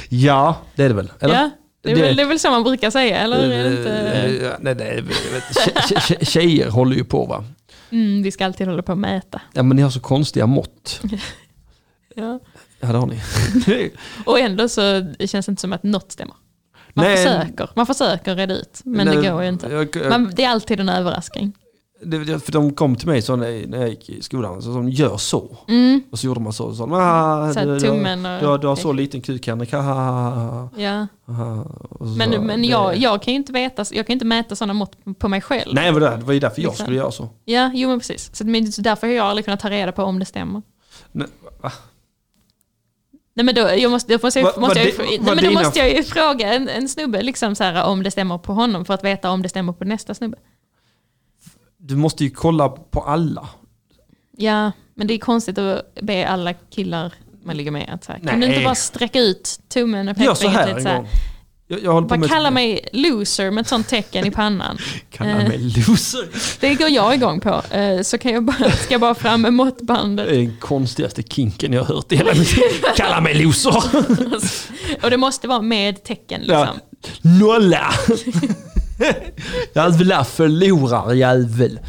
Speaker 1: ja, det är det väl? Eller?
Speaker 2: ja, det, är
Speaker 1: Det-
Speaker 2: väl, det är väl så man brukar säga, eller? Är det inte?
Speaker 1: Eh, Nej, nej, jag vet, tje- tje- tje- tjejer håller ju på va?
Speaker 2: Mm, vi ska alltid hålla på och mäta.
Speaker 1: Ja men ni har så konstiga mått.
Speaker 2: Ja.
Speaker 1: Ja det har ni.
Speaker 2: Och ändå så känns det inte som att något stämmer. Man
Speaker 1: Nej.
Speaker 2: försöker, man försöker reda ut, men
Speaker 1: Nej,
Speaker 2: det går ju inte.
Speaker 1: Jag, jag,
Speaker 2: Man, det är alltid en överraskning.
Speaker 1: det, det- för de kom till mig så när, när jag gick i skolan, så de gör så.
Speaker 2: Mm.
Speaker 1: Och så gjorde man så. Och så, ah,
Speaker 2: Så här,
Speaker 1: du,
Speaker 2: tummen
Speaker 1: du,
Speaker 2: och-
Speaker 1: du, har- du har så liten kuk Henrik, ha, ha, ha, ha,
Speaker 2: Ja.
Speaker 1: ha, ha. Och så,
Speaker 2: Men, men
Speaker 1: det-
Speaker 2: jag, jag kan ju inte veta, jag kan ju inte mäta sådana mått på mig själv.
Speaker 1: Nej men det det var ju därför jag
Speaker 2: Liksom.
Speaker 1: skulle göra så.
Speaker 2: Ja, jo men precis. Så, men, så därför har jag aldrig kunnat ta reda på om det stämmer.
Speaker 1: Nej, va?
Speaker 2: Nej men då, jag måste, jag måste, jag-
Speaker 1: Vad-
Speaker 2: måste, jag, ju
Speaker 1: vad
Speaker 2: fr-
Speaker 1: di-
Speaker 2: nej,
Speaker 1: vad
Speaker 2: men då
Speaker 1: dina-
Speaker 2: måste jag ju fråga en, en snubbe liksom så här, om det stämmer på honom för att veta om det stämmer på nästa snubbe.
Speaker 1: Du måste ju kolla på alla.
Speaker 2: Ja, men det är konstigt att be alla killar man ligger med att så här, kan du
Speaker 1: Nej.
Speaker 2: inte bara sträcka ut tummen och
Speaker 1: Gör så här
Speaker 2: pekfingret lite
Speaker 1: en
Speaker 2: så här.
Speaker 1: gång. Jag, jag håller på
Speaker 2: Bara
Speaker 1: med
Speaker 2: kalla mig loser med ett sånt tecken i pannan.
Speaker 1: kalla mig loser.
Speaker 2: Det går jag igång på. Eh, Så kan jag bara, ska jag bara fram med måttbandet.
Speaker 1: Det är den konstigaste kinken jag har hört i hela mitt liv. Kalla mig loser.
Speaker 2: Och det måste vara med tecken liksom.
Speaker 1: Nolla! Jävla förlorarjävel.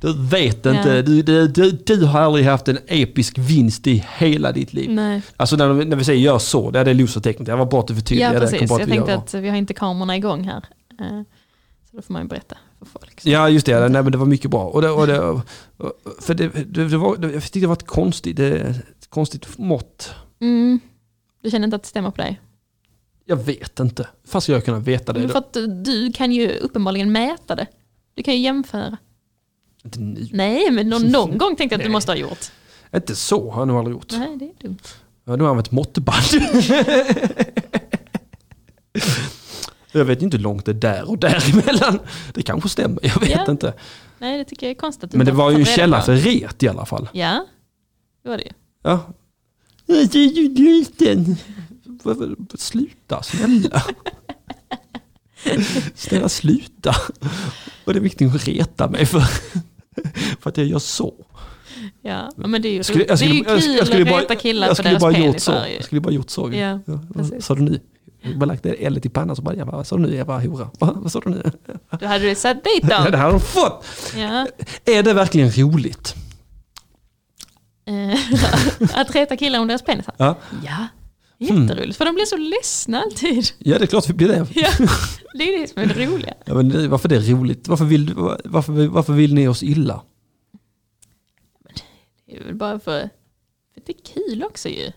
Speaker 1: Du vet inte.
Speaker 2: Ja.
Speaker 1: Du, du, du, du har aldrig haft en episk vinst i hela ditt liv.
Speaker 2: Nej.
Speaker 1: Alltså när, när vi säger gör så, det är losertecknet. Det var bra att du
Speaker 2: Ja,
Speaker 1: förtydligade. Kom
Speaker 2: precis.
Speaker 1: på att
Speaker 2: Jag
Speaker 1: vi gör
Speaker 2: tänkte
Speaker 1: så.
Speaker 2: att vi har inte kamerorna igång här. Eh, Så då får man ju berätta för folk.
Speaker 1: Ja, just det.
Speaker 2: Mm.
Speaker 1: Nej, men det var mycket bra. Och det, och det, och- för det, det, det var, det- jag tyckte det var ett konstigt, det, ett konstigt mått.
Speaker 2: Mm. Du känner inte att det stämmer på dig?
Speaker 1: Jag vet inte. Fast jag kunde veta det.
Speaker 2: Men för att du- du kan ju uppenbarligen mäta det. Du kan ju jämföra.
Speaker 1: Inte, nu.
Speaker 2: Nej, men någon, någon gång tänkte jag att du måste ha gjort.
Speaker 1: inte så har jag nog aldrig gjort.
Speaker 2: Nej, det är dumt.
Speaker 1: Jag har nog använt måttband. jag vet inte hur långt det är där och däremellan. Det kanske stämmer, jag vet
Speaker 2: Ja.
Speaker 1: inte.
Speaker 2: Nej, det tycker jag är konstigt. att du
Speaker 1: Men det
Speaker 2: inte har
Speaker 1: var ju en
Speaker 2: tagit reda
Speaker 1: källa
Speaker 2: på.
Speaker 1: för ret i alla fall.
Speaker 2: Ja, det var det ju.
Speaker 1: Ja. Jag är ju liten. Sluta, snälla. Snälla sluta. Vad är det viktigt att reta mig för? För att jag gör så.
Speaker 2: Ja, men det är ju,
Speaker 1: Skulle- jag skulle-
Speaker 2: det är ju
Speaker 1: jag-
Speaker 2: kul
Speaker 1: jag skulle
Speaker 2: att
Speaker 1: bara-
Speaker 2: reta killar
Speaker 1: jag
Speaker 2: för
Speaker 1: skulle
Speaker 2: deras
Speaker 1: bara
Speaker 2: penisar.
Speaker 1: gjort så.
Speaker 2: ju.
Speaker 1: Jag skulle bara gjort så. ju.
Speaker 2: Ja,
Speaker 1: Vad
Speaker 2: precis.
Speaker 1: sa du nu? Jag bara lagt ner eldet i pannan så bara, ja, vad sa du nu? Jag bara, hora. Va? Vad sa du nu?
Speaker 2: Då hade du satt dit
Speaker 1: Ja. Det
Speaker 2: dem.
Speaker 1: här har de fått.
Speaker 2: Ja.
Speaker 1: Är det verkligen roligt?
Speaker 2: Eh, att reta killar om deras penisar.
Speaker 1: Ja, Hmm.
Speaker 2: Ja, jätteroligt. För de blir så ledsna alltid.
Speaker 1: ja det är klart vi blir det.
Speaker 2: Ja, det är det som är det roliga.
Speaker 1: Ja, men det- varför det är roligt? Varför vill, varför, varför vill ni oss illa?
Speaker 2: Det är väl bara för, för att det är kul också ju.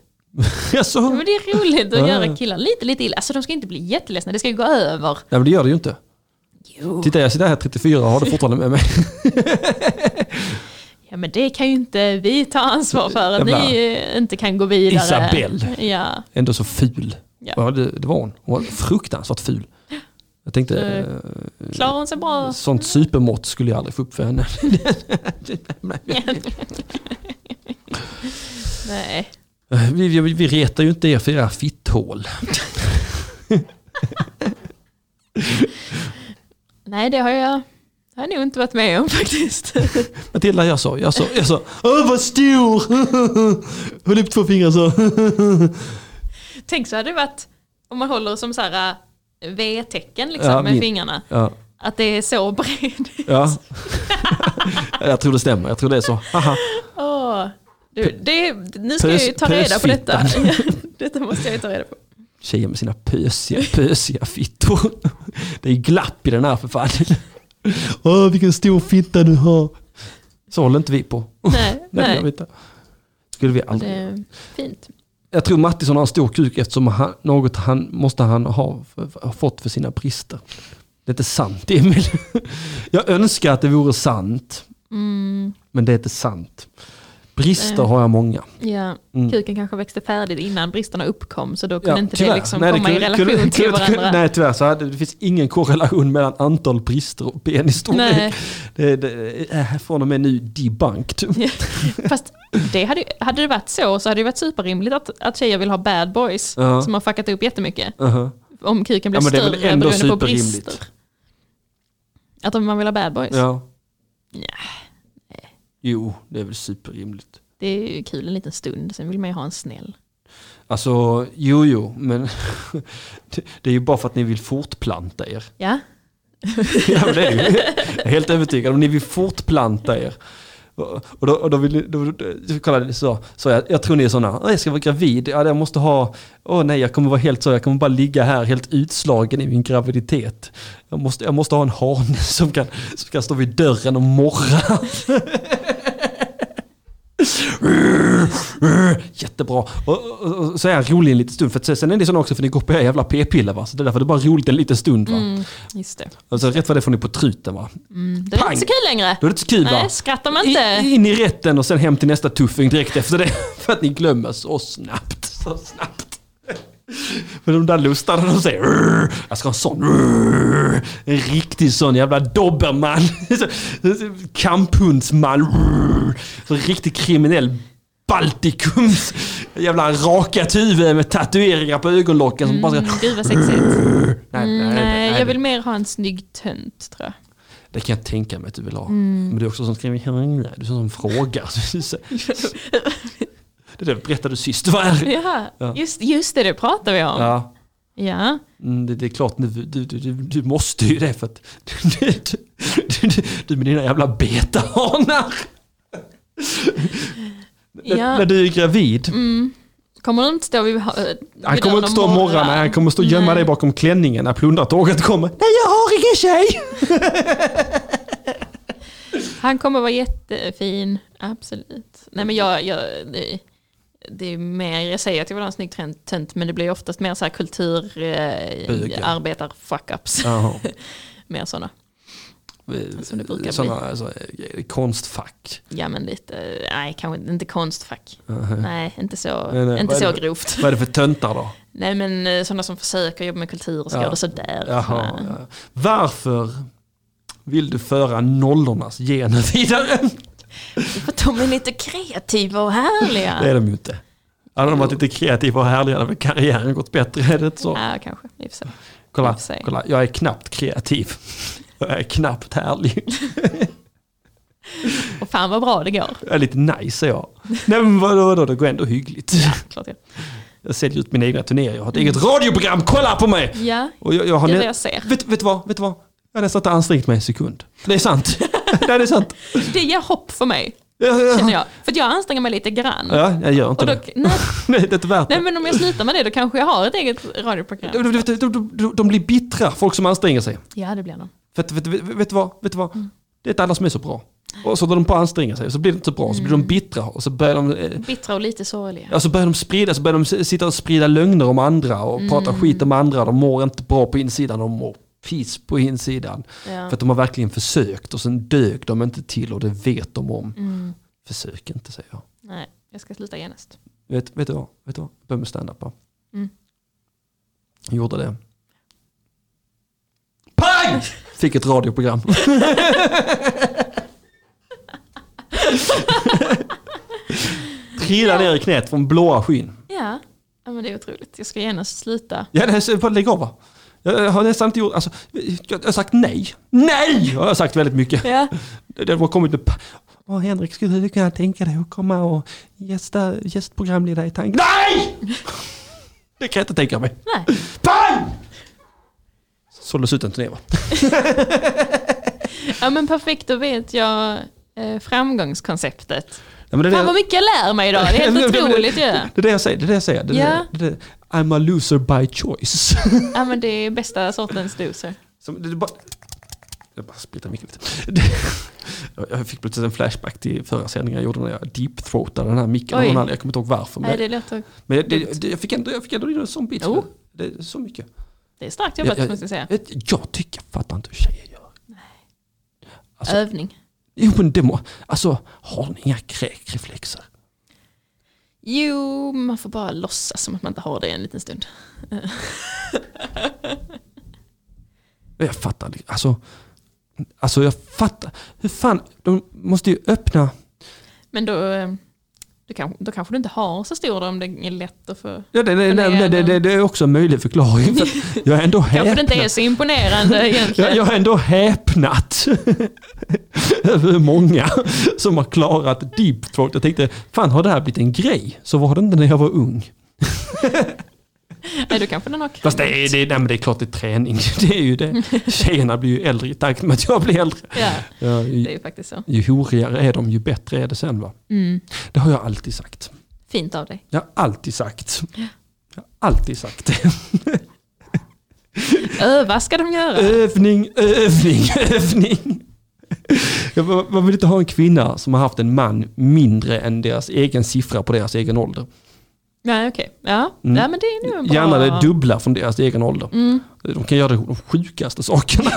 Speaker 1: Jaså?
Speaker 2: Ja, men det är roligt
Speaker 1: Ja,
Speaker 2: att
Speaker 1: ja.
Speaker 2: göra killar lite, lite illa. Alltså de ska inte bli jätteledsna, det ska ju gå över.
Speaker 1: Nej men det gör det ju inte.
Speaker 2: Jo.
Speaker 1: Titta jag sitter här 34 och har det fortfarande med mig.
Speaker 2: Ja men det kan ju inte vi ta ansvar för att
Speaker 1: Jävla-
Speaker 2: ni eh, inte kan gå vidare.
Speaker 1: Isabelle.
Speaker 2: Ja,
Speaker 1: Ändå så ful.
Speaker 2: Ja.
Speaker 1: Ja, det, det var hon. Hon var fruktansvärt ful. Jag tänkte, eh,
Speaker 2: klarar hon sig bra?
Speaker 1: sånt supermått skulle jag aldrig få upp för henne. Mm.
Speaker 2: Nej.
Speaker 1: Vi, vi, vi retar ju inte er för era fitthål.
Speaker 2: Nej, det har jag, det har jag nog inte varit med om faktiskt.
Speaker 1: Matilda jag sa, jag sa, jag sa, åh vad stor! Höll upp två fingrar så.
Speaker 2: Tänk så hade det varit om man håller som så här äh, V-tecken liksom,
Speaker 1: Ja,
Speaker 2: med
Speaker 1: min-
Speaker 2: fingrarna.
Speaker 1: Ja,
Speaker 2: Att det är så bred.
Speaker 1: ja. Jag tror det stämmer, jag tror det är så. Haha.
Speaker 2: Åh, du, det, nu ska jag ju ta
Speaker 1: Pös-
Speaker 2: reda på detta.
Speaker 1: pösfittan.
Speaker 2: Ja, detta måste jag ju ta reda på.
Speaker 1: Tjejer med sina pösiga, pösiga fittor. Det är ju glapp i den här för fan. Åh, vilken stor fitta du har. Så håller inte vi på.
Speaker 2: Nej,
Speaker 1: Nej. det gör vi
Speaker 2: nej.
Speaker 1: inte. Skulle vi
Speaker 2: Det
Speaker 1: aldrig.
Speaker 2: är fint.
Speaker 1: Jag tror Mattisson har en stor kuk eftersom han, något han måste han ha, f- ha fått för sina brister. Det är inte sant Emil. Jag önskar att det vore sant.
Speaker 2: Mm.
Speaker 1: Men det är inte sant. Brister har jag många.
Speaker 2: Ja, kuken kanske växte färdigt innan bristerna uppkom så då kunde
Speaker 1: Mm. Ja,
Speaker 2: inte
Speaker 1: tyvärr.
Speaker 2: det liksom
Speaker 1: Nej,
Speaker 2: komma
Speaker 1: kunde-
Speaker 2: i relation
Speaker 1: kunde-
Speaker 2: till
Speaker 1: kunde-
Speaker 2: varandra.
Speaker 1: Nej tyvärr, så hade, det finns ingen korrelation mellan antal brister och
Speaker 2: Nej.
Speaker 1: penisstorlek. Det, det, äh, från och med nu debunked.
Speaker 2: Fast det hade, ju- hade det varit så så hade det varit superrimligt att, att tjejer vill ha bad boys
Speaker 1: Ja.
Speaker 2: som har fuckat upp jättemycket.
Speaker 1: Uh-huh.
Speaker 2: Om kuken blir
Speaker 1: Ja, men det är väl
Speaker 2: större
Speaker 1: ändå
Speaker 2: beroende på
Speaker 1: superrimligt.
Speaker 2: brister. Att om man vill ha bad boys.
Speaker 1: Ja. Jo, det är väl superrimligt.
Speaker 2: Det är ju kul en liten stund, sen vill man ju ha en snäll.
Speaker 1: Alltså, jo, jo, men det- det är ju bara för att ni vill fortplanta er.
Speaker 2: Ja,
Speaker 1: Ja, men det är ju, jag är helt övertygad om. Ni vill fortplanta er. Och då, och då vill ni, då, då, kolla, så, så jag, jag tror ni är sådana, "Åh, jag ska vara gravid, ja, jag måste ha, åh nej jag kommer vara helt så, jag kommer bara ligga här helt utslagen i min graviditet. Jag måste, jag måste ha en hane som kan, som kan stå vid dörren och morra. Jättebra. Och, och, och, så är jag rolig en liten stund, för att sen- sen är det sådana också för ni går på era jävla p-piller va, så det är därför det är bara roligt en liten stund
Speaker 2: Mm.
Speaker 1: va.
Speaker 2: just det.
Speaker 1: Alltså rätt vad det får ni på truten va?
Speaker 2: Det är
Speaker 1: Pang!
Speaker 2: inte så kul längre.
Speaker 1: Då är det inte så kul va?
Speaker 2: Nej, skrattar man inte.
Speaker 1: I, in i rätten och sen hem till nästa tuffing direkt efter det. För att ni glömmer så snabbt. Så snabbt. Men de där lustarna de säger "Rrr, jag ska ha en sån. rrr." En riktig sån jävla dobermann. Så- Kamphundsman. rrr. Så en riktig kriminell Baltikums jävla rakat huvud med tatueringar på ögonlocken som bara ska...
Speaker 2: Mm, Gud vad sexigt.
Speaker 1: Nej, nej,
Speaker 2: Mm, Nej,
Speaker 1: nej.
Speaker 2: jag vill mer ha en snygg tönt tror jag.
Speaker 1: Det kan jag tänka mig att du vill ha.
Speaker 2: Mm.
Speaker 1: Men du är också sån som skriver, du är sån som frågar. Det där berättade du sist, vad är det?
Speaker 2: Jaha,
Speaker 1: Ja.
Speaker 2: just, just det, det pratar vi om.
Speaker 1: Ja.
Speaker 2: Ja.
Speaker 1: Mm, det, det är klart, nu, du, du, du, du måste ju det för att du, du, du, du, du med dina jävla betahanar. När-
Speaker 2: Ja.
Speaker 1: När du är gravid.
Speaker 2: Kommer du inte stå vid ha- vid
Speaker 1: Han kommer
Speaker 2: dörren
Speaker 1: inte
Speaker 2: och
Speaker 1: stå och morra, nej han kommer stå och gömma
Speaker 2: Nej.
Speaker 1: dig bakom klänningen när plundrartåget kommer. Nej jag har ingen tjej!
Speaker 2: Han kommer vara jättefin, absolut. Nej men jag, jag det, det är mer, jag säger att jag vill ha en snygg trend, tönt, men det blir oftast mer så här kultur,
Speaker 1: Bögar.
Speaker 2: eh, arbetar fuck ups.
Speaker 1: Jaha.
Speaker 2: Mer sådana. Som det brukar
Speaker 1: Såna, alltså, eh, konstfack.
Speaker 2: Ja men lite, nej kanske inte konstfack. Nej, inte så,
Speaker 1: Nej, nej,
Speaker 2: inte
Speaker 1: vad är
Speaker 2: så
Speaker 1: det?
Speaker 2: grovt.
Speaker 1: Vad är det för töntar då?
Speaker 2: Nej men eh, sådana som försöker jobba med kultur och så
Speaker 1: Ja.
Speaker 2: går det sådär. eh, och
Speaker 1: Jaha,
Speaker 2: sådana.
Speaker 1: ja. Varför vill du föra nollornas gener vidare?
Speaker 2: För att de är lite kreativa och härliga.
Speaker 1: Det är de ju inte. Hade de varit lite kreativa och härliga hade väl karriären gått bättre. Är det inte så?
Speaker 2: Ja, kanske. I och för sig. i
Speaker 1: Kolla,
Speaker 2: och för sig.
Speaker 1: kolla, jag är knappt kreativ. Jag är knappt härlig.
Speaker 2: Och fan vad bra det går.
Speaker 1: Jag är lite nice är jag. Nej men vadå, vadå, det går ändå hyggligt.
Speaker 2: Klart jag.
Speaker 1: Jag säljer ut mina egna turnéer, jag har ett eget radioprogram, kolla på mig!
Speaker 2: Mm. Ja,
Speaker 1: Och jag, jag har
Speaker 2: det är
Speaker 1: nä-
Speaker 2: det jag ser.
Speaker 1: Vet, vet du vad, vet du vad? Jag har nästan inte ansträngt mig en sekund. Det är sant. Nej, det är sant.
Speaker 2: Det ger hopp för mig,
Speaker 1: Ja, ja.
Speaker 2: känner jag. För att jag anstränger mig lite grann.
Speaker 1: Ja, jag gör inte
Speaker 2: och då,
Speaker 1: det.
Speaker 2: nej,
Speaker 1: Nej, det är inte värt
Speaker 2: nej,
Speaker 1: det.
Speaker 2: men om jag slutar med det då kanske jag har ett eget radioprogram.
Speaker 1: De, de, de, de, de blir bittra, folk som anstränger sig.
Speaker 2: Ja, det blir nog.
Speaker 1: För att, vet, vet, vet du vad? Vet du vad? Det är inte alla som är så bra. Och så när de bara anstränger sig, så blir det inte så bra, så blir de bittra och så börjar de, eh,
Speaker 2: Bittra och lite sorgliga.
Speaker 1: alltså börjar de sprida, så börjar de s- sitta och sprida lögner om andra och prata skit om andra. De mår inte bra på insidan, de mår piss på insidan.
Speaker 2: Ja.
Speaker 1: För att de har verkligen försökt och sen dög de inte till och det vet de om. Försök inte säger jag.
Speaker 2: Mm. Nej, jag ska sluta genast.
Speaker 1: Vet, vet du vad? Vet du vad? Började med standup va?
Speaker 2: Mm.
Speaker 1: Gjorde det. Pang! Fick ett radioprogram. Trilla ner i knät från blåa skyn.
Speaker 2: Ja. ja, men det är otroligt. Jag ska genast sluta.
Speaker 1: Ja, det här är bara lägg av va? Jag har nästan inte gjort, alltså, jag har sagt nej. Nej! Har jag sagt väldigt mycket.
Speaker 2: Ja,
Speaker 1: Det har kommit upp. Åh Henrik, skulle du kunna tänka dig att komma och gästa, gästprogramledare i tanken? Nej! Det kan jag inte tänka mig.
Speaker 2: nej.
Speaker 1: Pang! Såldes ut en turné va?
Speaker 2: Ja, men perfekt, då vet jag eh, framgångskonceptet.
Speaker 1: Nej, men det, är
Speaker 2: Fan
Speaker 1: det,
Speaker 2: vad mycket jag lär mig idag, det är helt otroligt ju.
Speaker 1: det är det jag säger. Det är det jag säger. Det är
Speaker 2: Ja.
Speaker 1: det, det är det. I'm a loser by choice.
Speaker 2: Ja, men det är bästa sortens doser.
Speaker 1: Som, det, det bara... Jag bara splittar micken lite. Jag- Jag fick plötsligt en flashback till förra sändningen jag gjorde när jag deepthroatade den här micken.
Speaker 2: Oj.
Speaker 1: Jag kommer inte ihåg varför. Men,
Speaker 2: Nej, det låter...
Speaker 1: men jag- det, det, jag, fick ändå, jag fick ändå en sån bit.
Speaker 2: Jo.
Speaker 1: Det är så mycket.
Speaker 2: Det är starkt jobbat, måste jag säga.
Speaker 1: Jag, jag tycker, jag fattar inte hur tjejer gör. alltså-
Speaker 2: Övning.
Speaker 1: Jo men det må, alltså har ni inga kräkreflexer?
Speaker 2: Jo, man får bara låtsas som att man inte har det en liten stund.
Speaker 1: Jag fattar inte. alltså, alltså jag fattar. Hur fan, de måste ju öppna.
Speaker 2: Men då, eh, då, kanske, då kanske du inte har så stor då, om det är lätt att få...
Speaker 1: Ja, det, det,
Speaker 2: Men det är
Speaker 1: det, det,
Speaker 2: ändå-
Speaker 1: det, det är också en möjlig förklaring. För att jag är ändå
Speaker 2: Kanske det
Speaker 1: häpnad.
Speaker 2: inte är så imponerande egentligen.
Speaker 1: Jag, jag har ändå häpnat över hur många som har klarat deep throat. Jag tänkte, fan har det här blivit en grej? Så var det inte när jag var ung.
Speaker 2: Nej, då kanske den har krympt.
Speaker 1: Fast det är, det, är- nej, men det är klart det är träning. Det är ju det. Tjejerna blir ju äldre i takt med att jag blir äldre.
Speaker 2: Ja,
Speaker 1: Ja,
Speaker 2: det är
Speaker 1: ju,
Speaker 2: ju faktiskt så.
Speaker 1: ju horigare är de, ju bättre är det sen va?
Speaker 2: Mm.
Speaker 1: Det har jag alltid sagt.
Speaker 2: Fint av dig.
Speaker 1: Jag har alltid sagt. Jag har alltid sagt det.
Speaker 2: Öva ska de göra.
Speaker 1: Övning, övning, övning. Jag- Man man vill inte ha en kvinna som har haft en man mindre än deras egen siffra på deras egen ålder.
Speaker 2: Nej, okej. Ja.
Speaker 1: Mm.
Speaker 2: ja, men Mm. det är nog en bra...
Speaker 1: Gärna det dubbla från deras egen ålder. De kan göra de sjukaste sakerna.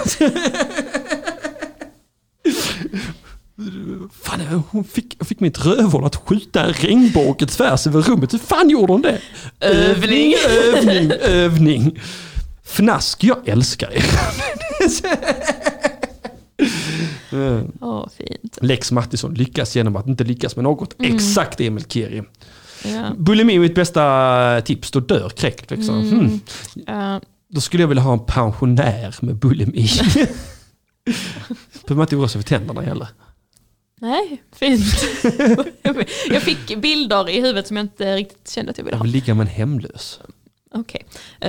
Speaker 1: Fan, hon fick, jag fick mitt rövhål att skjuta en regnbåge tvärs över rummet. Hur fan gjorde hon det?
Speaker 2: Övning.
Speaker 1: Övning, övning. Fnask, jag älskar er. Eh,
Speaker 2: Åh, fint.
Speaker 1: Lex Mattisson lyckas genom att inte lyckas med något.
Speaker 2: Mm.
Speaker 1: Exakt Emil Keri.
Speaker 2: Ja.
Speaker 1: Bulimi är mitt bästa tips, då dör kräkreflexerna.
Speaker 2: Mm.
Speaker 1: Hmm.
Speaker 2: Ja.
Speaker 1: Då skulle jag vilja ha en pensionär med bulimi. Behöver man inte oroa sig för tänderna heller.
Speaker 2: Nej, fint. jag fick bilder i huvudet som jag inte riktigt kände att jag ville
Speaker 1: Jag
Speaker 2: ha.
Speaker 1: vill ligga med en hemlös.
Speaker 2: Okej.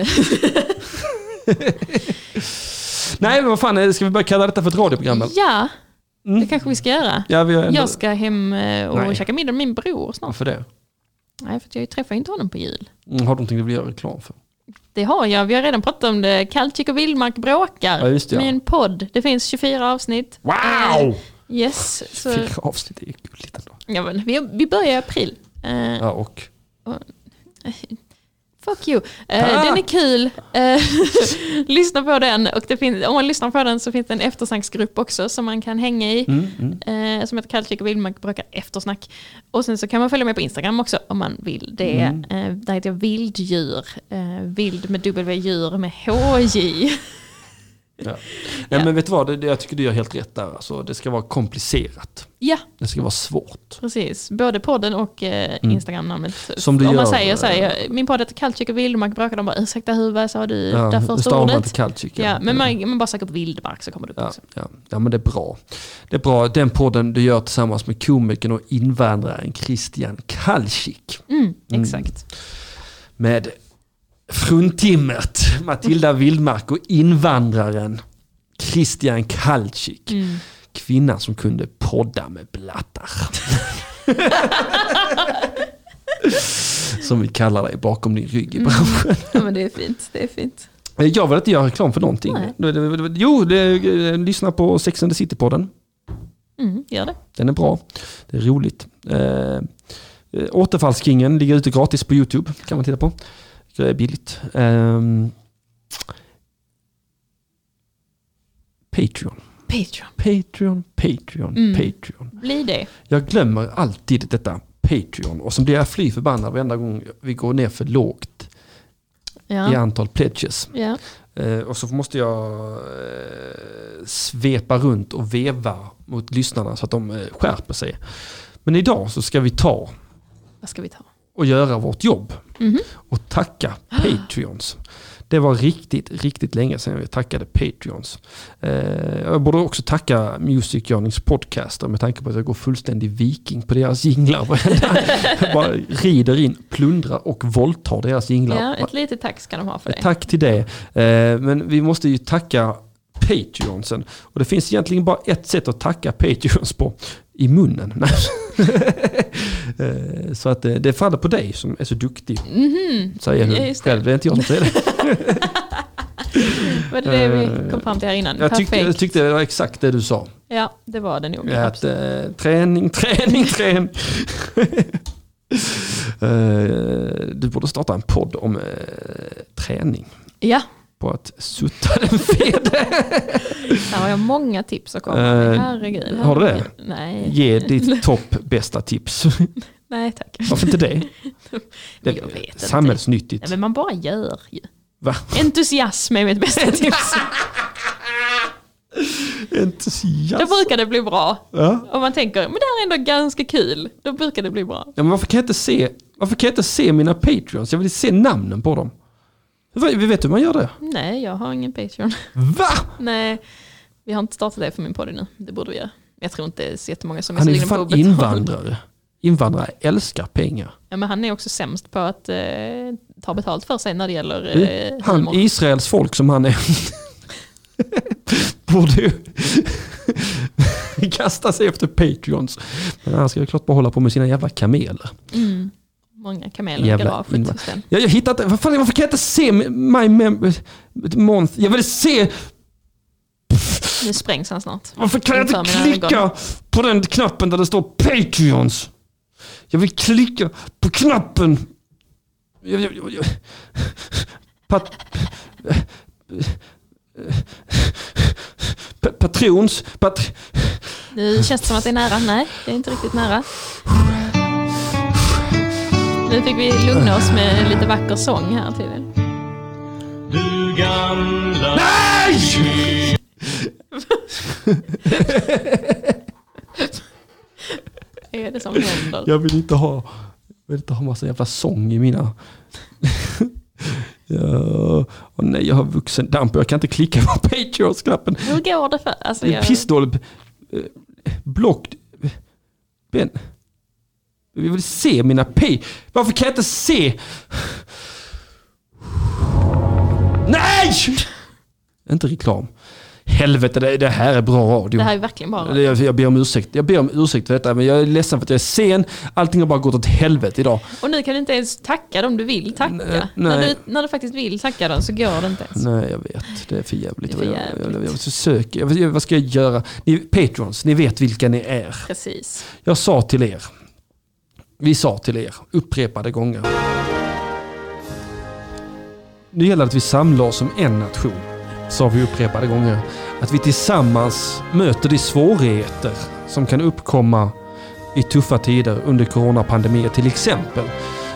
Speaker 1: Nej, men vad fan, eh, ska vi börja kalla detta för ett radioprogram? eller?
Speaker 2: Ja, det
Speaker 1: Mm.
Speaker 2: kanske vi ska göra.
Speaker 1: Ja, vi har ändå...
Speaker 2: Jag ska hem eh, och
Speaker 1: Nej.
Speaker 2: käka middag med min bror snart.
Speaker 1: Varför det?
Speaker 2: Nej, för att jag träffar inte honom på jul.
Speaker 1: Mm, Har du någonting du vill göra reklam för?
Speaker 2: Det har jag, vi har redan pratat om det. Kaltjik och Villmark bråkar.
Speaker 1: Ja, just det, ja.
Speaker 2: Min podd. Det finns 24 avsnitt. Eh,
Speaker 1: Wow!
Speaker 2: Yes, så,
Speaker 1: Fyra Eh, avsnitt, det är gulligt ändå.
Speaker 2: ja, men, vi, vi börjar i april. Eh,
Speaker 1: Ja, och?
Speaker 2: Fuck you. Eh,
Speaker 1: Ah!
Speaker 2: Den är kul. Eh, lyssna på den. Och det finns, om man lyssnar på den så finns det en eftersnacksgrupp också som man kan hänga i.
Speaker 1: Mm,
Speaker 2: Eh, som heter Kallkik och Vildmark brukar eftersnack. Och sen så kan man följa mig på Instagram också om man vill det.
Speaker 1: Mm.
Speaker 2: Eh, där heter jag Vilddjur. Eh, vild med W, djur med HJ.
Speaker 1: Ja. Nej, men vet du vad, det, det, jag tycker du gör helt rätt där. Alltså, det ska vara komplicerat.
Speaker 2: ja,
Speaker 1: Det ska vara svårt.
Speaker 2: precis. Både podden och eh, Instagram-namnet.
Speaker 1: Mm. Som du
Speaker 2: om man
Speaker 1: gör,
Speaker 2: säger så här,
Speaker 1: eh,
Speaker 2: jag- min podd heter Kallkik och Vildmark brukar de bara ursäkta hur, vad sa du?
Speaker 1: Ja,
Speaker 2: där
Speaker 1: det
Speaker 2: första
Speaker 1: stavar man
Speaker 2: ordet.
Speaker 1: inte kallt tycker jag.
Speaker 2: Ja, men man, man bara söker på vildmark så kommer det upp
Speaker 1: Ja,
Speaker 2: också.
Speaker 1: ja, ja, men det är bra. Det är bra. Den podden du gör tillsammans med komikern och invandraren Christian Kalsik.
Speaker 2: Mm, exakt.
Speaker 1: Med fruntimret Matilda Vildmark och invandraren Christian Kalsik. Kvinnan som kunde podda med blattar. som vi kallar dig bakom din rygg i branschen.
Speaker 2: Ja, men det är fint. Det är fint.
Speaker 1: Eh, Jag vill inte göra reklam för någonting.
Speaker 2: Nej.
Speaker 1: Det- det- det- Jo, det, eh, lyssna på Sex and the City-podden.
Speaker 2: Mm, gör det.
Speaker 1: Den är bra. Det är roligt. Eh, eh, återfallskingen ligger ute gratis på YouTube. kan man titta på. Det är billigt. Ehm, Patreon,
Speaker 2: Patreon.
Speaker 1: Patreon, Patreon,
Speaker 2: Mm.
Speaker 1: Patreon.
Speaker 2: Bli det.
Speaker 1: Jag glömmer alltid detta Patreon och sen blir jag fly förbannad varenda gång vi går ner för lågt i
Speaker 2: Ja.
Speaker 1: antal pledges.
Speaker 2: Ja.
Speaker 1: Eh, och så måste jag eh, svepa runt och veva mot lyssnarna så att de eh, skärper sig. Men idag så ska vi ta
Speaker 2: Vad ska vi ta?
Speaker 1: och göra vårt jobb och tacka Patreons. Det var riktigt, riktigt länge sedan vi tackade Patreons. Eh, jag borde också tacka Music Yearnings podcaster med tanke på att jag går fullständig viking på deras jinglar. Jag bara rider in, plundrar och våldtar deras jinglar
Speaker 2: Ja, ett litet tack ska de ha för det.
Speaker 1: Tack till det. Eh, Men vi måste ju tacka Patreonsen. Och det finns egentligen bara ett sätt att tacka Patreons på. I munnen. Nej. Eh, så att eh, det faller på dig som är så duktig. Säger
Speaker 2: Ja,
Speaker 1: hon
Speaker 2: just det.
Speaker 1: själv. Det är inte jag som säger det.
Speaker 2: Var det det vi
Speaker 1: Eh,
Speaker 2: kom fram till här innan?
Speaker 1: Jag tyckte, jag
Speaker 2: Perfekt.
Speaker 1: tyckte det var exakt det du sa.
Speaker 2: Ja, det var det nog.
Speaker 1: Att,
Speaker 2: Absolut.
Speaker 1: eh, träning, träning, träning. Eh, du borde starta en podd om eh, träning.
Speaker 2: Ja,
Speaker 1: På att sutta den fede.
Speaker 2: här har jag många tips att komma med.
Speaker 1: Eh,
Speaker 2: Herregud.
Speaker 1: har du det?
Speaker 2: herregud. Nej.
Speaker 1: Ge ditt topp bästa tips.
Speaker 2: Nej, tack.
Speaker 1: Varför inte det? det
Speaker 2: Jag vet inte.
Speaker 1: samhällsnyttigt.
Speaker 2: Nej, men man bara gör ju.
Speaker 1: Va?
Speaker 2: Entusiasm är mitt bästa tips. Då
Speaker 1: Entusiasm.
Speaker 2: brukar det bli bra.
Speaker 1: Ja.
Speaker 2: Om man tänker, men det här är ändå ganska kul. Då brukar det bli bra.
Speaker 1: Ja, men varför kan, jag inte se, varför kan jag inte se mina patreons? Jag vill se namnen på dem. Va- Vi vet hur man gör det.
Speaker 2: Nej, jag har ingen Patreon.
Speaker 1: Va?
Speaker 2: Nej, vi har inte startat det för min podd nu. Det borde vi göra. Jag tror inte det är så jättemånga som är
Speaker 1: Han
Speaker 2: så
Speaker 1: är ju
Speaker 2: sugna på
Speaker 1: fan
Speaker 2: att betala.
Speaker 1: invandrare. Invandrare älskar pengar.
Speaker 2: Ja, men han är också sämst på att eh, ta betalt för sig när det gäller eh,
Speaker 1: Han,
Speaker 2: humor.
Speaker 1: Israels folk som han är. Borde ju kasta sig efter patreons. Men han ska ju klart bara hålla på med sina jävla kameler.
Speaker 2: Mm. Många kameler i
Speaker 1: Jävla
Speaker 2: garaget
Speaker 1: invand-
Speaker 2: hos den.
Speaker 1: Jag, jag hittar inte, varför, varför kan jag inte se my mem- month? Jag vill se,
Speaker 2: Nu sprängs han snart.
Speaker 1: varför kan jag inte
Speaker 2: Inför mina
Speaker 1: klicka på den knappen där det står Patreons? Jag vill klicka på knappen. Jag, jag, jag, jag. Pat, Pa- patrons, pat,
Speaker 2: Nu känns det som att det är nära. Nej, det är inte riktigt nära. Nu fick vi lugna oss med lite vacker sång här tydligen. Nej! är det som händer?
Speaker 1: Jag vill inte ha, jag vill inte ha massa jävla sång i mina... ja, och nej, jag har vuxendamp och jag kan inte klicka på Patreons-knappen.
Speaker 2: Hur går det för... Alltså,
Speaker 1: Det är
Speaker 2: jag,
Speaker 1: pissdålig... eh, Block... Ben... Vi vill se mina pay... Varför kan jag inte se... Nej! Inte reklam. Helvete, det, det här är bra radio.
Speaker 2: Det här är verkligen bara...
Speaker 1: Jag, jag ber om ursäkt. Jag ber om ursäkt för detta, men jag är ledsen för att jag är sen. Allting har bara gått åt helvete idag.
Speaker 2: Och nu kan du inte ens tacka dem du vill tacka.
Speaker 1: eh, Nej.
Speaker 2: När, du, när du faktiskt vill tacka dem så går det inte ens.
Speaker 1: Nej, jag vet. Det är för jävligt.
Speaker 2: Det är för
Speaker 1: Jag- Jag, jag,
Speaker 2: jävligt.
Speaker 1: jag söker. Jag, jag, vad ska jag göra? Ni, patrons, ni vet vilka ni är.
Speaker 2: Precis.
Speaker 1: Jag sa till er. Vi sa till er upprepade gånger. Nu gäller det att vi samlar oss som en nation. Sa vi upprepade gånger. Att vi tillsammans möter de svårigheter som kan uppkomma i tuffa tider under coronapandemin till exempel.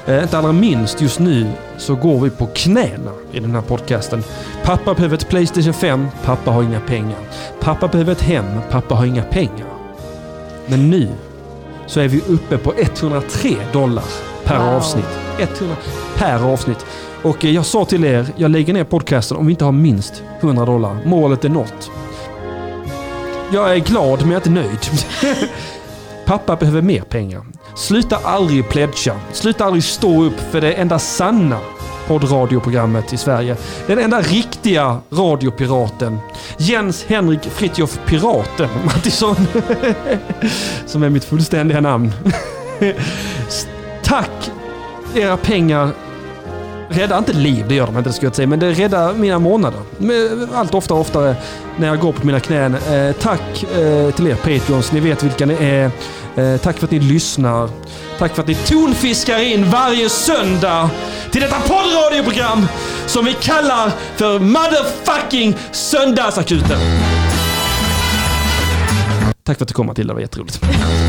Speaker 1: Eh, inte allra minst just nu så går vi på knäna i den här podcasten. Pappa behöver ett Playstation 5, pappa har inga pengar. Pappa behöver ett hem, pappa har inga pengar. Men nu så är vi uppe på 103 dollar per
Speaker 2: Wow.
Speaker 1: avsnitt. 100 per avsnitt. Och eh, jag sa till er, jag lägger ner podcasten om vi inte har minst 100 dollar. Målet är nått. Jag är glad men jag är inte nöjd. Pappa behöver mer pengar. Sluta aldrig pledga. Sluta aldrig stå upp för det enda sanna poddradioprogrammet i Sverige. Den enda riktiga radiopiraten. Jens Henrik Fritjof Piraten Mattisson. Som är mitt fullständiga namn. S- Tack era pengar. Rädda inte liv, det gör de inte, det ska jag inte säga, men det räddar mina månader. Men Allt oftare och oftare när jag går på mina knän. Eh, tack eh, till er Patreons, ni vet vilka ni är. Eh, tack för att ni lyssnar. Tack för att ni tonfiskar in varje söndag till detta poddradioprogram som vi kallar för motherfucking Söndagsakuten. Tack för att du kom Matilda, det var jätteroligt.